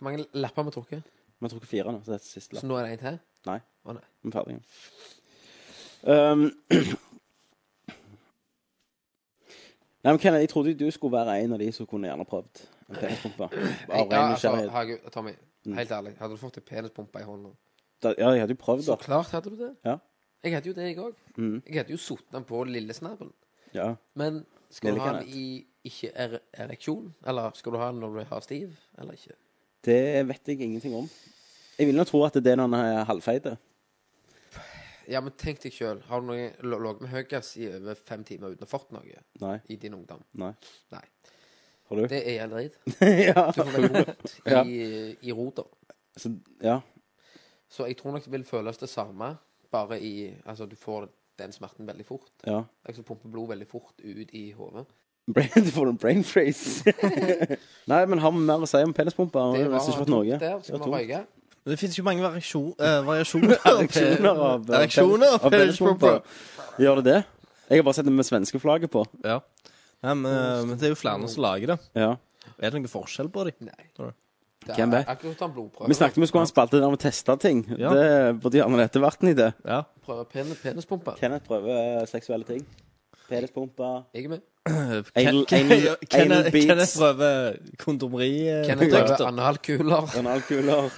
D: mange lapper har vi
A: Vi
D: trukket?
A: har trukket fire nå, så det er siste
D: Så
A: lapp.
D: nå er det en til?
A: Nei.
D: Å nei.
A: Vi er ferdige. Um, Nei, men Kenneth, Jeg trodde du skulle være en av de som kunne gjerne prøvd en penispumpe. Av
D: ja,
A: ren
D: altså,
A: nysgjerrighet. Mm.
D: herregud, Tommy, helt ærlig, hadde du fått en penispumpe i hånda?
A: Da- Ja, jeg hadde jo prøvd,
D: Så
A: da.
D: klart hadde du det.
A: Ja.
D: Jeg hadde jo det, jeg òg. Jeg hadde jo sotna den på lillesnabben.
A: Mm, Ja.
D: Men skal
A: Lille
D: du ha den
A: Kenneth.
D: i ikke er ereksjon? Eller skal du ha den når du har stiv? Eller ikke?
A: Det vet jeg ingenting om. Jeg vil nå tro at det er den er halvfeite.
D: Ja, men tenk deg sjøl. Har du noen lå- ligget med høygass i over fem timer uten å fått noe
A: Nei.
D: i din ungdom?
A: Nei.
D: Nei.
A: Har du?
D: Det er jævlig dritt.
A: ja.
D: Du får veldig vondt i,
A: Ja.
D: i rota.
A: Så, ja.
D: Så jeg tror nok det vil føles det samme, bare i Altså, du får den smerten veldig fort.
A: ja.
D: Altså, pumper blod veldig fort ut i hodet.
A: Brain, du får en brain freeze. Nei, men har vi mer å si om penispumper?
D: Det
A: Jeg har nesten ikke fått noe.
D: der.
A: Det
D: Skal
A: var
D: vi
A: tungt.
D: røyke?
E: Men det finnes jo mange variasjon, eh, variasjoner.
A: Ereksjoner av
E: Ereksjoner av penispumper.
A: Gjør det det? Jeg har bare sett det med svenske flagget på.
E: Ja. Nei, men, eh, men det er jo flere som lager det.
A: Ja.
E: Er det noen forskjell på dem?
D: Nei.
E: Tror du?
D: Det
A: Hvem
D: er
A: vet?
D: akkurat som blodprøve.
A: Vi snakket om vi skulle ha en spalte der vi testa ting.
E: Ja.
A: Det burde gjerne dette vært en idé.
E: Ja.
D: Prøve pen penispumpe.
A: Kenneth prøver eh, seksuelle ting. Penispumper.
D: Jeg er med.
A: Anal- anal- anal
E: Kenneth
A: beats.
E: Kenneth prøver kondomeri. eh,
D: Kenneth prøver analkuler.
A: Analkuler.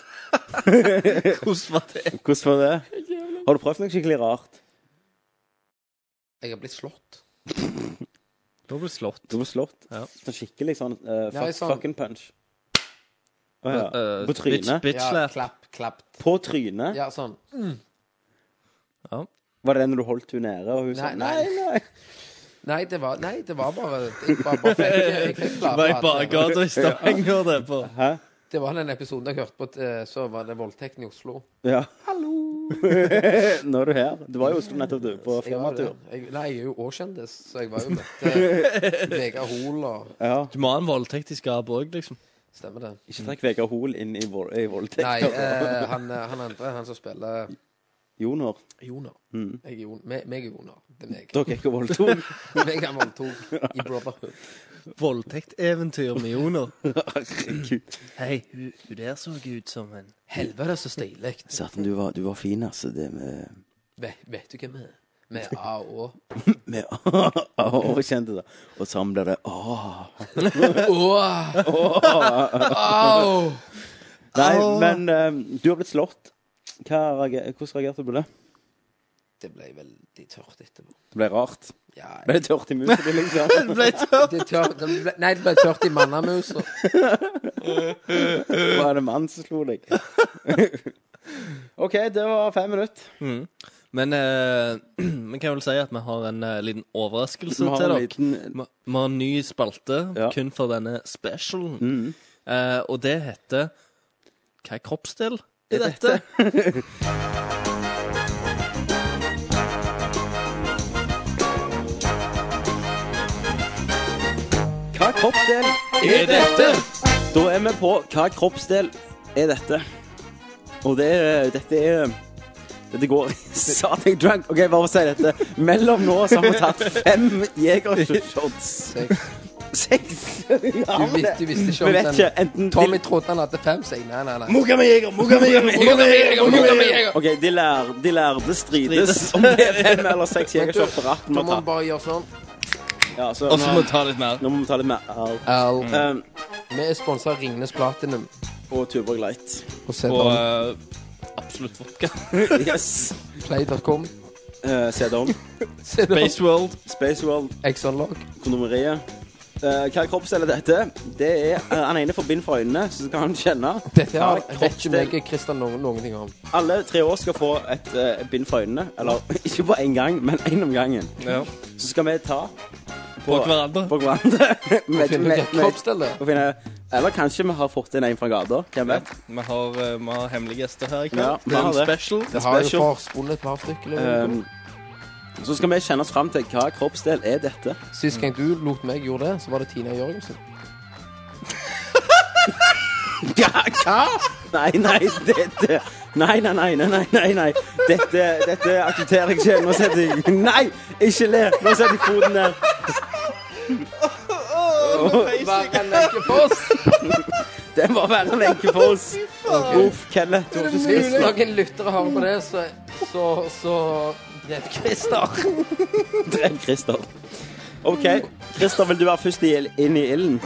E: Hvordan var det?
A: Hvordan var det? Har du prøvd noe skikkelig rart?
D: Jeg har blitt slått.
E: Nå ble slått.
A: Du ble slått.
E: Ja.
A: Sånn skikkelig sånn eh, fuck,
D: Nei, sånn-
A: fucking punch. Å ja.
E: Eh,
A: På trynet?
E: Bitch, bitch
D: Ja,
E: slap.
D: klapp, klapp.
A: På trynet?
D: Ja, sånn.
A: Var det den du holdt hun nede, og hun sa
D: Nei,
A: nei,
D: nei.
A: nei?
D: Nei, det var, nei, det var bare Jeg var bare fikk, jeg fikk
E: Det var i
D: klare på at-
E: bakgata i Stavanger, det. på.
D: Det var den episoden jeg hørte på, eh, så var det voldtekten i Oslo.
A: Ja. Hallo! Nå er du her. Du var i Oslo nettopp, du, på
D: Jeg var det.
A: firmatur.
D: Jeg, nei, jeg er jo årskjendis, så jeg var jo møtte Vegard Hoel og
A: Ja.
E: Du må ha en voldtekt i skapet òg, liksom.
D: Stemmer det.
A: Ikke trekk Vegard Hoel inn i, vold, i voldtekt.
D: Nei, eh, han, eh, han andre, han som spiller
A: Joner.
D: Jonar.
E: Mm.
D: Jeg er Jon, meg, meg er Jonar. Det er meg.
A: Dere er ikke voldtok.
D: Meg han voldtok i Brotherhood.
E: Voldtekteventyr med Joner.
A: Herregud.
E: Hei, hun, hun der så ut som en
D: Helvete, så stilig.
A: Satan, du var, du var fin, altså. Det med
D: Vet, vet du hvem vi er? Vi er A og Å.
A: Med Å, kjente det. Og sånn ble det Å.
D: Åh! Au!
A: Nei, men eh, du har blitt slått. Hva reager, hvordan reagerte du på det?
D: Det ble veldig tørt etterpå.
A: Det ble rart.
D: Ja,
A: Ble det tørt i musa di, liksom?
D: det er tørt. Det ble, nei, det ble tørt i mannamusa.
A: Var det mann som slo deg? OK, det var fem minutter.
E: Men eh, vi kan vel si at vi har en eh, liten overraskelse
A: Vi har
E: til
A: en
E: dere.
A: liten
E: Vi vi har en ny spalte
A: Ja. Mm.
E: kun for denne specialen. Eh, og det heter Hva er kroppsdel i dette?
A: Hva kroppsdel
E: Er dette?
A: Da er vi på hva kroppsdel er dette? Og det er Dette er Dette går Satan drunk. OK, bare for å si dette. Mellom nå så har vi tatt fem Jegershots.
D: Seks.
A: Seks. Ja,
D: Du,
A: men
D: vis-
A: det-
D: du visste
A: Vi
D: ikke om
A: vet ikke.
D: den.
A: Enten
D: Tommy trodde han hadde fem, så jeg nei, nei, nei.
A: Mugga med jeger, mugga med jeger, mugga med jeger, mugga med jeger. OK, de, lær, de lærde strides om det er fem eller seks jegershots på ratten.
D: Da
A: må
D: må han
A: ta.
D: bare gjøre sånn.
A: Ja, så
E: Og så
A: nå,
E: må vi ta litt mer.
A: nå må vi ta litt mer av
D: Au.
A: um,
D: Vi er sponsa av Ringnes Platinum.
A: Og Tuborg Light.
D: Og se
E: Og
D: på
E: eh, absolutt vodka.
A: Yes.
D: play.com.
A: Uh, CD-OM.
D: Se da.
E: Baseworld.
A: Spaceworld.
D: Exxon-lag.
A: kondomeriet. Eh, hva kroppsdel er dette? Det er eh, Han ene får bind for øynene, så skal han kjenne.
D: Dette
A: Hva
D: har vet ikke
A: kroppsdel-
D: meg og Christian noen, noen ting om.
A: Alle tre år skal få et eh, bind for øynene. Eller ikke på én gang, men én om gangen.
E: Ja.
A: Så skal vi ta
E: På hverandre.
A: på hverandre. Med-
D: Finner
A: med-
D: du hva
A: med-
D: kroppsdel det?
A: og finne- Eller kanskje vi har fått inn en fra gata. Hvem vet?
E: Vi har, eh, vi har hemmelige gjester her i
A: Ja,
E: kveld.
A: vi
E: det er
A: har
E: en
A: det.
E: special.
D: Det har jo
A: Special.
D: forspunnet et par stykker. Um,
A: Ehm, så skal vi kjenne oss fram til hva kroppsdel er dette.
D: Sist gang du lot meg gjøre det, så var det Tina Jørgensen.
A: Nei, nei, dette Nei, nei, nei, nei, nei, nei, nei. Dette, dette aksepterer jeg ikke. Nå setter jeg Nei, ikke le! Nå setter jeg foten ned. Den var veldig lenke på oss. Uff, Kenneth. Du har ikke
D: Hvis
A: spist nok.
D: noen lyttere hører på det, så, så, så dreper Christer.
A: Drev Christer. OK. Christer, vil du være først i, inn i ilden?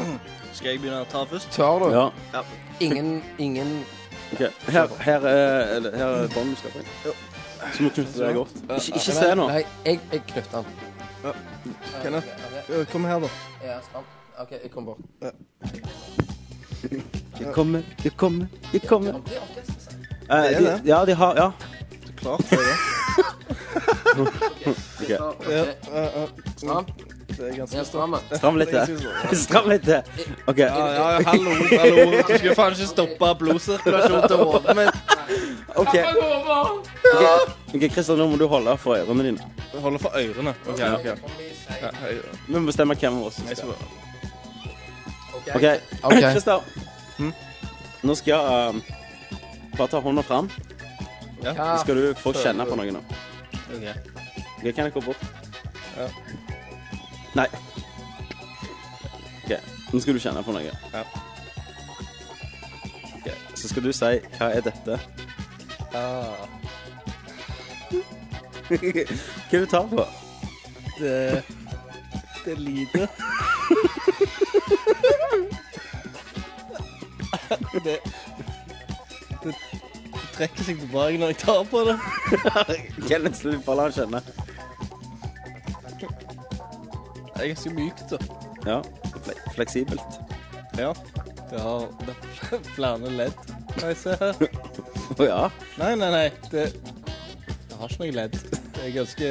E: Skal jeg begynne å ta først?
D: Tør du?
A: Ja.
D: Ingen, ingen
A: ok. Her, her, eh, er- eller, her er båndet du skal på inn. Så må du knytte deg godt. Ikke, ikke se nå.
D: Nei, jeg, jeg knytter den.
E: Kenneth, eh, kom her, da.
D: Ja, skal- OK, jeg kommer bort.
A: Jeg kommer, jeg kommer, jeg kommer.
D: Det er orkester, sant?
A: Eh, de, ja, de har Ja.
E: Klart for det.
D: Ok. Stram. Ja, stramme.
A: Stram litt til. Stram litt til. OK.
E: Ja, ja, hallo, hallo. Du skal faen ikke stoppe blodsirkulasjonen til hodet mitt.
A: OK, Ok, Christer, nå må du holde for ørene dine.
E: Holder for ørene. OK. ok. Ja, jeg-
A: Vi må bestemme hvem av oss som
E: jeg
A: skal
E: skal-
A: OK.
D: Ok.
A: Christer. Mm. Nå skal jeg um, bare ta hånda fram.
D: Ja,
A: Så skal du få kjenne på noe nå.
E: ok.
A: Ok, kan jeg gå bort?
E: Ja.
A: Nei. OK, nå skal du kjenne på noe.
E: Ja.
A: Ok, Så skal du si 'Hva er dette?' Hva er det du tar på?
E: Det, det er lite. det, det trekker seg tilbake når jeg tar på det.
A: Kenneth slutt, bare la han kjenne.
E: Det er ganske mykt. da.
A: Ja, fle- fleksibelt.
E: Ja. Det har det har flere ledd. Nei, se her.
A: Å ja.
E: Nei, nei, nei. Det, det har ikke noe ledd. Det er ganske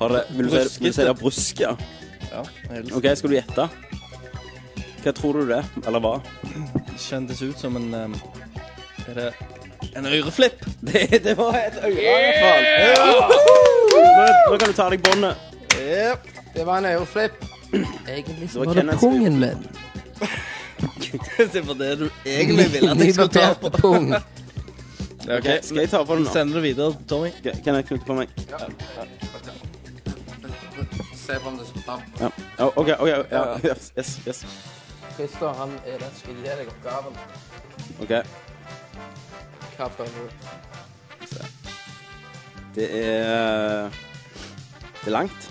A: Har det, vil du si- vil du si det er brusk, ja?
E: Ja, helt
A: OK, skal du gjette? Hva tror du det er? Eller hva?
E: kjentes ut som en um, Er det en øreflipp?
A: Det, det var et øye, i hvert fall. Nå, nå kan du ta av deg båndet.
D: Det var en øreflipp. Egentlig så
A: Det var
D: var det
A: Kenneths
D: pungen min.
E: det var det du egentlig ville at jeg skulle ta på.
D: Nybarbert pung.
A: Ok, Skal jeg ta på den nå?
E: Sender det videre til Tommy.
A: Ok, Kan jeg knytte på meg?
D: Se på om det står
A: Ja. Ja, OK. ok, ja, yes, yes, yes.
D: Christer, han er den som skal gi deg oppgaven.
A: OK.
D: Hva føler du?
A: Det er Det er langt.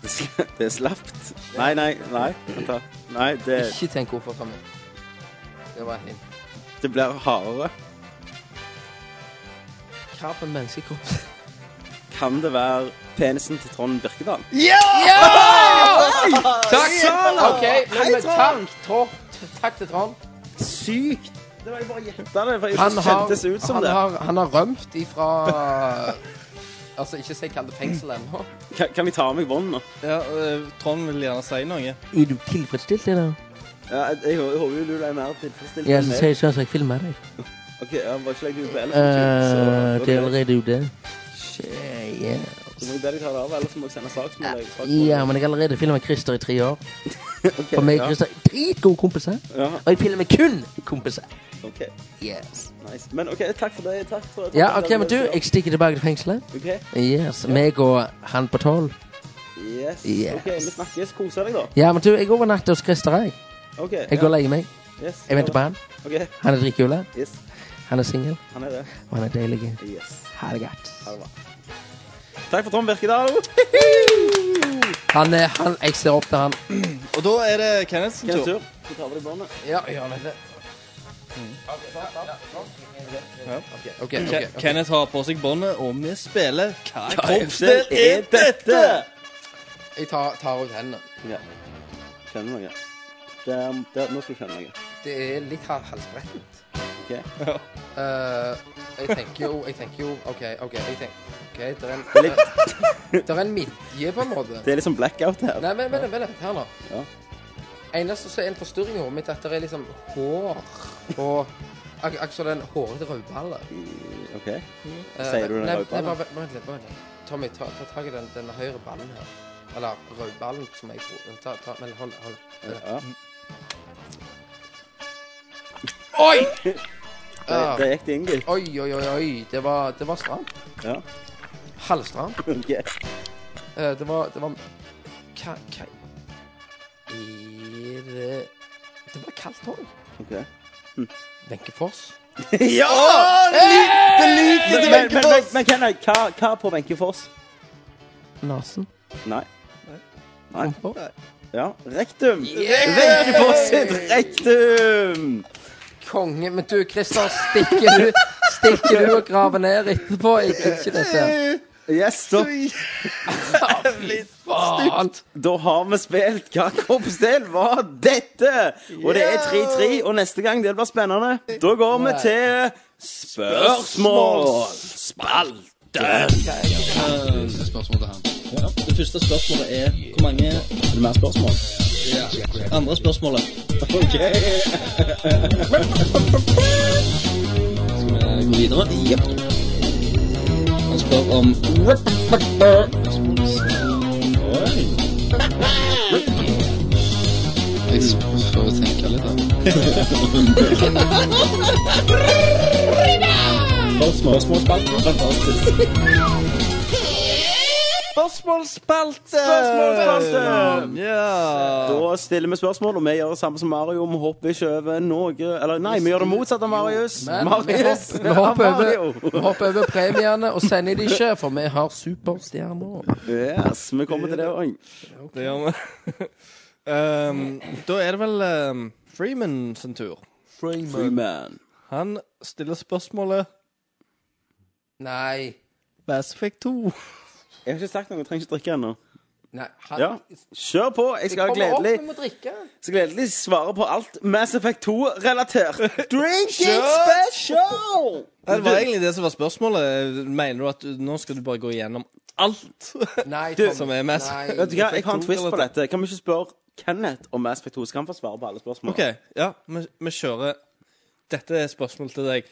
A: Det er sl- Det er slapt. Nei, nei, nei. Vent da. Nei, det,
D: Ikke tenk hvorfor for meg. Det var en hint.
A: det blir hardere.
D: Hva for en menneskekropp?
A: Kan det være penisen til Trond Birkedal?
D: Takk! OK, men, men takk, Trond. Takk til Trond.
A: Sykt! Det var jeg bare gjetta det, for jeg
D: Han
A: synes det
D: har,
A: kjentes ut som
D: han
A: det.
D: har, han har rømt ifra Altså, ikke si kall det fengsel ennå.
A: Kan, kan vi ta av meg bånd nå?
E: Ja, eh, Trond vil gjerne si noe.
D: Er du tilfredsstilt, eller?
A: Ja, jeg, jeg, hå- jeg håper jo du er mer tilfredsstilt
D: nou. Ja,
A: enn
D: så
A: meg.
D: sier jeg at jeg filmer deg.
A: OK, ja, bare ikke legg deg ut på ellers.
D: Eh,
A: så-
D: det er
A: ok.
D: allerede ute. Shit, yeah.
A: Så må jeg be deg ta det av, ellers må jeg sende saksmål. jeg-
D: Ja, men jeg har allerede filmet Christer i tre år. For meg og Christer er dritgode kompiser.
A: Ja,
D: Og jeg filmer kun kompiser.
A: OK.
D: Yes.
A: Nice. Men OK, takk for det. Takk for
D: Ja, OK, men du, jeg stikker tilbake til fengselet.
A: OK,
D: Yes. Meg og han på tolv.
A: yes.
D: Yes.
A: Ok, vi snakkes. Kose deg, da.
D: Ja, men du, jeg overnatter hos Christer, jeg.
A: Ok,
D: Jeg går og legger meg.
A: Yes.
D: Jeg venter på han.
A: Ok,
D: Han er dritkul.
A: yes.
D: Han er singel.
A: Han er det.
D: Og han er deilig.
A: Yes.
D: Ha det godt.
A: Ha det bra. Takk for Tom Birkedal.
D: Han er han Jeg ser opp til han.
E: Og da er det Kenneths
A: Hvilken
E: tur.
A: tur? Du tar av deg båndet.
D: Ja, gjør han det? OK.
E: Ke-
D: ok, ok.
E: Kenneth har på seg båndet, og vi spiller Hva
A: Kroppsdel
E: kroppsdel er dette?
D: Jeg tar, tar ut hendene.
A: Ja. Kjenner noe. Der, der, nå skal du kjenne noe.
D: Det er litt ha- halsbrettent.
A: Ok?
D: Eh, jeg tenker jo Jeg tenker jo OK, OK. jeg tenker, ok, Det er en, det er en midje, på en måte.
A: Det er litt sånn blackout her.
D: Nei, men vent, vent litt her nå.
A: Ja.
D: Eneste som er en forstyrring i hodet mitt, er at det er liksom hår på ak- Akkurat som den hårete rødballe.
A: Mm, Ok. Sier du den
D: Eh, Nei, bare
A: rødballen?
D: vent- vent litt. vent litt. Tommy, ta, ta tak i den, den høyre ballen her. Eller rødballen, som jeg tror. Ta, ta, men hold, hold.
A: Ja.
D: Oi!
E: Ah.
A: Der, der gikk det inn, gitt.
D: Ah. Oi, oi, oi, oi. Det var, det var stramt.
A: Ja.
D: Halvstramt.
A: Ok.
D: Eh, det var Det var Hva, hva Er det Det var kaldt hår.
A: Ok.
D: Wenche Foss.
A: Ja!
E: Lite
A: Men, men, men, men Kenneth, hva, hva på Wenche Foss?
D: Nesen.
A: Nei. Nei.
D: Rumpa.
A: Ja. Rektum. Wenche Foss sitt rektum.
D: Konge. Men du, Christer, stikker du Stikker du og graver ned etterpå? Jeg gidder ikke dette.
A: Yes, da,
D: Faen.
A: da har vi spilt Hva kroppsdel var dette? Og det er 3-3, og neste gang det blir spennende. Da går vi til spørsmålsspalten.
E: Det første spørsmålet er hvor mange
A: Er det mer spørsmål?
E: andre spørsmålet. Skal vi gå videre? Jepp. Han spør om Spørsmålsspalte!
A: Spørsmålsspalten!
E: Ja.
A: Da stiller vi spørsmål, og vi gjør det samme som Mario. Vi hopper ikke over noe Eller nei, vi gjør det motsatt av Marius.
D: Men vi
A: Marius!
D: hopp- vi hopper
A: av
D: over,
A: Mario.
D: vi hopper over premiene og sender de ikke, for vi har superstjerner.
A: Yes, vi kommer til det òg.
E: Det gjør vi. um, da er det vel um, Freeman sin tur.
A: Freeman.
E: Han stiller spørsmålet
D: Nei.
E: Mass Effect 2.
A: Jeg har ikke sagt noe, jeg trenger ikke drikke ennå.
D: Nei. Han,
A: Ja, Kjør på. Jeg skal ha
D: Kommer opp,
A: gledelig,
D: vi må drikke.
A: skal gledelig svare på alt Mass Effect 2-relatert. Drinking special!
E: Det var egentlig det som var spørsmålet. Mener du at du- nå skal du bare gå igjennom alt
D: Nei,
E: du,
D: Tom,
E: som er mest.
D: nei.
A: Vet du hva, jeg har en
E: to,
A: twist på
E: eller?
A: dette. Kan vi ikke spørre Kenneth om Mass Effect 2? Så kan han få svare på alle spørsmål.
E: OK, ja, vi, vi kjører. Dette er spørsmål til deg.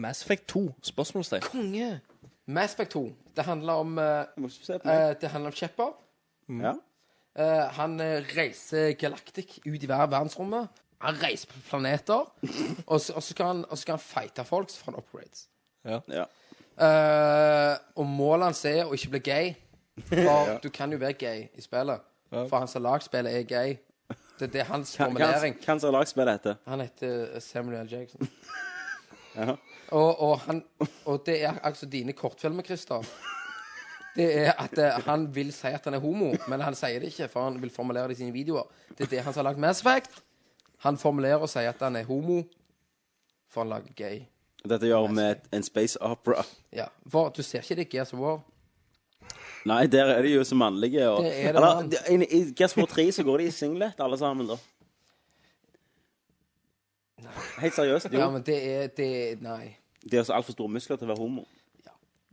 E: Mass Effect 2? Spørsmålstegn.
D: Konge. Mass Effect 2. Det handler om eh,
A: Jeg må ikke se på meg.
D: eh, Det handler om Shepard.
A: Ja.
D: Eh, han eh, reiser galaktikk ut i hver verdensrommet. Han reiser på planeter, og så, og så, kan, han, og så kan han fighte folk, så får han upgrades.
A: Ja.
D: Eh, og målet hans er å ikke bli gay. For du kan jo være gay i spillet. For han som har lagd spillet, er gay. Det, det er hans
A: Kan-
D: formulering.
A: kan- Kan som lagspiller dette?
D: Han heter eh, Samuel L. Jackson.
A: Ja.
D: Og, og, han, og det er altså dine kortfilmer, Christer. Det er at eh, han vil si at han er homo, men han sier det ikke, for han vil formulere det i sine videoer. Det er det han som har lagd Mass Effect. Han formulerer og sier at han er homo, for han lager gay.
A: Dette gjør vi med en space opera.
D: Ja, for Du ser ikke det i Gears of War.
A: Nei, der er de jo så mannlige. Og,
D: Det er det,
A: eller,
D: mann.
A: de- i, I Gears of War 3 så går de i singlet, alle sammen, da. Helt seriøst. Jo.
D: Ja, men det er det, Nei.
A: De har så altfor store muskler til å være homo.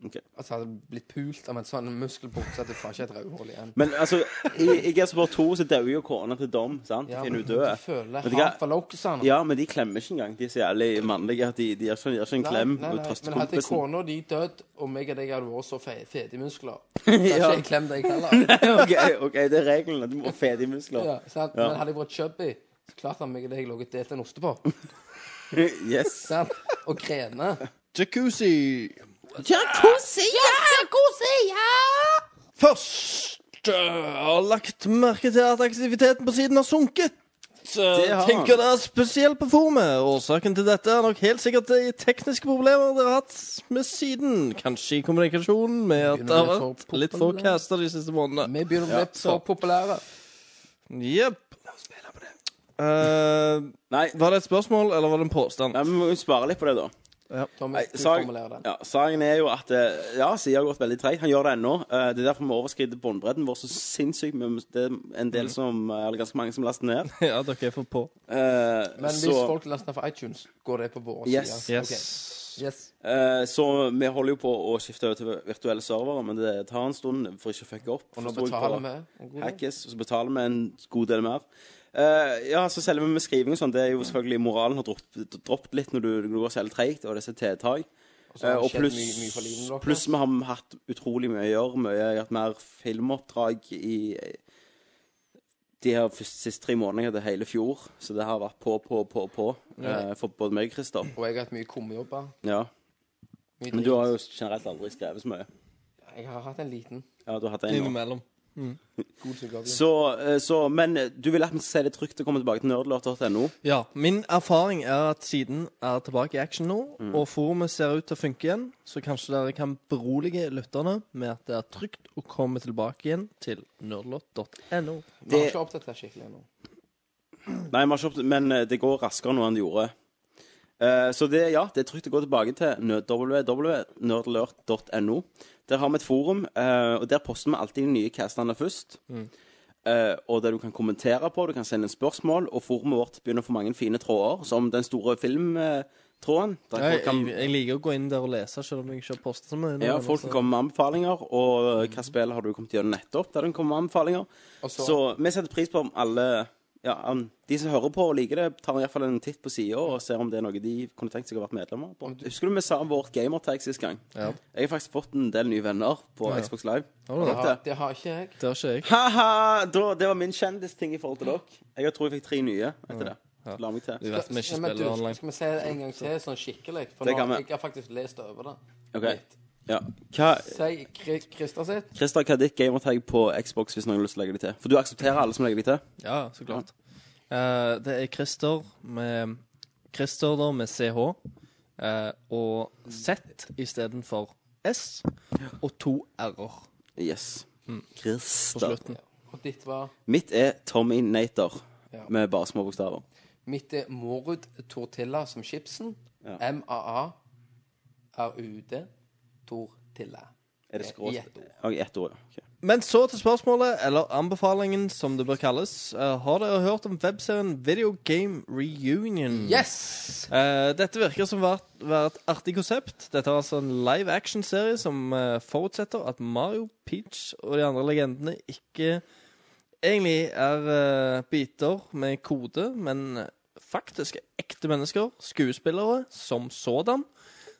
D: Altså, han hadde blitt pult av en sånn muskelbukse at du får ikke et rødhål igjen.
A: Men altså, i, i Gears of War 2 så dauer jo kona til Dom. sant?
D: Ja,
A: Ja, Finner hun
D: men du
A: død.
D: føler
A: Vet du
D: hat
A: hva?
D: for locusene.
A: Ja, men de klemmer ikke engang. De er så jævlig mannlige at de, de gjør ikke, gjør ikke en klem. og trøster
D: Men hadde
A: kompisen.
D: kona di dødd, og meg og deg hadde vært så fe- fete i muskler Da hadde ikke jeg klemt deg heller.
A: OK, ok, det er regelen. at Du må fede i muskler.
D: Ja, sant? Men hadde jeg vært chubby, så klart hadde meg og deg ligget delt en ostepop.
A: Yes.
D: sant? Og grene.
E: Jacuzzi.
B: ja!
E: Først øh, har lagt merke til at aktiviteten på siden har sunket. Det
A: har
E: Tenker det er spesielt på forumet. Årsaken til dette er nok helt sikkert de tekniske problemer dere har hatt med siden. Kanskje i kommunikasjonen med at det har
D: Begynner å bli
E: vært
D: for
E: litt få
D: populært.
E: caster de siste månedene.
D: Vi begynner å bli så populære.
E: Jepp. Eh,
A: Nei,
E: var det et spørsmål, eller var det en påstand?
A: nei, vi må jo spare litt på det, da.
D: Tommy,
A: Nei,
D: du
A: sag,
D: formulerer den.
A: ja, saken er jo at eh, Ja, Sia har gått veldig treigt. Han gjør det ennå. Eh, Det er derfor vi overskrider båndbredden vår så sinnssykt. Men det er en
D: Mm.
A: del som, eh, eller ganske mange som laster ned.
E: Ja, dere er for på.
A: Eh,
D: Men hvis
A: så,
D: folk laster ned fra iTunes, går det på våre
A: Yes.
D: sider?
E: Yes.
D: Ok. yes.
A: eh, så vi holder jo på å skifte over til virtuelle servere, men det tar en stund for ikke å fucke opp.
D: Og nå
A: Forstår jeg på-
D: betaler vi en god del.
A: hackes, og så betaler vi en god del mer. Eh, ja, så selve med skriving og sånn, det er
D: Mm.
A: jo selvfølgelig moralen har droppet, droppet litt når du, når du går selv treigt, og disse tiltak.
D: så har det
A: Eh, og
D: skjedd
A: pluss
D: mye- mye for livet vårt,
A: pluss vi har hatt utrolig mye å gjøre. Mye, jeg har hatt mer filmoppdrag i de her første- siste tre månedene til hele fjor. Så det har vært på, på, på, på. eh, for både meg og Christer.
D: Og jeg har hatt mye kummejobber.
A: Ja.
D: Mye
A: Men
D: drit.
A: du har jo generelt aldri skrevet så mye.
D: Jeg har hatt en liten.
A: Ja, du har hatt en nå.
E: Innimellom.
D: God psykolog.
A: Så, eh, så, men du vil at vi skal si det trygt og komme tilbake til nerdlåt.no?
E: Ja, min erfaring er at siden er tilbake i action nå, og forumet ser ut til å funke igjen, så kanskje dere kan berolige lytterne med at det er trygt å komme tilbake igjen til nerdlott.no.
D: Vi har ikke oppdatert skikkelig ennå.
A: Nei, vi har ikke opp- men eh, det går raskere nå enn det gjorde. Eh, Så det, ja, det er trygt å gå tilbake til nø- www.nerdalert.no. Der har vi et forum, eh, og der poster vi alltid de nye castene først. Eh, Og der du kan kommentere på, du kan sende inn spørsmål, og forumet vårt begynner å få mange fine tråder, som den store filmtråden. Der
E: Jeg,
A: folk
E: jeg,
A: kan,
E: jeg liker å gå inn der og lese, selv om jeg ikke har postet så mye. nå, altså,
A: ja, folk
E: så-
A: kan komme med anbefalinger, og eh, hva spill har du kommet gjennom nettopp der du kommer med anbefalinger.
D: Og så-
A: Så vi setter pris på om alle ja, om De som hører på og liker det, tar i hvert fall en titt på sida og ser om det er noe de kunne tenkt seg å vært medlemmer på. Husker du vi sa om vårt gamertag sist gang?
E: Ja.
A: Jeg har faktisk fått en del nye venner på
E: Ja, ja.
A: Xbox Live.
E: Har du
D: Det
E: det?
D: har, det har ikke jeg.
E: Det har ikke jeg.
A: Ha-ha! Da- Det var min kjendisting i forhold til dere. Jeg tror jeg fikk tre nye etter det. La meg til.
E: Du vet vi ikke
D: Ja, men
E: spiller
D: du,
E: online.
D: Skal vi se det en gang til, sånn skikkelig? For
A: Det
D: nå,
A: kan vi.
D: jeg har faktisk lest over det.
A: OK. Ja. Hva,
D: Si Kri- Christer sitt.
A: Christer, hva er ditt gamertag på Xbox hvis noen har lyst til å legge det til? For du aksepterer alle som legger det til?
E: Ja, ja, så klart. Eh, det er Christer med Christer da med CH eh, og Z istedenfor S og to r-er
A: Yes.
E: Mm. på
A: Christer.
E: slutten.
D: Og ditt var
A: Mitt er Tommy Nater,
D: Ja.
A: med bare små bokstaver.
D: Mitt er Morud Tortilla som chipsen.
A: Ja.
D: M-a-a-r-u-d. Tortilla.
A: Er det
D: I ett
A: skråstrek?
D: ord.
A: Ja, i ett ord, ja. Ok.
E: Men så til spørsmålet, eller anbefalingen som det bør kalles. Eh, har dere hørt om webserien Video Game Reunion?
D: Yes!
E: Eh, dette virker som å være- være et artig konsept. Dette er altså en live action-serie som eh, forutsetter at Mario, Peach og de andre legendene ikke egentlig er eh, biter med kode, men faktisk er ekte mennesker, skuespillere, som sådan.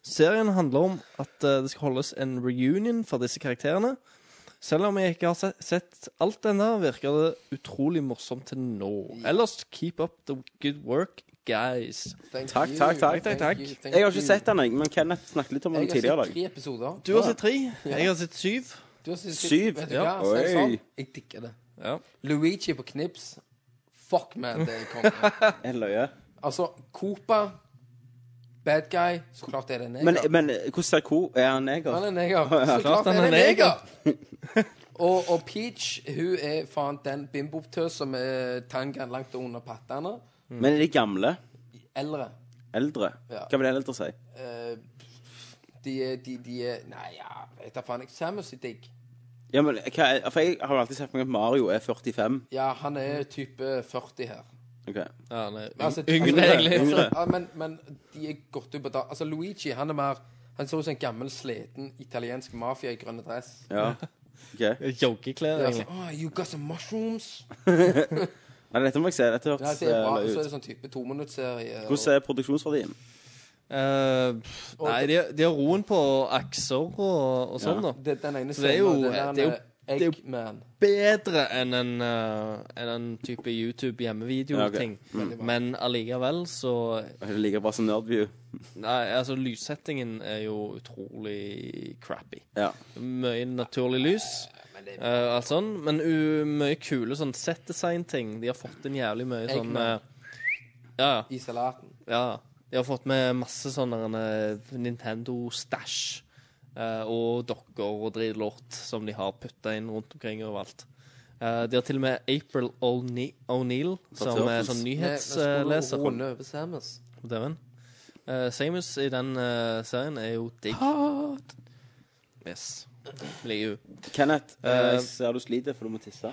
E: Serien handler om at eh, det skal holdes en reunion for disse karakterene. Selv om jeg ikke har se- sett alt ennå, virker det utrolig morsomt til nå. Ellers, keep up the good work, guys.
D: Thank
A: Takk,
D: you.
A: takk, takk,
E: takk,
D: Thank
E: takk.
D: you, thank
A: Jeg har ikke
D: you.
A: sett den, jeg, men Kenneth snakket litt om den
D: Jeg har
A: tidligere
D: sett
A: i dag.
D: tre episoder.
E: Du har sett tre. Jeg har sett syv.
D: Du har sett
A: Syv?
D: Vet du
E: Ja.
D: hva? Så er det
A: Oi.
D: sånn. Jeg digger det.
E: Ja.
D: Luigi på knips. Fuck, man, det er konge.
A: Jeg løyer.
D: Altså, Cooper Bad guy. Så klart er det en neger.
A: Men, men eh, hvordan ser Ko? Er han neger?
D: han er en neger. Så klart
E: han
D: er
E: er
D: det en neger. og, og Peach, hun er faen den bimboptøs som er tangaen langt under pattene.
A: Men er de gamle?
D: Eldre.
A: Eldre?
D: Ja.
A: Hva vil eldre si?
D: Eh, de er de, de er Nei, ja, vet da faen. Jeg Samus er digg.
A: Ja, men hva er, For jeg har jo alltid sett for meg at Mario er 45.
D: Ja, han er type 40 her.
A: Ok.
E: Ja, nei.
D: Altså,
E: Yngre,
D: altså,
E: egentlig.
D: Altså, ja, men, men de er godt oppe da. Altså, Luigi han er mer Han ser ut som en gammel, sliten italiensk mafia i grønn dress.
A: Ja. Ok.
E: Joggeklær,
D: Altså,
E: egentlig.
D: oh, you got some mushrooms?
A: Nei, dette må jeg se. Dette
D: Nei,
A: hørtes
D: det er bra.
A: eh,
D: Og så er
A: løye ut.
D: det sånn type tominuttserie. og-
A: Hvordan er produksjonsverdien?
E: Eh, pff, nei, de, de har roen på akser og, og sånn, da.
D: Det, den ene
E: Så det er
D: scenen,
E: jo- eh,
D: den der
E: det er jo-
D: med
E: det er jo-
D: Eggman.
E: Bedre enn en, eh, enn en type YouTube-hjemmevideo-ting. Men allikevel så
A: Er det like bra som Nerdview?
E: Nei, altså, lyssettingen er jo utrolig crappy.
A: Ja.
E: Mye naturlig lys. eh, alt sånn, men u mye kule sånn set-design-ting. De har fått inn jævlig mye sånn
D: Eggman.
E: eh, Ja, ja.
D: I salaten.
E: Ja, de har fått med masse sånne eh, Nintendo-stæsj eh, og dokker og dritlort som de har putta inn rundt omkring overalt. Eh, de har til og med April O'Ne- O'Neill som er
A: Turtles.
E: sånn
D: Vi- vi skulle
E: nyhetsleser.
D: runde over Samus.
E: Dæven. Eh, Samus i den eh, serien er jo digg. Yes. Liker hun.
A: Kenneth,
E: Eh,
A: jeg ser du sliter, for du må tisse.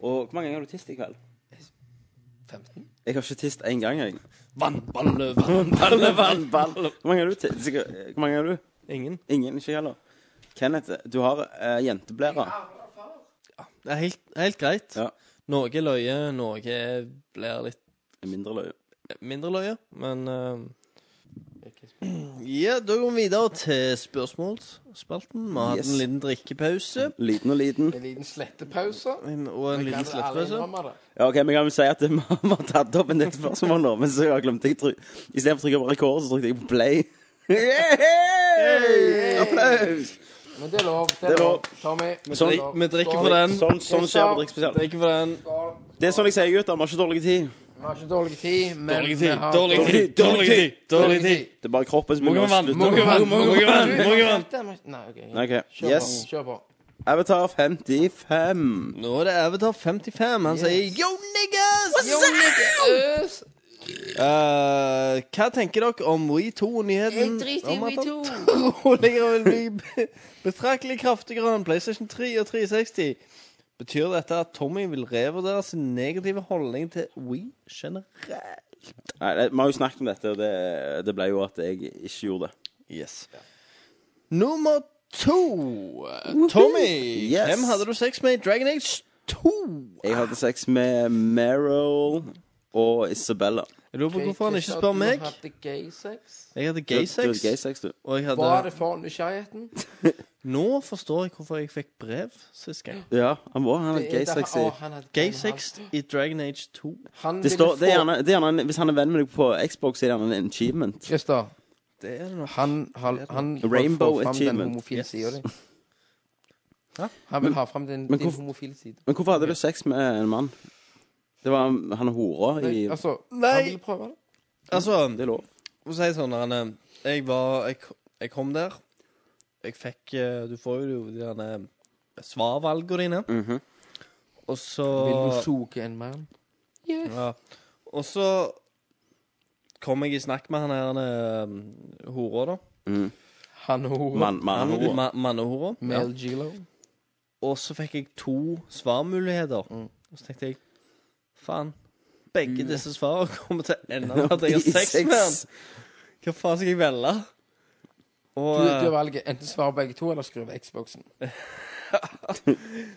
A: Og hvor mange ganger har du tist i kveld?
D: 15?
A: Jeg har ikke tist én gang, jeg.
E: Vannballe, vann...
A: Balle, ball, ball. Hvor mange har du tist? Hvor mange har du?
E: Ingen.
A: Ingen, ikke jeg heller. Kenneth, du har uh, jenteblære.
E: Det er helt, helt greit.
A: Ja.
E: Noe løye, noe blir litt
A: Mindre løye.
E: mindre løye, men eh, Ja, da går vi videre til spørsmålsspalten. Vi har hatt en
A: Yes.
E: liten drikkepause
A: Liten og liten.
D: En liten slettepause.
E: en- og en liten slettepause.
A: Ja, ok, men jeg kan vel si at vi har- vi har tatt opp en del spørsmål nå, men så har jeg glemt jeg tryk... I stedet for å trykke på rekord, så trykte jeg på play. Yay! Applaus!
D: Men det er lov. Det
A: Det
D: er
A: er
D: lov. Tommy.
E: Sånn, vi drikker for den.
A: Sånn, sånn skjer på Drikkspesial.
E: Drikker for den.
A: Det er sånn jeg sier, gutter. Vi har ikke dårlig tid.
D: Vi har ikke dårlig tid, men
E: Dårlig
D: vi
E: tid,
D: har
E: dårlig tid, dårlig tid! Dårlig tid.
A: Det er bare kroppen som
E: Må ikke vann, må ikke vann, må ikke vann, må ikke vann.
D: Nei, OK.
A: Nei, ok.
D: Kjør
A: Yes.
D: på. Kjør på.
A: Avatar 55.
E: Nå er det Avatar 55. Han sier yo, niggas!
D: Jo, Nick, øs.
E: Eh, hva tenker dere om WeTo-nyheten?
B: Jeg driter i
E: om at
B: Wii
E: den Troligere vil bli be- betraktelig kraftigere enn PlayStation 3 og 360. Betyr dette at Tommy vil revurdere sin negative holdning til Wii generelt?
A: Nei, det- vi har jo snakket om dette, og det, det ble jo at jeg ikke gjorde det.
E: Yes. Nummer to. Tommy,
A: Yes.
E: hvem hadde du sex med i Dragon Age 2?
A: Jeg hadde sex med Meryl og Isabella.
E: Jeg lurer på hvorfor han ikke spør meg.
D: Du hadde gay sex.
E: Jeg hadde
A: Du-
E: gay
A: Du hadde gay
E: sex,
A: sex, du.
E: og jeg
D: Var det
E: hadde
D: for nysgjerrigheten?
E: Nå forstår jeg hvorfor jeg fikk brev sist gang.
A: Ja, han var. Han hadde gay
D: Det er
A: sex
D: derfor-
A: i
D: Å, han hadde-
E: Gay
D: han-
E: sex i Dragon Age 2.
D: Han
A: Det
D: ville
A: står, det er
D: få-
A: gjerne, det er gjerne en, hvis han er venn med deg på Xbox, så er det gjerne en achievement.
D: Christer,
E: Det er det nok.
D: han, han, han vil
A: Rainbow
D: få fram den
A: achievement.
D: homofile
E: Yes.
D: siden din. Han vil ha fram din, din
A: hvorfor-
D: homofile side.
A: Men hvorfor hadde du sex med en mann? Det var han hora i
D: Altså,
E: Nei.
D: han vil prøve det.
E: Altså,
A: Det er lov.
E: For å si det sånn, Arne, jeg var jeg, jeg kom der. Jeg fikk eh, Du får jo de derne svarvalgene dine. Og så
D: Vil du suge en mann?
E: ja, Og så kom jeg i snakk med han her eh, hora, da.
D: Han og
A: Mann, mann,
E: Han-
A: hora.
E: ma- Mannehora. Ja.
D: Mel Gilo.
E: og så fikk jeg to svarmuligheter.
D: Mm.
E: Og så tenkte jeg Faen. Begge disse svarene kommer til å ende med at jeg har
A: I
E: sex
A: sex.
E: med han. Hva faen skal jeg velge? Og,
D: Du, du
E: eh,
D: har valget enten svare begge to, eller skru av Xboxen.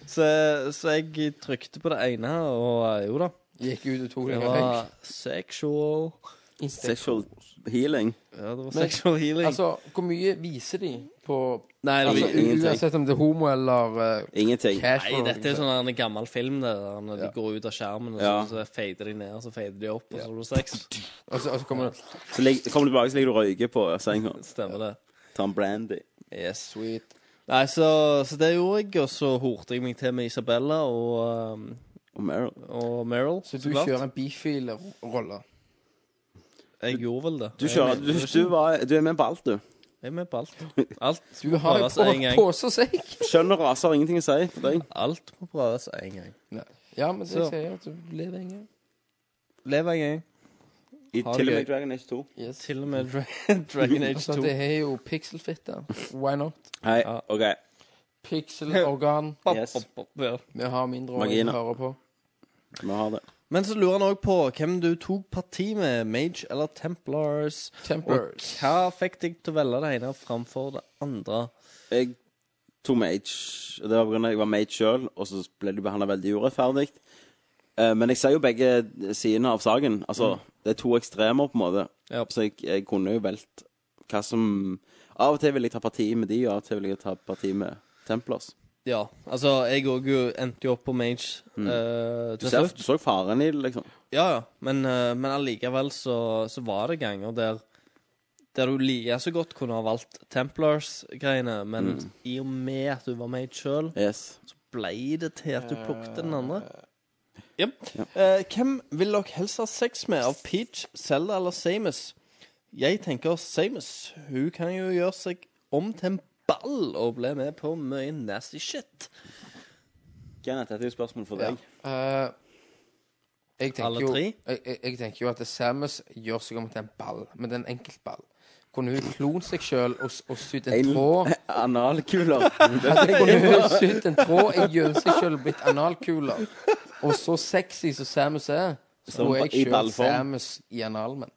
E: så, så jeg trykte på det ene, og eh, jo da.
D: Gikk ut og tok
E: Det
D: deg en
E: var sexual
A: Sexual healing.
E: Ja, det var
D: Men-
E: sexual healing.
D: Altså, hvor mye viser de på
E: nei, det var-
D: altså,
A: vi- ingenting.
D: Uansett om det er homo eller eh,
A: Ingenting.
D: cash liksom.
E: nei, dette er sånn en gammel film det der når de
D: Ja.
E: går ut av skjermen, og
A: Ja.
E: så, så feider de ned, og så feider de opp, og så har du sex.
D: Og så, og så kommer det
A: Så lig, kommer du tilbake, så ligger du og røyker på senga.
E: Stemmer det.
A: Tar en brandy.
D: Yes, sweet.
E: Nei, så, så det gjorde jeg, og så horte jeg meg til med Isabella og, um,
A: Og Meryl.
E: og Meryl.
D: Så du
E: klart.
D: kjører en bifil-rolle.
E: Jeg gjorde vel det.
A: Du kjører Du, du, var, du er med på alt, du.
E: Jeg er med på alt. Alt
D: Du
E: må
D: har jo
E: prøves
D: på,
E: en gang.
D: pose og sekk.
A: Skjønn og rase har ingenting å si for deg.
E: Alt må prøves en gang.
D: Ja, men det
E: Så.
D: sier jeg at du lever en gang.
E: Lev en gang.
A: I,
E: Ha det
A: til og
E: gøy.
A: med Dragon Age 2.
D: Yes.
E: Til og med Dra Dragon Age
D: Altså,
E: 2.
D: det er jo pixelfitte. Why not?
A: Hei, OK.
D: Pixelorgan.
E: Bop,
A: Yes.
E: bop, bop, ja.
D: Vi har mindre å
A: Marginer.
D: høre på.
A: Vi har det.
E: Men så lurer han òg på hvem du tok parti med, Mage eller Templars.
D: Tempers.
E: Og hva fikk deg til å velge det ene framfor det andre?
A: Jeg tok mage. og Det var på grunn av at jeg var mage sjøl, og så ble de behandla veldig urettferdig. Eh, Men jeg ser jo begge sidene av saken. Altså, det er to ekstremer, på en måte.
E: Ja.
A: Så jeg, jeg kunne jo valgt hva som Av og til vil jeg ta parti med de, og av og til vil jeg ta parti med Templars.
E: Ja, altså, jeg òg endte jo opp på Mage. eh,
A: Du,
E: til
A: ser,
E: slutt.
A: du så faren i det, liksom.
E: Ja, ja. Men, eh, men allikevel så, så var det ganger der der du like så godt kunne ha valgt Templars-greiene, men i og med at du var med sjøl,
A: Yes.
E: blei det til at du plukket den andre. Jep. Eh, hvem vil dere helst ha sex med av Peach, Selda eller Samus? Jeg tenker Samus. Hun kan jo gjøre seg om til en ball og bli med på mye nasty shit.
A: Kenneth, dette er jo et spørsmål for
D: Ja.
A: deg.
D: Eh, jeg tenker
E: Alle
D: jo,
E: tre?
D: Jeg, jeg, jeg tenker jo at Samus gjør seg om til en ball, men det er en enkeltball. Kunne hun klont seg sjøl og, s- og sydd en tråd
A: Analkuler.
D: Kunne hun sydd en tråd i gjør seg sjøl og blitt analkuler? Og så sexy som Samus er, så
A: Som
D: er
A: i
D: jeg sjøl
A: ballform.
D: Samus i analmen.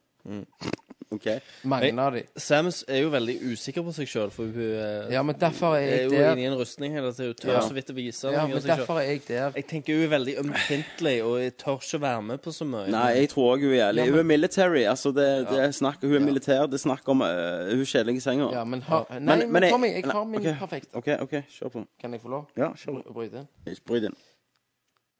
A: OK.
D: Mange av de.
E: Samus er jo veldig usikker på seg sjøl, for hun eh,
D: Ja, men derfor er
E: Jeg er
D: jeg
E: jo
D: der.
E: inne i en rustning hele tiden. Hun tør
D: Ja.
E: så vidt å vise
D: Ja,
E: noe
D: men
E: av seg selv.
D: derfor er jeg der.
E: Jeg tenker hun er veldig ømfintlig, og jeg tør ikke være med på så mye.
A: Nei, jeg tror òg hun er jævlig. Hun er military. Altså, det, det er snakk, hun er militær. Det er snakk om øh, Hun er kjedelig i senga.
D: Ja, men har Nei, men Tommy, jeg
A: nei,
D: har min
A: ok,
D: perfekt.
A: OK, ok, kjør på.
D: Kan jeg få lov
A: Ja, kjør på.
D: å bryte inn?
A: Ikke bry deg.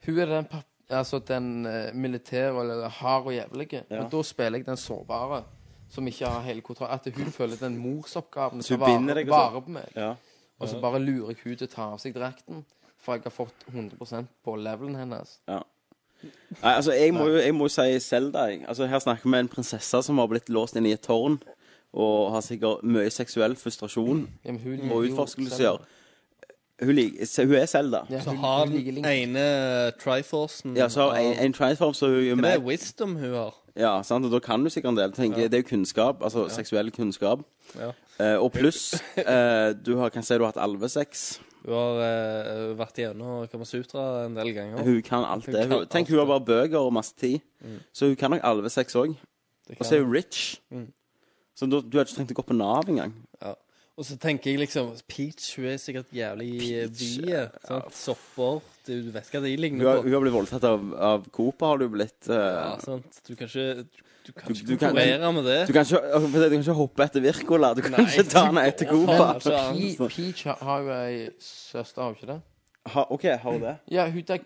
D: Hun er den, pap- altså den eh, militære, eller hard og jævlige.
A: Ja.
D: Men da spiller jeg den sårbare, som ikke har hele kontroll. At hun føler den morsoppgaven
A: Så
D: til
A: hun
D: å vare,
A: binder deg og så-
D: vare på meg.
A: Ja.
D: Og så bare lurer jeg hun til å ta av seg drakten. For jeg har fått 100 på levelen hennes.
A: Nei, altså, jeg må jo jeg må jo si Selda. jeg. Altså, her snakker vi om en prinsesse som har blitt låst inne i et tårn, og har sikkert mye seksuell frustrasjon
D: Ja, men hun liker
A: og
D: jo
A: utforskelser.
D: Zelda.
A: Hun, lik- se- hun er Selda.
D: Ja,
E: Så
D: hun,
E: har
D: hun liker
E: den
D: Link.
E: ene Triforcen
A: Ja, så har hun
E: av-
A: en, en transform, så hun er
E: Det er
A: med.
E: wisdom hun har.
A: Ja, sant? Og da kan du sikkert en del. Tenker, Det er jo kunnskap, altså seksuell kunnskap.
E: Ja.
A: Eh, og pluss, eh, du har, kan si du har hatt alvesex.
E: Hun har eh, vært gjennom Kamasutra en del ganger.
A: Hun kan alt
E: Hun
A: det.
E: kan
A: Hun, tenk,
E: alt
A: hun har
E: det.
A: bare bøker og masse tid. Så hun kan nok alvesex òg.
E: Det
A: Og
E: kan Mm.
A: så er hun rich. Så du, du har ikke trengt å gå på Nav engang.
E: Ja. Og så tenker jeg liksom Peach hun er sikkert jævlig vie. sant? Sopper. Du du vet hva de
A: Hun har,
E: ligner
A: hun
E: på.
A: har blitt voldtatt av, av Coop, har du blitt. eh,
E: Ja, altså. sant? Du kan ikke, du kan
A: Du-
E: ikke
A: du kan-
E: konkurrere med det.
A: du, kan ikke, altså, for det, du kan ikke hoppe etter Wirkola. Du kan ikke ta henne etter Coop.
E: Altså, han-
D: Pe Peach har- har jo ei søster, har hun ikke det?
A: Ha, OK, har hun det?
D: Ja, hun der,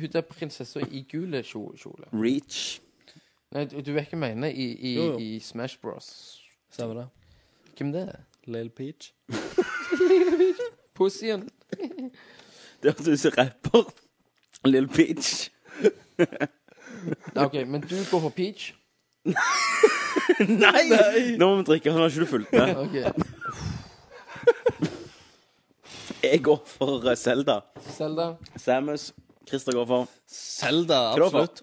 D: hun der prinsessa i gul kjo- kjole.
A: Reach.
D: Nei, du, du vet hva jeg mener? I, i,
E: Jo, jo.
D: i Smash Bros.
E: Stemmer det.
D: Hvem det er?
E: Little Peach.
D: Pussyen.
A: Det er at du som rapper. Little Peach.
D: Nei, OK, men du går for Peach.
A: Nei! Nå må vi drikke, han har ikke du fulgt med.
D: Ok,
A: Jeg går for Selda.
D: Selda.
A: Samus. Christer går for
E: Selda,
A: er det for?
E: absolutt.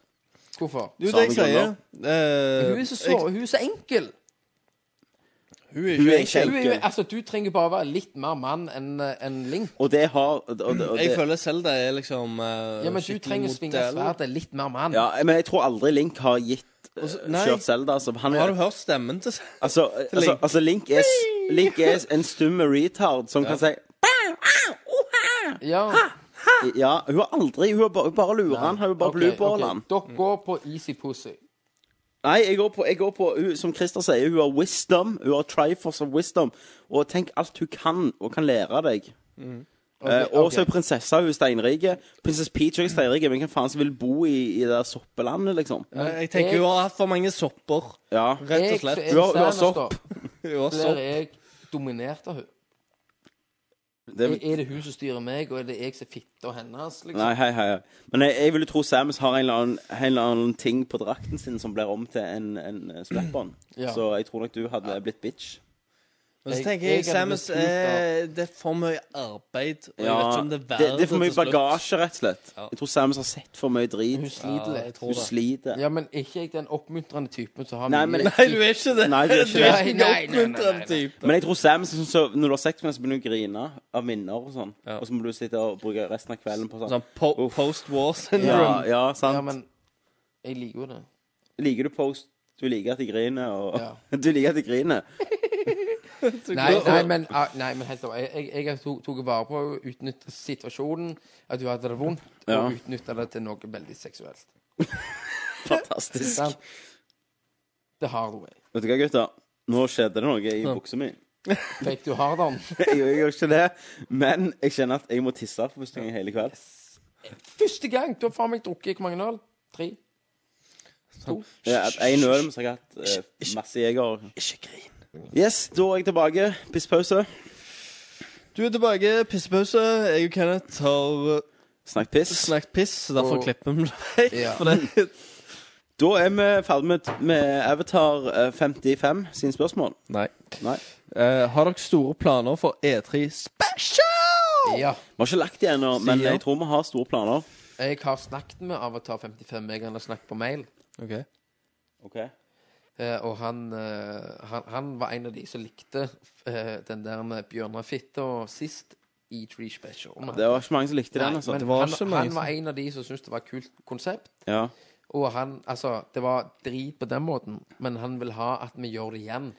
D: Hvorfor?
E: Du,
A: Samme
E: det jeg sier
A: grunn
E: eh,
D: Hun er så, sår, hun er så enkel.
E: jeg,
D: Hun er
A: Hun er
D: ikke
A: ikke
D: enkel. Hun er-
A: enkel.
D: Altså, du trenger bare være litt mer mann enn eh, enn Link.
A: Og det har og, og, og
E: Jeg
A: det,
E: føler selv det er liksom eh,
D: Ja, men du
E: skikkelig
D: trenger å svinge
E: modell.
D: sverdet litt mer mann.
A: ja, Men jeg tror aldri Link har gitt eh,
E: så- nei.
A: Kjørt Zelda. Altså, han
E: Har
A: er,
E: du hørt stemmen til
A: altså, eh, altså,
E: Link?
A: altså Link er, s- Link er en stum retard som kan si
D: Ja,
A: Ja, hun har aldri Hun har bare, hun bare lurer han. Hun bare
D: ok,
A: blueballer
D: ok.
A: han.
D: Dere går på easy pussy.
A: Nei, jeg går på, jeg går på hun, som Christer sier, hun har wisdom. Hun har triforce of wisdom. Og tenk alt hun kan, og kan lære deg.
E: Mm.
A: Eh, og så er prinsessa hun er steinrike. Prinsesse Peach er steinrike, men hvem faen som vil bo i, i det der soppelandet, liksom?
E: Jeg tenker hun har hatt for mange sopper,
A: Ja.
E: rett og slett.
A: Hun har- hun har
E: Hun har
D: Blir
E: sopp.
D: jeg dominert av hun
A: Det,
D: Er er det hun som styrer meg, og er det jeg som er fitta hennes? liksom?
A: nei, hei, hei. hei. Men jeg, jeg vil jo tro Samus har en eller, annen, en eller annen ting på drakten sin som blir om til en, en eh, strap-on.
D: Ja.
A: Så jeg tror nok du hadde blitt bitch.
E: Men så
D: Jeg-
E: tenker
D: jeg
E: jeg
D: hadde
E: Samus
D: blitt
E: eh, Det er for mye arbeid. Og jeg vet ikke om det er
A: det,
E: verdt
A: det er for mye bagasje, rett og slett.
E: Ja.
A: Jeg tror Samus har sett for mye
D: Hun
A: drit.
D: sliter
E: Ja, jeg
D: litt.
E: tror
A: Hun
E: det.
A: sliter.
D: Ja, men er ikke jeg den oppmuntrende typen som har
A: Nei,
D: mye
A: men-
E: Nei, du er ikke det.
A: Nei, du er ikke
E: du
A: det.
E: er
D: Nei,
E: ikke en
D: nei, nei, nei, nei,
E: oppmuntrende
D: nei.
E: type.
A: Men jeg tror Sam sånn, så, Når du har sex med henne, så begynner hun å grine av minner og sånn.
E: Ja.
A: Og så må du sitte og bruke resten av kvelden på sånn.
E: Sånn po
A: Uff.
E: post war syndrome.
A: Ja, ja, sant.
D: Ja, men jeg liker jo det.
A: Liker du post? Du liker at de griner, og
D: Ja.
A: Du liker at de griner.
D: Nei, nei, men, ah, nei, men helt over. Jeg, jeg, jeg tok, tok vare på å utnytte situasjonen, at du hadde det vondt,
A: Ja.
D: og utnytta det til noe veldig seksuelt.
A: Fantastisk.
D: Sant? Det har du. jeg.
A: Vet du hva, gutter? Nå skjedde det noe i buksa mi.
D: Fikk du harderen?
A: Jeg gjør ikke det, men jeg kjenner at jeg må tisse for første gang i hele kveld.
D: Første gang! Du har faen meg drukket hvor mange øl? Tre? To?
E: Sånn.
A: Det er at Én øl, men så har jeg hatt eh, masse jeger.
E: Ikke grin.
A: Yes, da er jeg tilbake. Pisspause.
E: Du er tilbake. Pissepause. Jeg og Kenneth har eh,
A: Snakk piss.
E: snakket piss, så derfor
D: Og-
E: klipper vi det vekk.
D: Ja.
E: For det
A: Da er vi ferdig med, med Avatar eh, 55 sin spørsmål.
E: Nei.
A: Nei.
E: Eh, har dere store planer for E3 Special?
D: Ja.
A: Vi har ikke lagt det ennå, men
E: Sier.
A: jeg tror vi har store planer.
D: Jeg har snakket med Avatar55, jeg har snakket på mail,
E: Ok.
A: Okay.
D: eh, og han, eh, han, han var en av de som likte eh, den der med Bjørnar Fitte og sist E3 Special.
A: Det var ikke mange som likte den.
D: Nei,
A: altså.
D: men
E: Det var
D: han,
E: ikke mange
D: han
E: som-
D: var en av de som syntes det var et kult konsept.
A: Ja.
D: Og han, altså, det var drit på den måten, men han vil ha at vi gjør det igjen.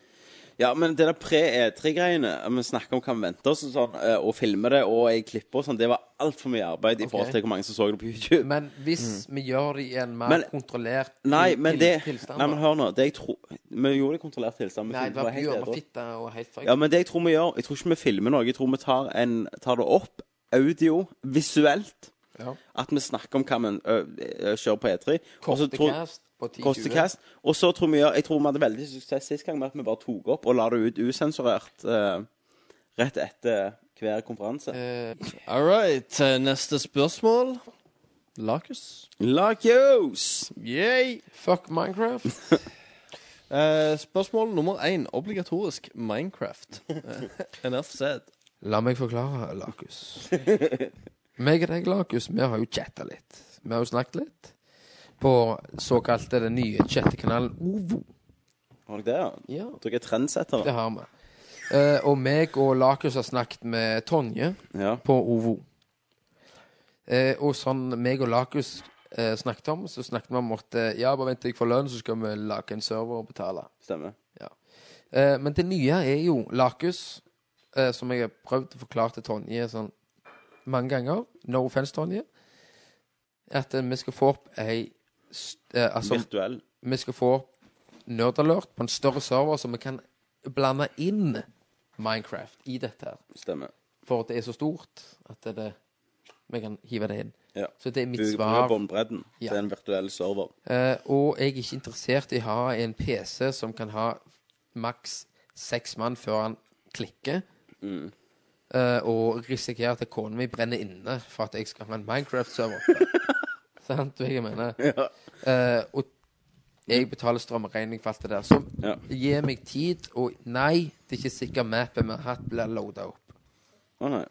A: ja, men det der pre-E3-greiene, vi snakker om hva vi venter oss og sånn, eh, og filmer det, og jeg klipper og sånn, det var altfor mye arbeid i forhold til hvor mange som så det på YouTube.
D: Men hvis vi gjør det i en mer
A: Mm. Men-
D: kontrollert
A: Nei, men det
D: tilstand
A: Nei, men hør nå. Det jeg tror Vi gjorde det i kontrollert tilstand. vi
D: Nei,
A: filmet
D: det var
A: helt edru.
D: bjørn og fitte og helt feil.
A: Ja, men det jeg tror vi gjør Jeg tror ikke vi filmer noe. Jeg tror vi tar, en, tar det opp, audio, visuelt.
D: Ja.
A: At vi snakker om hva vi ø, ø, kjører på E3. og så altså, tror-
D: Kostekast på 10-20.
A: Kostekast. Og så tror vi gjør Jeg tror vi hadde veldig suksess sist gang med at vi bare tok opp og la det ut usensurert eh, rett etter hver konferanse.
D: Eh,
E: All right. eh, Neste spørsmål. Lakus.
A: Lakos!
E: Yay.
D: fuck Minecraft.
E: Eh, spørsmål nummer én. Obligatorisk Minecraft. Eh, Enough said.
D: La meg forklare, Lakus. meg og deg, Lakus, vi har jo chatta litt. Vi har jo snakket litt. På såkalte den nye chattekanalen Ovo.
A: Har dere det, ja?
D: Ja.
A: Dere er trendsettere.
D: Det har vi. Eh, og meg og Lakus har snakket med Tonje.
A: Ja.
D: på OVO. Eh, og sånn meg og Lakus eh, snakket om, så snakket vi om at eh, ja, bare vent til jeg får lønn, så skal vi lage en server og betale.
A: Stemmer.
D: Eh, men det nye er jo Lakus, eh, som jeg har prøvd å forklare til Tonje sånn mange ganger, no offense, Tonje, at eh, vi skal få opp ei s- eh, Altså,
A: Virtuell.
D: vi skal få nerdalert på en større server, så vi kan blande inn Minecraft i dette her.
A: Stemmer.
D: For at det er så stort at det, det Vi kan hive det inn.
A: Ja.
D: Så det er mitt
A: Bruker bruker
D: svar.
A: båndbredden
D: Ja.
A: til en virtuell server.
D: Eh, og jeg er ikke interessert i å ha en PC som kan ha maks seks mann før han klikker.
A: Mm.
D: Eh, og risikere at kona mi brenner inne for at jeg skal ha en Minecraft-server. Sant, hva jeg mener?
A: Ja.
D: Eh, og jeg betaler strømregning for alt det der. Så
A: Ja.
D: gi meg tid, og nei, det er ikke sikkert mappet vi har hatt, blir loada opp.
A: Å nei.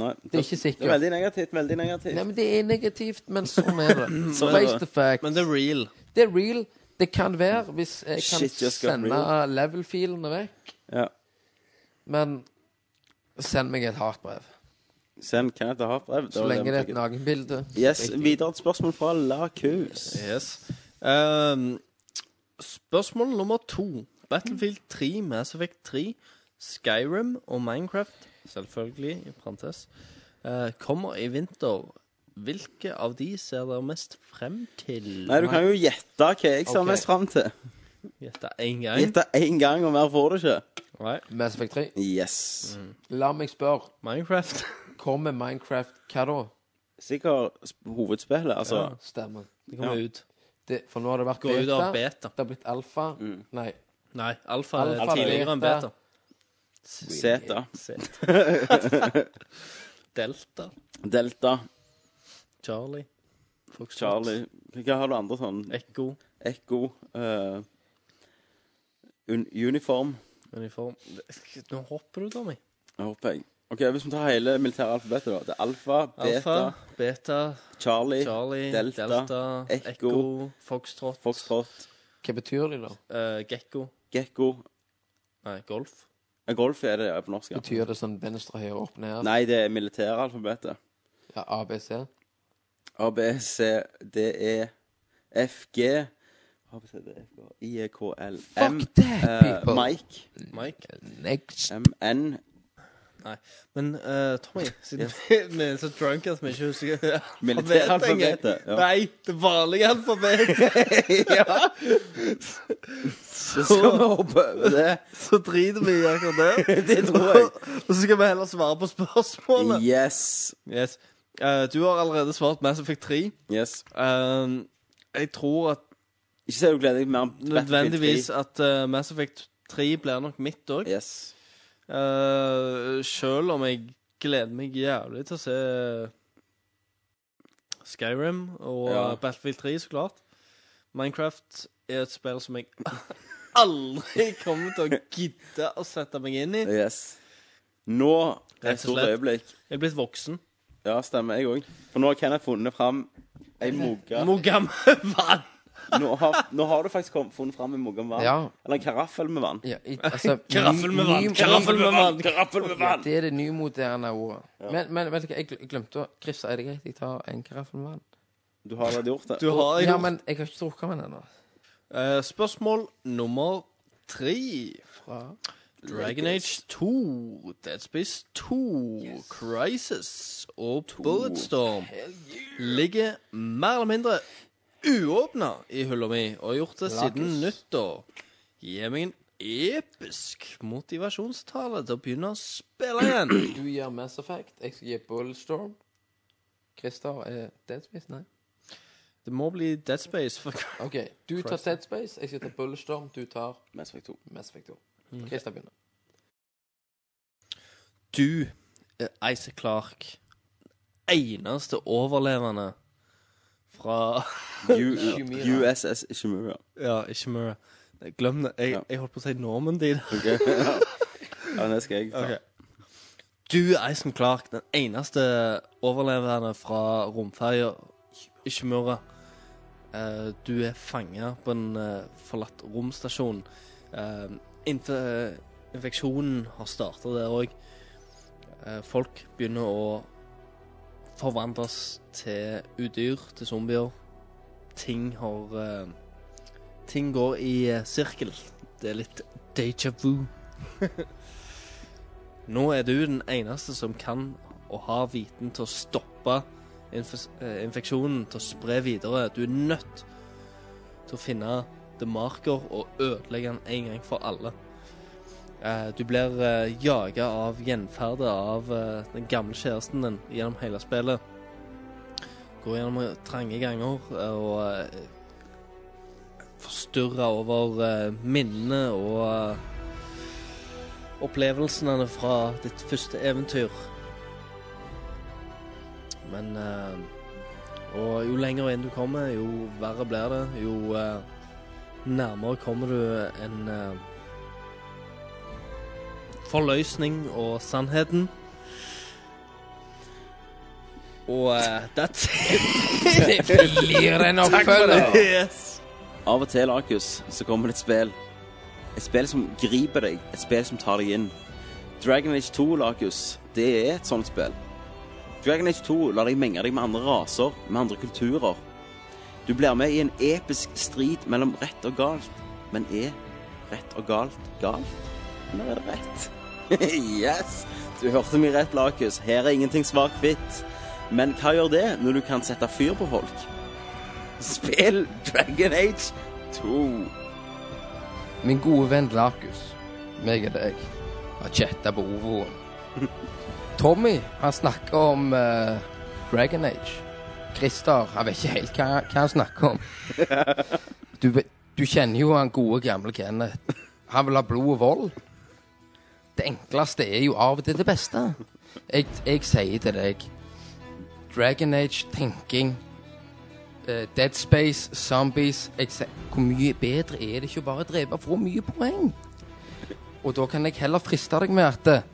A: Nei. Det,
D: er ikke sikkert.
A: Det er veldig negativt. Veldig negativt.
D: Nei, men Det er negativt, men sånn er det.
A: Sånn er
D: Face
A: det.
D: the fact.
E: Men det er real.
D: Det er real. Det kan være, hvis jeg kan
A: Shit just got
D: sende
A: real.
D: level-filene vekk.
A: Ja.
D: Men send meg et hatbrev.
A: Send Kenneth et hatbrev.
D: Så lenge det er et nakenbilde.
A: Yes, Videre et spørsmål fra Lakus.
E: Yes. Ehm, spørsmål nummer to. Battlefield 3, Mass Effect 3, Skyrim og Minecraft, selvfølgelig, i parentes, eh, kommer i vinter. Hvilke av de ser dere mest frem til?
A: Nei, du kan jo gjette hva jeg ser
D: Ok.
A: mest fram til.
E: Gjette én gang.
A: Gjette én gang, og mer får du ikke. Mm.
E: Nei.
D: Mass Effect 3.
A: Yes.
D: La meg spørre.
E: Minecraft.
D: Kommer Minecraft hva da?
A: Sikkert sp- hovedspillet, altså.
D: Stemmer.
E: Det kommer
A: Ja.
E: ut.
D: Det, for nå har det vært
E: Går ut av beta.
D: Det har blitt alfa. Nei.
E: Nei, alfa,
D: Alfa,
E: er tidligere enn
D: beta.
E: beta.
A: Zeta.
E: Delta.
A: Delta.
E: Charlie. Fox
A: Charlie. Hva har du andre sånn?
E: Ekko.
A: Ekko. eh, un uniform.
E: Uniform. Nå hopper du, Tommy.
A: Jeg håper jeg. Ok, Hvis vi tar hele militære alfabetet, da. Det er alfa, beta,
E: Alfa, beta,
A: Charlie,
E: Charlie,
A: Delta,
E: Delta,
A: Echo,
E: Echo, Foxtrot,
A: foxtrot,
D: Hva betyr de, da?
E: eh, Gekko
A: gekko
E: Nei, Golf.
A: Eh, Golf er det ja, på norsk, ja.
D: Betyr det sånn venstre, høyre, opp, ned?
A: Nei, det er militære alfabetet.
D: Ja, ABC?
A: A, B, C, D, E, F, G A, B, C, D, E, F, G, I, E, K, L, M
D: Fuck that,
A: eh,
D: people.
A: Mike,
E: Mike.
D: Next.
A: M, N
E: Mm. Men eh, Tommy, siden vi er så drunk at vi ikke husker
A: Militæralfabetet, ja.
E: Nei, det vanlige alfabetet.
A: Det skal vi hoppe over det
E: Så driter vi i akkurat det.
A: Det tror jeg
E: Og så skal vi heller svare på spørsmålet.
A: Yes
E: Yes. Eh, du har allerede svart Mass Effect 3.
A: Yes
E: Eh, jeg tror at
A: Ikke så du gleder deg mer om Battlefield 3.
E: nødvendigvis at eh, Mass Effect 3 blir nok mitt òg.
A: Yes
E: Uh, Sjøl om jeg gleder meg jævlig til å se Skyrim og
A: Ja.
E: eh, Battlefield 3, så klart. Minecraft er et spill som jeg aldri kommer til å gidde å sette meg inn i.
A: Yes Nå
E: Rett og
A: Et stort
E: slett.
A: øyeblikk
E: Jeg er blitt voksen.
A: Ja, stemmer jeg også For nå har Kenneth funnet fram En mugga
E: Hvor gammel var
A: nå har, nå har du faktisk kom, funnet fram en mugga med vann
D: Ja.
A: Eller en karaffel med vann
D: ja i, altså,
E: Karaffel med
D: ny-
E: vann!
D: ny-
E: Karaffel med vann!
A: Karaffel med vann
D: Det er det nymoderne ordet. Men, men vet du hva, jeg gl- glemte å Chris, er det greit jeg tar en karaffel med vann?
A: Du har allerede gjort det
E: Du har
D: Ja,
E: jo
D: men jeg har ikke drukket med den ennå.
E: Eh, Spørsmål nummer tre.
D: Fra
E: Dragon Age 2, Dead Space 2, Crisis og Bulletstorm ligger mer eller mindre uåpna i hylla mi og har gjort det siden nyttår. Gi meg en episk motivasjonstale til å begynne å spille igjen.
D: Du gir Mass Effect, jeg skal gi Bullstorm. Christer er Dead Space? Nei.
E: Det må bli Dead Space. For...
D: OK. Du tar Dead Space, jeg skal ta Bullstorm, du tar
A: Mass Effect 2
D: Mass Effect 2. Christer begynner.
E: Du er Isaac Clark. Eneste overlevende fra
A: U-
D: Shimura.
A: USS Shimura.
E: Ja, ikke Murray. Glem det. Jeg,
A: Ja.
E: jeg holdt på å si Normandy. der.
A: Ok. ja, det skal jeg ta.
E: Ok. Du er Eisen Clark, den eneste overlevende fra romferja Ishimura. Eh, Du er fanga på en eh, forlatt romstasjon. Eh, inf eh, infeksjonen har starta der òg. Folk begynner å forvandles til udyr, til zombier. Ting har eh, Ting går i eh, sirkel. Det er litt déjà vu. Nå er du den eneste som kan og har viten til å stoppe inf eh, infeksjonen, til å spre videre. Du er nødt til å finne The Marker og ødelegge den en gang for alle. Eh, Du blir eh, jaga av gjenferdet av eh, den gamle kjæresten din gjennom hele spillet. Går gjennom eh, trange ganger eh, og eh, forstyrrer over eh, minnene og eh, opplevelsene fra ditt første eventyr. Men eh, Og jo lenger inn du kommer, jo verre blir det. Jo eh, nærmere kommer du en eh, forløsning og sannheten. Og eh, that's it.
D: Blir det en oppfølger?
E: Yes.
A: Av og til, Arkus, så kommer det et spill. Et spill som griper deg. Et spill som tar deg inn. Dragon Age 2, Lakus, det er et sånt spill. Dragon Age 2 lar deg menge deg med andre raser, med andre kulturer. Du blir med i en episk strid mellom rett og galt. Men er rett og galt galt? Eller er det rett? yes! Du hørte meg rett, Lakus. Her er ingenting svart-hvitt. Men hva gjør det når du kan sette fyr på folk? Spill Dragon Age 2.
D: Min gode venn Larkus, meg og deg, har chatta på Ovoen. Tommy, han snakker om eh, Dragon Age. Christer, han vet ikke helt hva, hva han snakker om. Du, vet- du kjenner jo han gode, gamle Kenneth. Han vil ha blod og vold. Det enkleste er jo av og til det beste. Jeg, jeg sier til deg Dragon Age, tenking, eh, Dead Space, Zombies jeg se- Hvor mye bedre er det ikke å bare drepe for mye poeng? Og da kan jeg heller friste deg med at eh,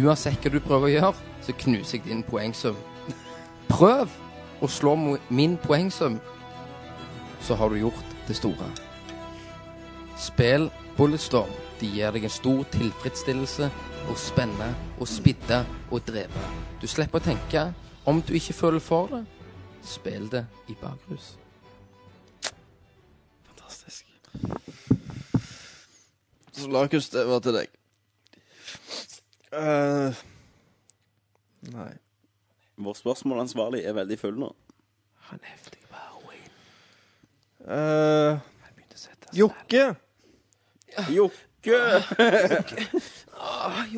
D: uansett hva du prøver å gjøre, så knuser jeg din poengsum. Prøv å slå mo- min poengsum, så har du gjort det store. Spill Bulletstorm. De gir deg en stor tilfredsstillelse å spenne og spidde og drepe. Du slipper å tenke. Om du ikke føler for det, spill det i bakrus.
A: Fantastisk.
I: Så Lakus, det var til deg. Eh, nei.
A: Vår spørsmålansvarlig er veldig full nå.
I: Eh, Jokke.
A: Jokke!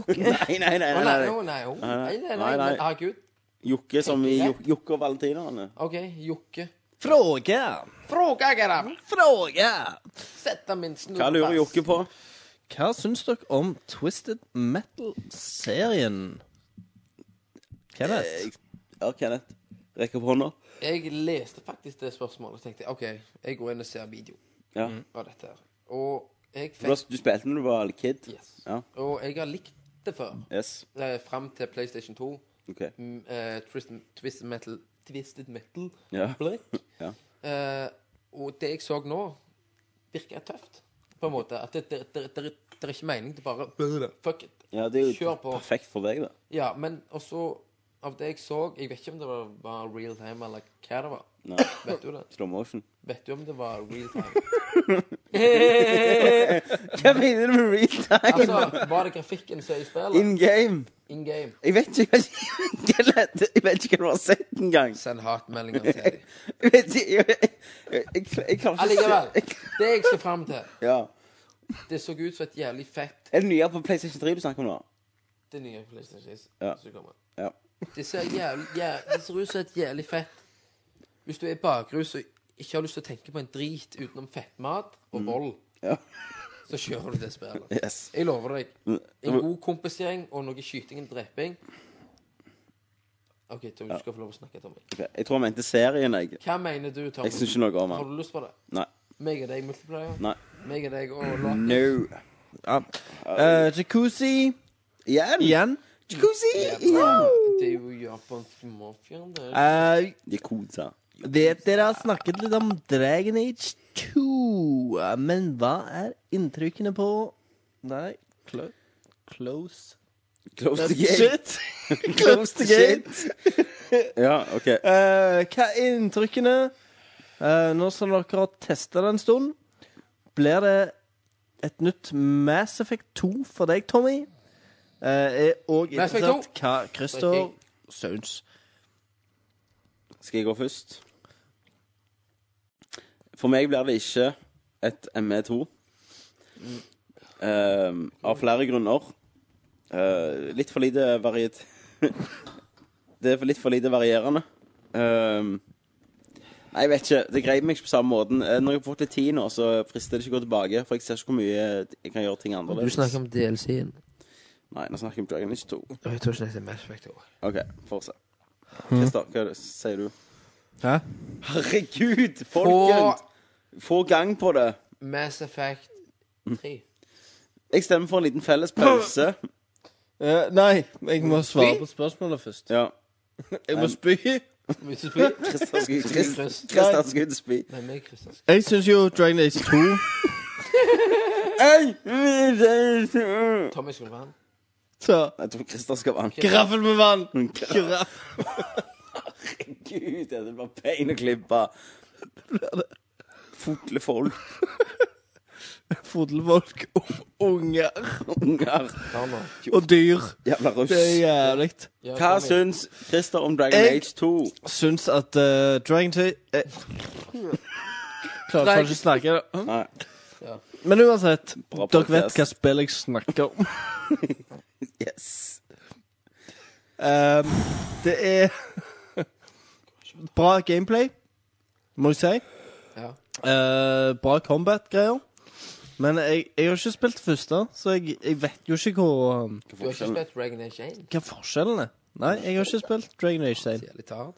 A: Nei, nei, nei. nei, nei.
D: nei, nei,
A: nei, nei, nei, nei.
D: herregud.
A: Jokke som i Jo- Jokke og valentinerne.
D: OK, Jokke.
E: Fråge!
D: Fråga, Gerhard.
E: Fråge!
D: Sett deg min
A: Hva lurer Jokke på?
E: Hva syns dere om Twisted Metal-serien? Kenneth?
A: Ja, Kenneth. Rekk opp hånda.
D: Jeg leste faktisk det spørsmålet og tenkte OK, jeg går inn og ser video
A: Ja.
D: av dette her. Og jeg
A: Du,
D: fikk
A: du spilte når du var kid?
D: Yes.
A: Ja.
D: Og jeg har likt det før.
A: Yes.
D: Eh, Fram til PlayStation 2.
A: OK.
D: Mm, eh, Twisted, Twisted Metal Twisted Metal
A: Ja.
D: Blake.
A: Ja.
D: Eh, og det jeg så nå, virker tøft, på en måte. At det, det, det, det, det er ikke mening til bare Fuck it.
A: ja, det er jo
D: Kjør på.
A: perfekt for deg, da.
D: Ja, men også av det jeg så Jeg vet ikke om det var, var real time eller hva det var.
A: Nei.
D: Vet du det?
A: Slow motion.
D: Vet du om det var real time?
A: Hva mener du med real time?
D: Altså, var det grafikken som er i spillet?
A: In game.
D: In game.
A: Jeg vet ikke hva Kenneth, Jeg vet ikke hva du har sett engang.
D: Send hatmeldinger til dem.
A: Jeg vet ikke Jeg, jeg, jeg, jeg klarer ikke
D: Allikevel.
A: å se-
D: Det jeg skal fram til
A: Ja.
D: Det så ut som et jævlig fett
A: Er det nye på PlayStation 3 du snakker om nå?
D: Det nye PlayStation 6
A: Ja.
D: som kommer.
A: Ja.
D: Det ser, jævlig, jæ- det ser ut som et jævlig fett Hvis du er bakrus og ikke har lyst til å tenke på en drit utenom fettmat og vold,
A: Mm. Ja.
D: så kjører du det spillet.
A: Yes.
D: Jeg lover deg. En
A: Mm.
D: god kompisgjeng og noe skyting og dreping. OK, Tom, du skal få lov å snakke, Tommy.
A: Ok, Jeg tror han mente serien, jeg.
D: Hva mener du, Tom?
A: Jeg syns ikke noe om
D: Har
A: han.
D: du lyst på det?
A: Nei.
D: Meg og deg, multiplayer?
A: Nei.
D: Meg og deg og Lars?
A: No.
E: Eh, jacuzzi
A: Igjen?
E: igjen.
A: Jacuzzi!
D: Det er jo japansk mafia. det er-
E: Eh,
A: Yakuza.
E: Vet dere har snakket litt om Dragon Age 2, men hva er inntrykkene på Nei, clo close
A: Close the gate.
E: Shit! close the gate.
A: Ja, OK.
E: Eh, hva er inntrykkene? Eh, nå som dere har testa det en stund, blir det et nytt Mass Effect 2 for deg, Tommy? Eh, er òg
D: Mass Effect 2.
E: interessert hva Christer
D: Drikker.
E: syns.
A: Skal jeg gå først? For meg blir det ikke et ME2. Ehm, av flere grunner. Eh, litt for lite variet... det er for litt for lite varierende. Ehm, nei, jeg vet ikke. Det grep meg ikke på samme måten. Eh, Når jeg har fått litt tid nå, så frister det ikke å gå tilbake. For jeg ser ikke hvor mye jeg kan gjøre ting
D: Du
A: annerledes.
D: snakker om DLC-en.
A: Nei, nå snakker jeg om Dragon Age 2.
D: Jeg tror ikke det er Mass Effect også.
A: OK, fortsett. Christer, hva er det- sier du?
E: Hmm. Hæ?
A: Herregud,
D: På
A: folkens! Få gang på det.
D: Mass Effect 3.
A: Jeg stemmer for en liten felles pause.
E: Eh, nei, jeg må svare på spørsmålet først.
A: Ja.
E: Jeg må spy.
D: Hvis du spyr
A: Christer Skudd-
D: Spy,
A: Christer
D: Chris.
A: Christer Skudd spy.
D: Nei, meg, Kristian.
E: Jeg syns jo Dragon Age
A: Jeg
E: 2
D: Tommy skulle være han.
E: så
A: tror Christer skal vanke.
E: Graffel med vann!
A: Herregud, det blir bein å klippe. Fotle folk.
E: Fodlefolk og unger.
A: Unger.
D: Ta nå.
E: Og dyr.
A: Jævla russ.
E: Det er jævlig.
D: Ja,
A: Hva
D: Tommy.
A: syns Christer om Dragon
E: Jeg-
A: Age 2?
E: Syns at eh, Dragon Age eh, Klarer ikke å snakke.
A: Nei.
E: Men uansett,
A: Bra
E: dere vet
A: podcast.
E: hva spill jeg snakker om.
A: Yes.
E: Ehm, det er bra gameplay, må jeg si.
D: Ja.
E: Eh, bra combat-greier. Men jeg, jeg har ikke spilt det første, så jeg, jeg vet jo ikke hvor, um,
D: Du har ikke spilt Dragon Age 1?
E: hva forskjellen er. Nei, jeg har ikke spilt Dragon Age 1.
D: Jævlig tard.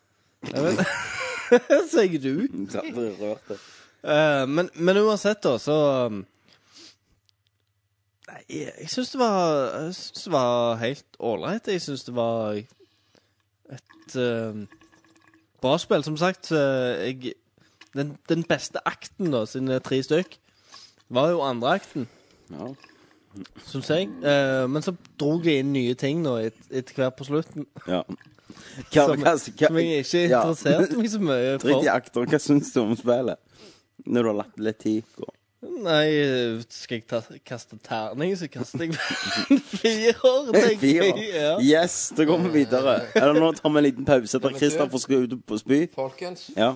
E: Sier du?
A: Så aldri rørt det.
E: Eh, men, men uansett, da, så um, Nei, jeg syns det var Jeg synes det var helt ålreit. Jeg syns det var et eh, bra spill. Som sagt, eh, jeg Den, den beste akten, da, siden det er tre stykk, var jo andre akten,
A: Ja.
E: syns jeg. Eh, men så dro de inn nye ting da, et, etter hvert på slutten,
A: ja. Hva,
E: Som-
A: hva, hva,
E: som jeg ikke
A: ja.
E: interesserte meg så mye
A: Drit i
E: for.
A: akter. Hva syns du om spillet? Når du har latt litt tid gå.
E: Nei, skal jeg ta, kaste terning, så kaster jeg en firer, tenker
A: Fire.
E: jeg. Ja.
A: Yes, da går vi videre. Eller nå tar vi en liten pause der Christer får skru ut og spy.
D: Folkens,
A: Ja.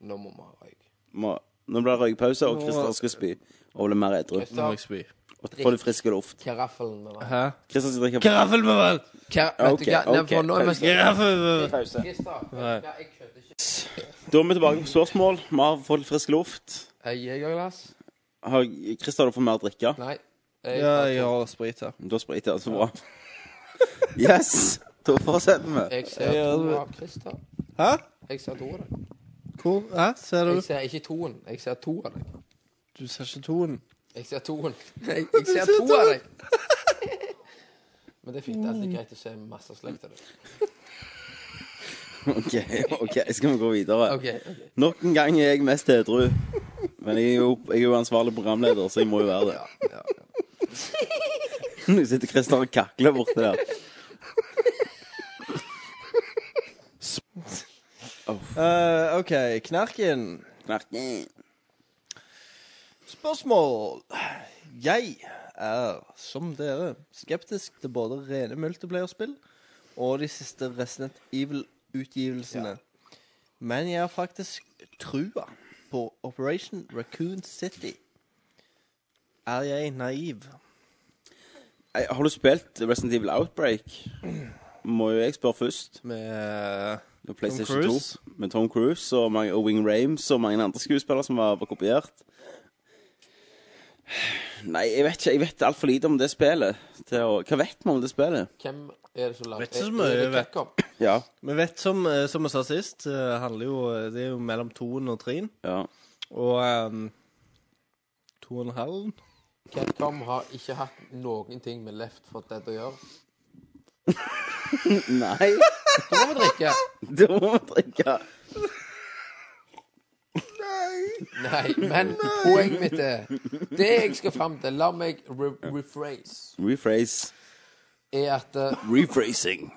D: nå må vi ha røyk.
A: Må, nå blir det røykpause, og Christer skal spy. Og bli mer edru.
D: Kristian,
A: Og få litt frisk luft.
D: karaffelen med meg.
E: Hæ?
A: Christer skal drikke
E: Graffel med vann!
D: Kar vet du
A: Ok,
D: hva? Nei,
A: ok,
D: for nå er vi
E: Graffel med vann!
A: pause.
D: Kristian, vet du
E: Nei.
D: hva? jeg kødder ikke.
A: Da er vi tilbake på spørsmål. Vi har fått litt frisk luft.
D: Jeg jegerglass?
A: Har Christer, du får mer å drikke.
D: Nei. Jeg
E: Ja,
D: tar to.
E: jeg har sprit her.
A: Da spriter jeg, så bra. Yes! Da fortsetter vi.
D: Jeg ser
E: Ja,
D: to
E: du-
D: av Kristian.
E: Hæ?
D: Jeg ser to av deg.
E: Hvor? Hæ? Ser
D: Jeg
E: du?
D: ser ikke toen. Jeg ser to av deg.
E: Du ser ikke toen.
D: Jeg ser toen. Jeg, jeg ser to av deg. Men det er fint. Det er alltid greit å se masse slekt av deg.
A: OK, ok, skal vi gå videre.
D: OK. ok.
A: Nok en gang er jeg mest edru. Men jeg er, jo, jeg er jo ansvarlig programleder, så jeg må jo være det. Nå sitter Christer og kakler borti der.
E: Eh, OK, Knerken. Spørsmål. Jeg er, som dere, skeptisk til både rene multiplayerspill og de siste Resident Evil-utgivelsene. Men jeg har faktisk trua på Operation Raccoon City. Er jeg naiv?
A: Ei, Har du spilt Resident Evil Outbreak? Må jo jeg spørre først.
E: Med
A: Med PlayStation
E: Cruise.
A: 2. Med Tom Cruise og, mange, og Wing Rames og mange andre skuespillere som var, var kopiert. Nei, jeg vet ikke. Jeg vet altfor lite om det spillet. Til å, hva vet vi om det spillet?
D: Hvem er det som lager
E: Vet ikke så mye,
D: Er det
E: vet.
D: Capcom?
A: Ja.
E: Vi vet, som, eh, som jeg sa sist, eh, handler jo, eh, det er jo mellom toen og treen.
A: ja.
E: Og ehm, to og en halv.
D: Capcom har ikke hatt noen ting med Left for Dead å gjøre.
A: Nei,
D: Da må vi drikke.
A: da må vi drikke.
D: Nei, men poenget mitt er Det jeg skal fram til, la meg re rephrase,
A: Rephrase.
D: er at eh,
A: Rephrasing.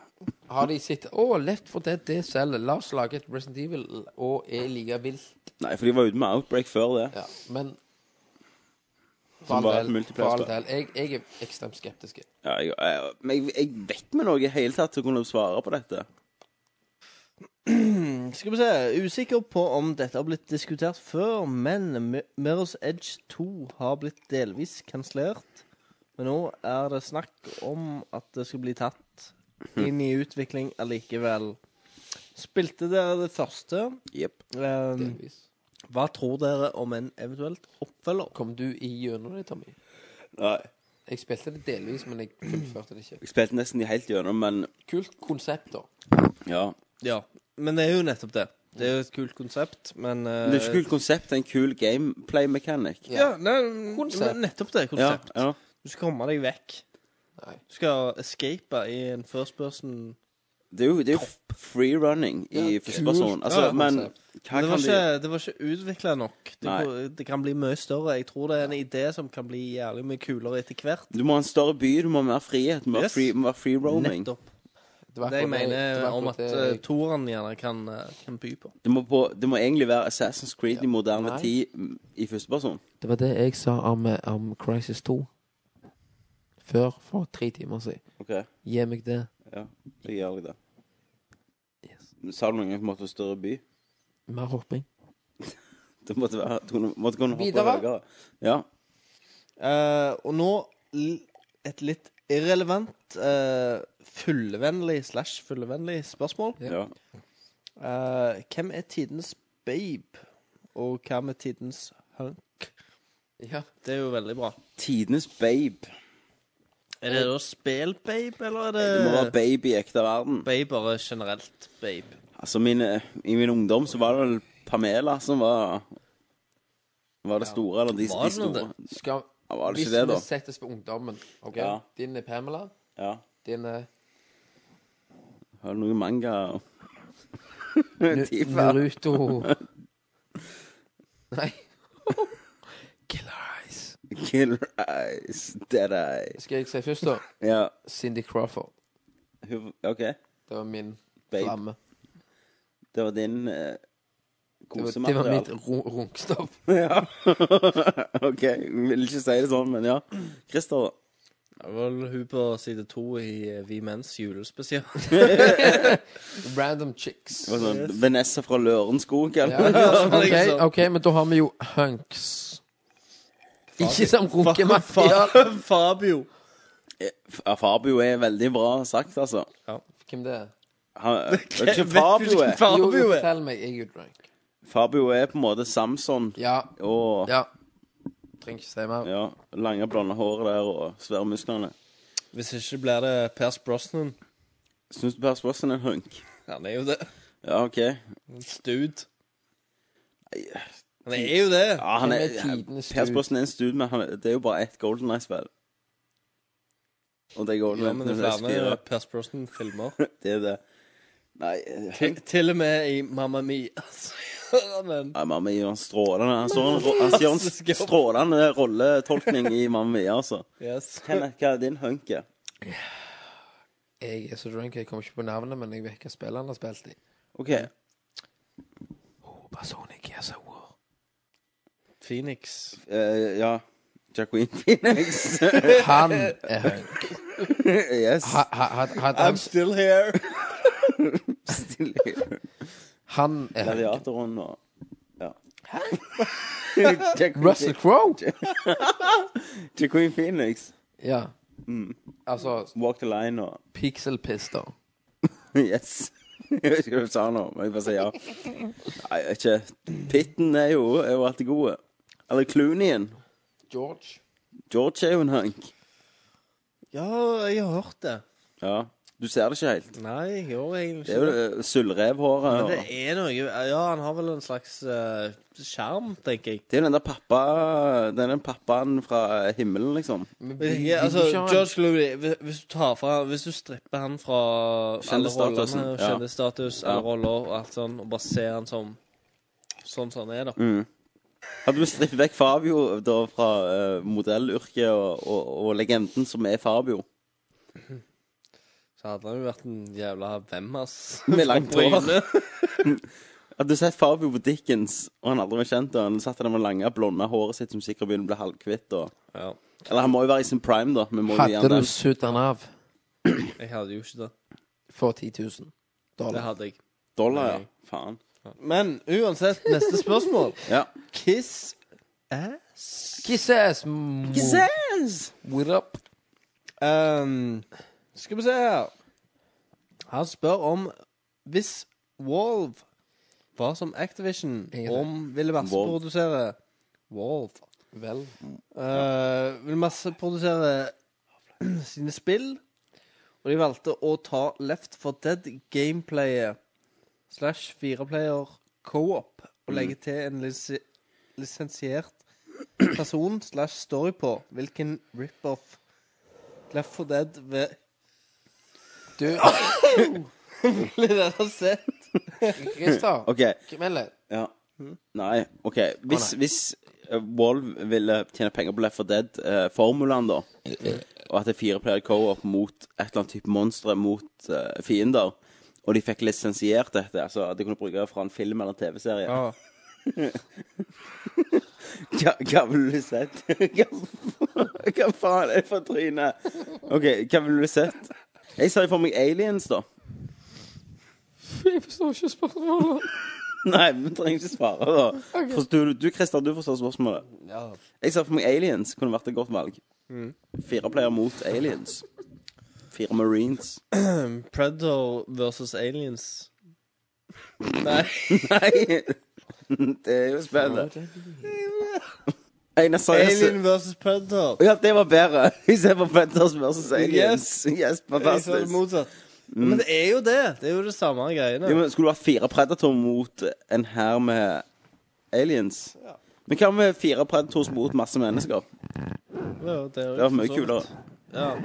D: har de sett Å, Left for Dead, det selger. La oss lage et Resident Evil og er like vilt.
A: Nei, for de var ute med Outbreak før det.
D: Ja, men For
A: Som
D: all
A: bare et
D: del. For
A: multiplayer-spill.
D: all del. Jeg, jeg er ekstremt skeptisk.
A: Ja, jeg, jeg, men jeg, jeg vet med noe i hele tatt til å kunne svare på dette.
E: Skal vi se. Usikker på om dette har blitt diskutert før, men Mi- Mirror's Edge 2 har blitt delvis kansellert. Men nå er det snakk om at det skal bli tatt inn i utvikling allikevel. Spilte dere det første?
A: Jepp.
E: Ehm,
D: delvis.
E: hva tror dere om en eventuelt oppfølger?
D: Kom du i gjennom det, Tommy?
A: Nei.
D: Jeg spilte det delvis, men jeg fullførte det ikke.
A: Jeg spilte nesten de helt gjennom, men
D: Kult konsept, da.
A: ja.
E: Ja, men det er jo nettopp det. Det er jo et kult konsept, men eh,
A: Men det er ikke et kult konsept, det er en kul gameplay mechanic.
E: Ja, nei,
D: Konsept.
E: men nettopp det.
A: Ja,
E: Konsept.
A: ja.
E: Du skal komme deg vekk.
D: Nei.
E: Du skal escape i en first person
A: Det er jo, det er jo freerunning i første person. Altså,
D: Ja,
A: men
D: konsept.
A: hva
I: Det
A: kan
I: var
A: de
I: ikke, det var ikke utvikla nok. Det,
A: Nei.
I: ko- det kan bli mye større. Jeg tror det er en idé som kan bli jævlig mye kulere etter hvert.
A: Du må ha en større by, du må ha mer frihet, du må ha
I: Yes.
A: free, må ha free roaming.
I: Nettopp.
D: var
I: Det jeg
D: akkurat det
I: mener
D: var
I: om
D: akkurat
I: at eh,
D: det-
I: toeren gjerne kan, eh, kan by på.
A: Det må, på, det må egentlig være Assassin's Creed i moderne
D: Nei.
A: tid mm, i første person.
D: Det var det jeg sa om, eh, om Crisis 2 før, for tre timer siden.
A: Ok,
D: Gi meg det.
A: ja, det gjør jeg det.
D: Yes.
A: Sa du noen gang på en måte større by?
D: Mer hopping.
A: Det måtte, være, at hun måtte kunne hoppe
D: Videre?
A: høyere. Ja.
I: Eh, og nå l- et litt irrelevant, eh, fullvennlig slash fullvennlig spørsmål.
D: Ja.
A: ja.
I: Eh, hvem er tidens babe, og hva med tidens hunk?
D: Ja.
I: Det er jo veldig bra.
A: Tidenes babe.
I: Er det da spill-babe, eller er
A: Det må være
I: det
A: babe i ekte verden.
I: babe bare generelt babe?
A: Altså, mine, I min ungdom så var det vel Pamela som var Var det store, eller de,
I: Var
A: de
I: det noe
A: store?
D: Skal,
A: Ja, var det
D: hvis
A: ikke det, da?
D: vi settes på ungdommen ok?
A: Ja.
D: Din er Pamela,
A: Ja.
D: din er
A: Har du noen manga
D: Nu-
A: Tifa.
D: Naruto Nei. Killer Eyes.
A: Killer Eyes, Dead Eye
D: Skal jeg si først, da?
A: Ja,
D: Cindy Crawford.
A: hun, OK.
D: Det var min
A: Babe.
D: flamme.
A: Det var din eh,
D: Det var, det var mitt
A: kosematerial.
D: ru- runkestav.
A: Ja. OK. Vil ikke si det sånn, men ja. Christer, da?
E: Det var vel hun på side to i eh, Vi Menns julespesial.
D: Random chicks.
A: Det var sånn, Vanessa fra Lørenskog, eller?
D: Ja.
E: liksom.
D: ok, ok, men da har vi jo hunks. Ikke som runkematerial.
E: Fabio.
A: Eh, Ja, Fabio er veldig bra sagt, altså.
D: Hvem det er?
A: Han, vet du ikke
E: Vet du
A: Fabio
E: hvilken
A: er?
D: Jo,
E: Fabio
D: jo,
E: er?
D: fortell meg. Jeg er jo drunk.
A: Fabio er på en måte Samson
D: Ja.
A: og
D: ja. Trenger ikke si mer.
A: ja, lange, blonde håret der og svære musklene.
E: Hvis ikke blir det Pers Brosnan.
A: Syns du Per Sprossen er en hunk?
E: Han er jo det.
A: Ja, OK.
E: En stud. Han er jo det.
A: Ja, han er,
D: Hvem er
A: per
D: tidenes stud?
A: Sprossen er en stud, men han, er- det er jo bare ett Golden Eye-spill. Og det er Golden
E: Ja, men det
A: Eye
E: er
A: 64.
E: flere Pers Brosnan-filmer.
A: Det er det. Nei, eh,
E: Til, til og med i Mamma Mia. så gjør han en-
A: Nei, Mamma gjør en strålende Han står en ro- han gjør
E: Fantastisk
A: en
E: jobb.
A: strålende rolletolkning i Mamma Mia, altså.
E: Yes.
A: Kenneth, hva er din hunk? er?
D: Jeg er så drunk, jeg kommer ikke på navnet, men jeg vet hva spillet han har spilt i.
A: OK.
D: Persona Gears of War.
E: Phoenix.
A: eh, ja. Jacqueline Phoenix.
D: Han er hunk.
A: yes.
D: Ha- ha- had- Hadde han
E: Still here.
D: Han er hunk.
A: Gladiatoren og Ja. Jacqueline-
D: Russell Crowe?
A: Jacqueline Phoenix.
D: Ja. Altså
A: Walk the line og
D: Pixel Pister.
A: Yes. Jeg vet ikke hva du sa nå, men jeg bare sier ja. Nei, jeg vet ikke. Pitten er jo, er jo alltid god. Eller Clooneyen.
D: George.
A: George er jo en hunk.
E: Ja, jeg har hørt det.
A: Ja. Du ser det ikke helt.
E: Nei, jeg gjør egentlig
A: Det er jo
E: ikke det.
A: eh, sølvrevhåret.
E: Men det
A: og-
E: er noe Ja, han har vel en slags eh, skjerm, tenker jeg.
A: Det er jo den der pappa Den er den pappaen fra himmelen, liksom.
D: Men vil- vil
E: Ja, altså,
D: du ikke ha en-
E: George Louis, hvis- hvis du tar fra Hvis du stripper han fra alle
A: Kjendisstatusen,
E: rollene,
A: ja.
E: kjendisstatus, alle roller og alt sånn, og bare ser han som sånn som han er, da.
A: Hadde du strippet vekk Fabio da fra eh, modellyrket og, og, og legenden som er Fabio,
E: Så hadde han jo vært en jævla hvem, ass.
A: med langt hår
E: Bryne.
A: Hadde du sett Fabio på Dickens, og han aldri var kjent, og han satt der med lange, blonde håret sitt som sikkert begynner å bli halvkvitt og
E: Ja.
A: Eller han må jo være i sin prime, da. Vi må jo gi
D: Hadde
A: han
D: du
A: den.
D: sudd han av
E: Jeg hadde jo ikke det.
D: for 10 000
E: Det
D: dollar?
E: hadde jeg.
A: Dollar, ja. Faen.
I: Men uansett, neste spørsmål.
A: Ja.
I: Kiss
D: Kisses! mo- What up?
I: ehm, Skal vi se her. Han spør om hvis Wolve var som Activision
D: Ingen
I: om ville masseprodusere Wolve
D: Vel
I: uh, Ville masseprodusere sine spill, og de valgte å ta Left for Dead-gameplayet slash fireplayer co-op og legge
E: Mm.
I: til en lisi lisensiert person slash story på. Hvilken rip-off Left for Dead ved
D: Du,
I: Ville dere sett
D: Christer,
A: OK.
D: hvem er det?
A: Ja. Nei, OK. Hvis, hvis eh, Valve ville tjene penger på Left 4 Dead-formulaen, da, og at det er fire player co-op mot et eller annet type monstre mot eh, fiender, og de fikk lisensiert dette, altså at de kunne bruke det fra en film eller en TV-serie
D: Ja.
A: hva, hva ville du sett? Hva, hva faen er det for tryne? OK, hva ville du sett? Jeg ser jo for meg aliens, da.
D: Jeg forstår ikke spørsmålet.
A: Nei, vi trenger ikke svare, da. Forstår du, du Christer, du forstår spørsmålet.
D: Ja.
A: Jeg ser for meg aliens kunne vært et godt valg. Fire player mot aliens. Fire marines.
E: Predator versus aliens.
A: Nei! Det er jo spennende. Einar Sarjesen.
E: Alien versus Predator.
A: Ja, det var bedre. Istedenfor Benders versus aliens. Yes,
E: Jeg sa det
A: fantastisk.
E: motsatt. Men det er jo det. Det er Mm. jo det samme greiene.
A: Ja, men skulle du hatt fire Predator mot en hær med aliens? Men hva med fire Predators mot masse mennesker?
E: Ja, det er jo
A: Det var mye
E: for så vidt.
A: kulere.
E: Ja.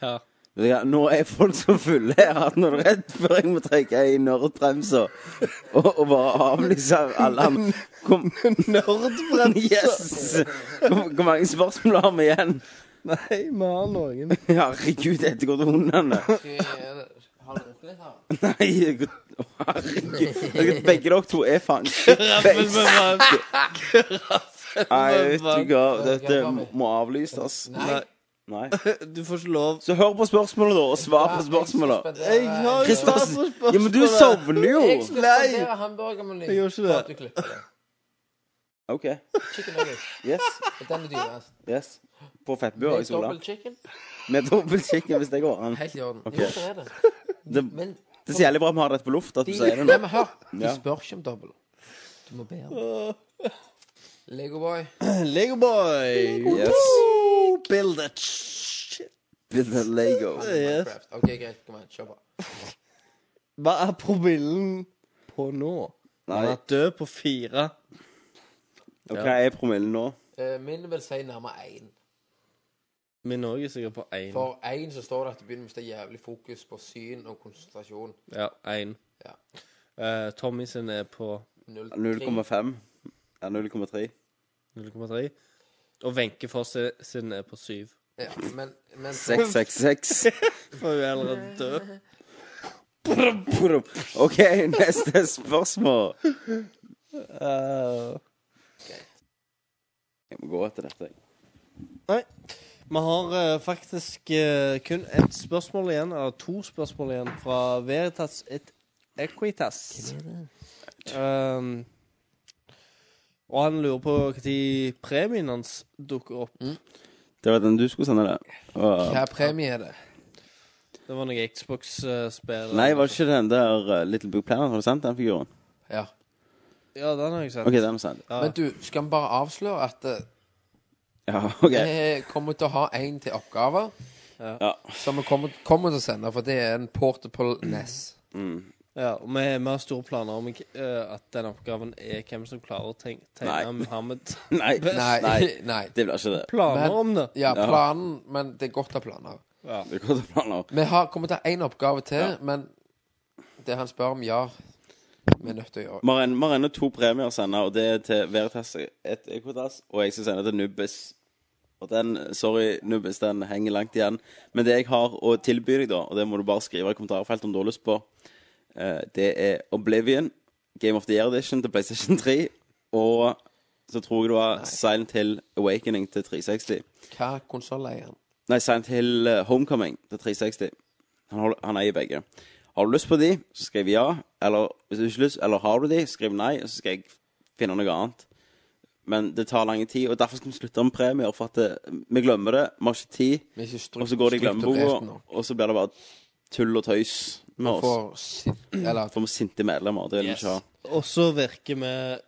E: Hva?
A: Vet du hva, Nå er folk så fulle her at nå er det rett før jeg må trekke ei nerdbremse og, og bare avlyse alle andre. Kom,
E: Nerdbremse!
A: yes! Hvor hvor mange spørsmål har vi igjen?
E: Nei, vi har noen.
A: Herregud, dette går til hundene.
D: Har du drukket litt her?
A: Nei, jeg går- Å, herregud. Jeg- Begge dere to er faen shitface. Nei, vet du hva. Dette må- må avlyses.
D: Nei.
A: Nei.
E: Du får ikke lov.
A: Så hør på spørsmålet, da, og svar på spørsmålet.
D: Jeg har
A: Kristiansen, ja, men du sovner jo!
D: Jeg skal spandere hamburgermeny.
E: Jeg gjorde ikke
D: for
E: det.
D: at du klipper det.
A: OK.
D: Chicken nuggets.
A: Yes.
D: Og Den er dyrest.
A: yes. På Fettbua i Sola.
D: Dobbel chicken.
A: Med dobbelt chicken, hvis det går an.
D: Helt i orden.
A: Ok.
D: Jo, det er det.
A: Det,
D: Men
A: det er så jævlig bra at vi har dette på luft, at du
D: de,
A: sier det
D: Nei,
A: nå.
D: men hør.
A: Ja.
D: De spør ikke om dobbel. Du må be om det. Legoboy.
E: Legoboy!
A: Yes.
E: Build that shit.
A: With the Lego.
D: Minecraft. OK, greit. Kom igjen. Kjør på.
E: Hva er promillen på nå? Han
A: Nei,
E: er død på fire.
A: og hva er promillen nå?
D: Eh, Min vil si nærmere én.
E: Min òg er sikkert på én.
D: For én så står det at det begynner med å stå jævlig fokus på syn og konsentrasjon.
E: Ja, én.
D: Ja.
E: Eh, Tommy sin er på
D: Null-
A: 0,5? Ja, 0,3?
E: 0,3. Og Wenche Foss er- sin er på syv.
D: Ja, men, men
A: 666?
E: For hun er allerede død.
A: OK, neste spørsmål. Jeg må gå etter dette. jeg.
E: Vi har eh, faktisk eh, kun ett spørsmål igjen, eller to spørsmål igjen, fra Veritas et Equitas. Um, og han lurer på når premien hans dukker opp.
A: Det var den du skulle sende, det. Åh.
D: Hva premie er det?
E: Det var noe Xbox-spill.
A: Nei, var det ikke den der uh, Little Big Planet? Har du sendt den figuren?
D: Ja.
E: Ja, den har jeg sett.
A: OK, den har jeg sendt.
E: Ja.
D: Men du, skal vi bare avsløre at eh,
A: Ja, OK.
D: vi kommer til å ha én til oppgave
A: Ja.
D: som vi kommer, kommer til å sende, for det er en portable E NES.
E: Ja, og vi, vi har store planer om eh, at den oppgaven er hvem som klarer å ten-
A: Nei.
E: tegne Muhammed.
A: Nei.
D: Nei.
A: Nei.
D: Nei.
A: Det blir ikke det.
E: Planer
D: Men-
E: om det.
D: Ja, planen, men det er godt å ha planer.
A: Det går til planer.
D: Vi har, kommer til å ha én oppgave til,
A: Ja.
D: men det han spør om, ja. Vi er nødt til å gjøre.
A: Vi har en- vi har ennå to premier å sende, og det er til Veritas et Equitas, og jeg skal sende til Nubbes. Og den, Sorry, Nubbes, den henger langt igjen. Men det jeg har å tilby deg, da, og det må du bare skrive i kommentarfeltet om du har lyst på, eh, det er Oblivion, Game of the Year Edition til PlayStation 3, og så tror jeg det var Silent Hill Awakening til 360.
D: Hva konsoll er han?
A: Nei, Silent Hill eh, Homecoming til 360. Han, hold, han eier begge. Har du lyst på de, så skriv ja. Eller hvis du ikke har lyst, eller har du de, skriv nei, og så skal jeg finne noe annet. Men det tar lang tid, og derfor skal vi slutte med premier, for at det, vi glemmer det. Vi har ikke tid.
D: Vi er ikke stru-
A: Og så går det i
D: strukturert
A: glemmeboka,
D: nok.
A: og så blir det bare tull og tøys med oss.
D: For sin- Eller
A: For vi er sinte medlemmer, det vil vi ikke ha.
E: Og så virker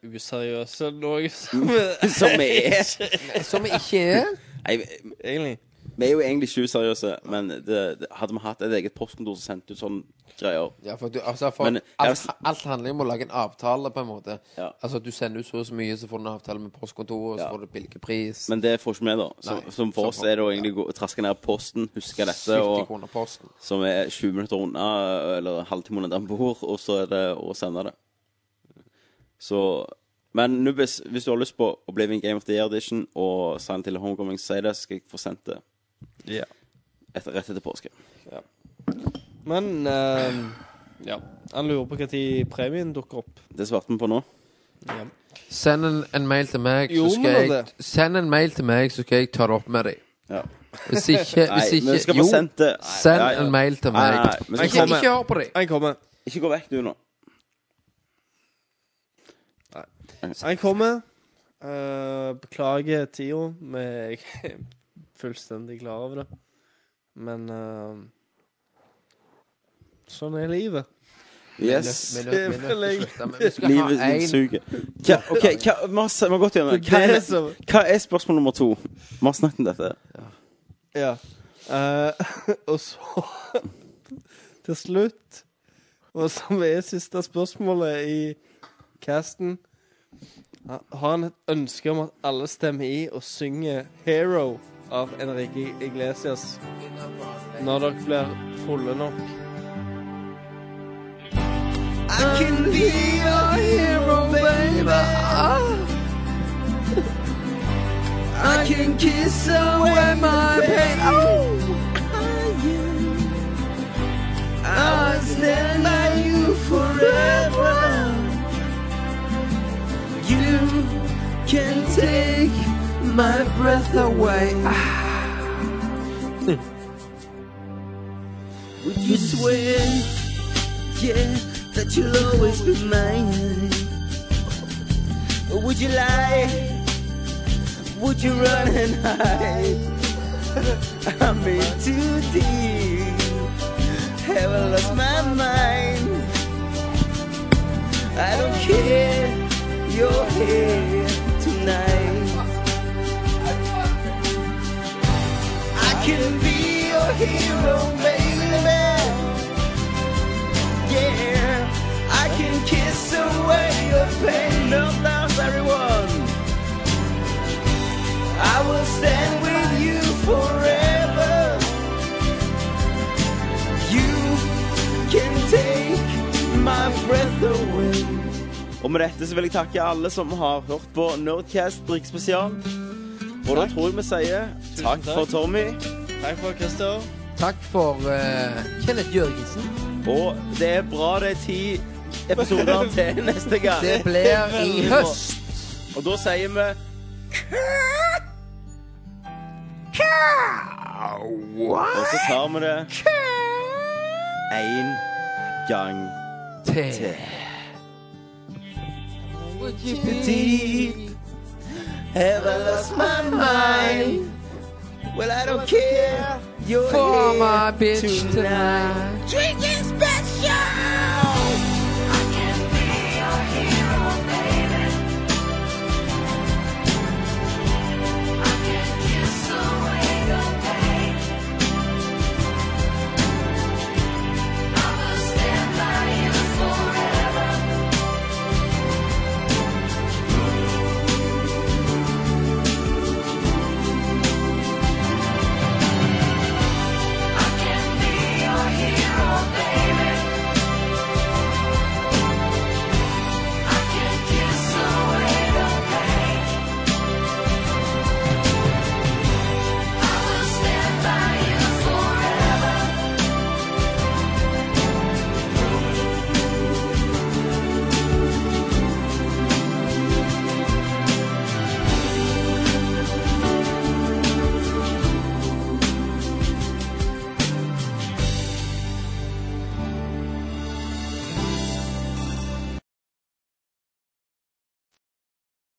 E: vi useriøse, noe som
A: Som vi er.
D: Som vi ikke er.
A: Nei,
E: Egentlig.
A: Vi er jo egentlig ikke useriøse, men det, det, hadde vi hatt et eget postkontor som sendte ut sånne greier
D: Ja, for, du, altså, for
A: Men,
D: alt,
A: jeg-
D: alt handler jo om å lage en avtale, på en måte.
A: Ja.
D: Altså at du sender ut så og så mye, så får du en avtale med postkontoret, så
A: Ja.
D: får du billig pris.
A: Men det får ikke vi, da. Som,
D: Nei,
A: som for
D: som
A: oss
D: for-
A: er det å egentlig gå- traske ned posten, huske dette,
D: 70
A: og,
D: kroner posten.
A: som er 20 minutter unna, eller en halvtime unna der vi bor, og så er det å sende det. Så Men Nubis, hvis du har lyst på å bli med i Game of the Year Edition og sende til Homecoming, si det, så skal jeg få sendt det
J: Ja.
A: etter, rett etter påske.
E: Men eh,
J: Ja.
E: han lurer på når premien dukker opp.
A: Det svarte vi på nå.
D: Send en, en mail til meg,
E: Jo,
D: så
E: men
D: skal
E: da
D: jeg Send en mail til meg, så skal jeg ta det opp med dem.
A: Ja.
D: Hvis ikke,
A: Nei,
D: Eh, hvis
A: men vi
D: ikke
A: skal få
D: Jo,
A: sendt det.
D: send
A: Nei,
D: en mail til
A: Nei,
D: meg.
A: nei, nei, vi
D: Ikke,
A: skal
D: ikke
A: komme.
D: hør på dem.
E: Han kommer.
A: Ikke gå vekk, du, nå.
E: Han kommer. Eh, beklager tida. Vi er ikke fullstendig klar over det. Men eh, sånn er livet.
A: Yes.
D: Vi nø- vi nø- vi nø- slutter, men vi skal ha
A: Livet
D: en-
A: ditt suger. Hva, ok, hva, vi har s- vi har gått gjennom det. Hva
E: Det er
A: er,
E: som-
A: hva er spørsmål nummer to? Vi har snakket om dette.
E: Ja. Eh, og så til slutt, og som er siste spørsmålet i casten ha- Har han et ønske om at alle stemmer i og synger 'Hero' av Enrique Iglesias når dere blir fulle nok?
A: Og med dette så vil jeg takke alle som har hørt på Nerdcast drikkspesial. Og da tror jeg vi sier takk for Tommy.
J: Takk for Christer.
D: Takk for eh, Kenneth Jørgensen.
A: Og det er bra det er ti episoder til neste gang.
D: Det blir i høst.
A: Og da sier vi Og så tar vi det én gang
D: til.
A: til. Have I lost my mind? Well, I don't care. You're
D: For
A: here
D: my bitch
A: tonight.
D: tonight.
B: Drink it!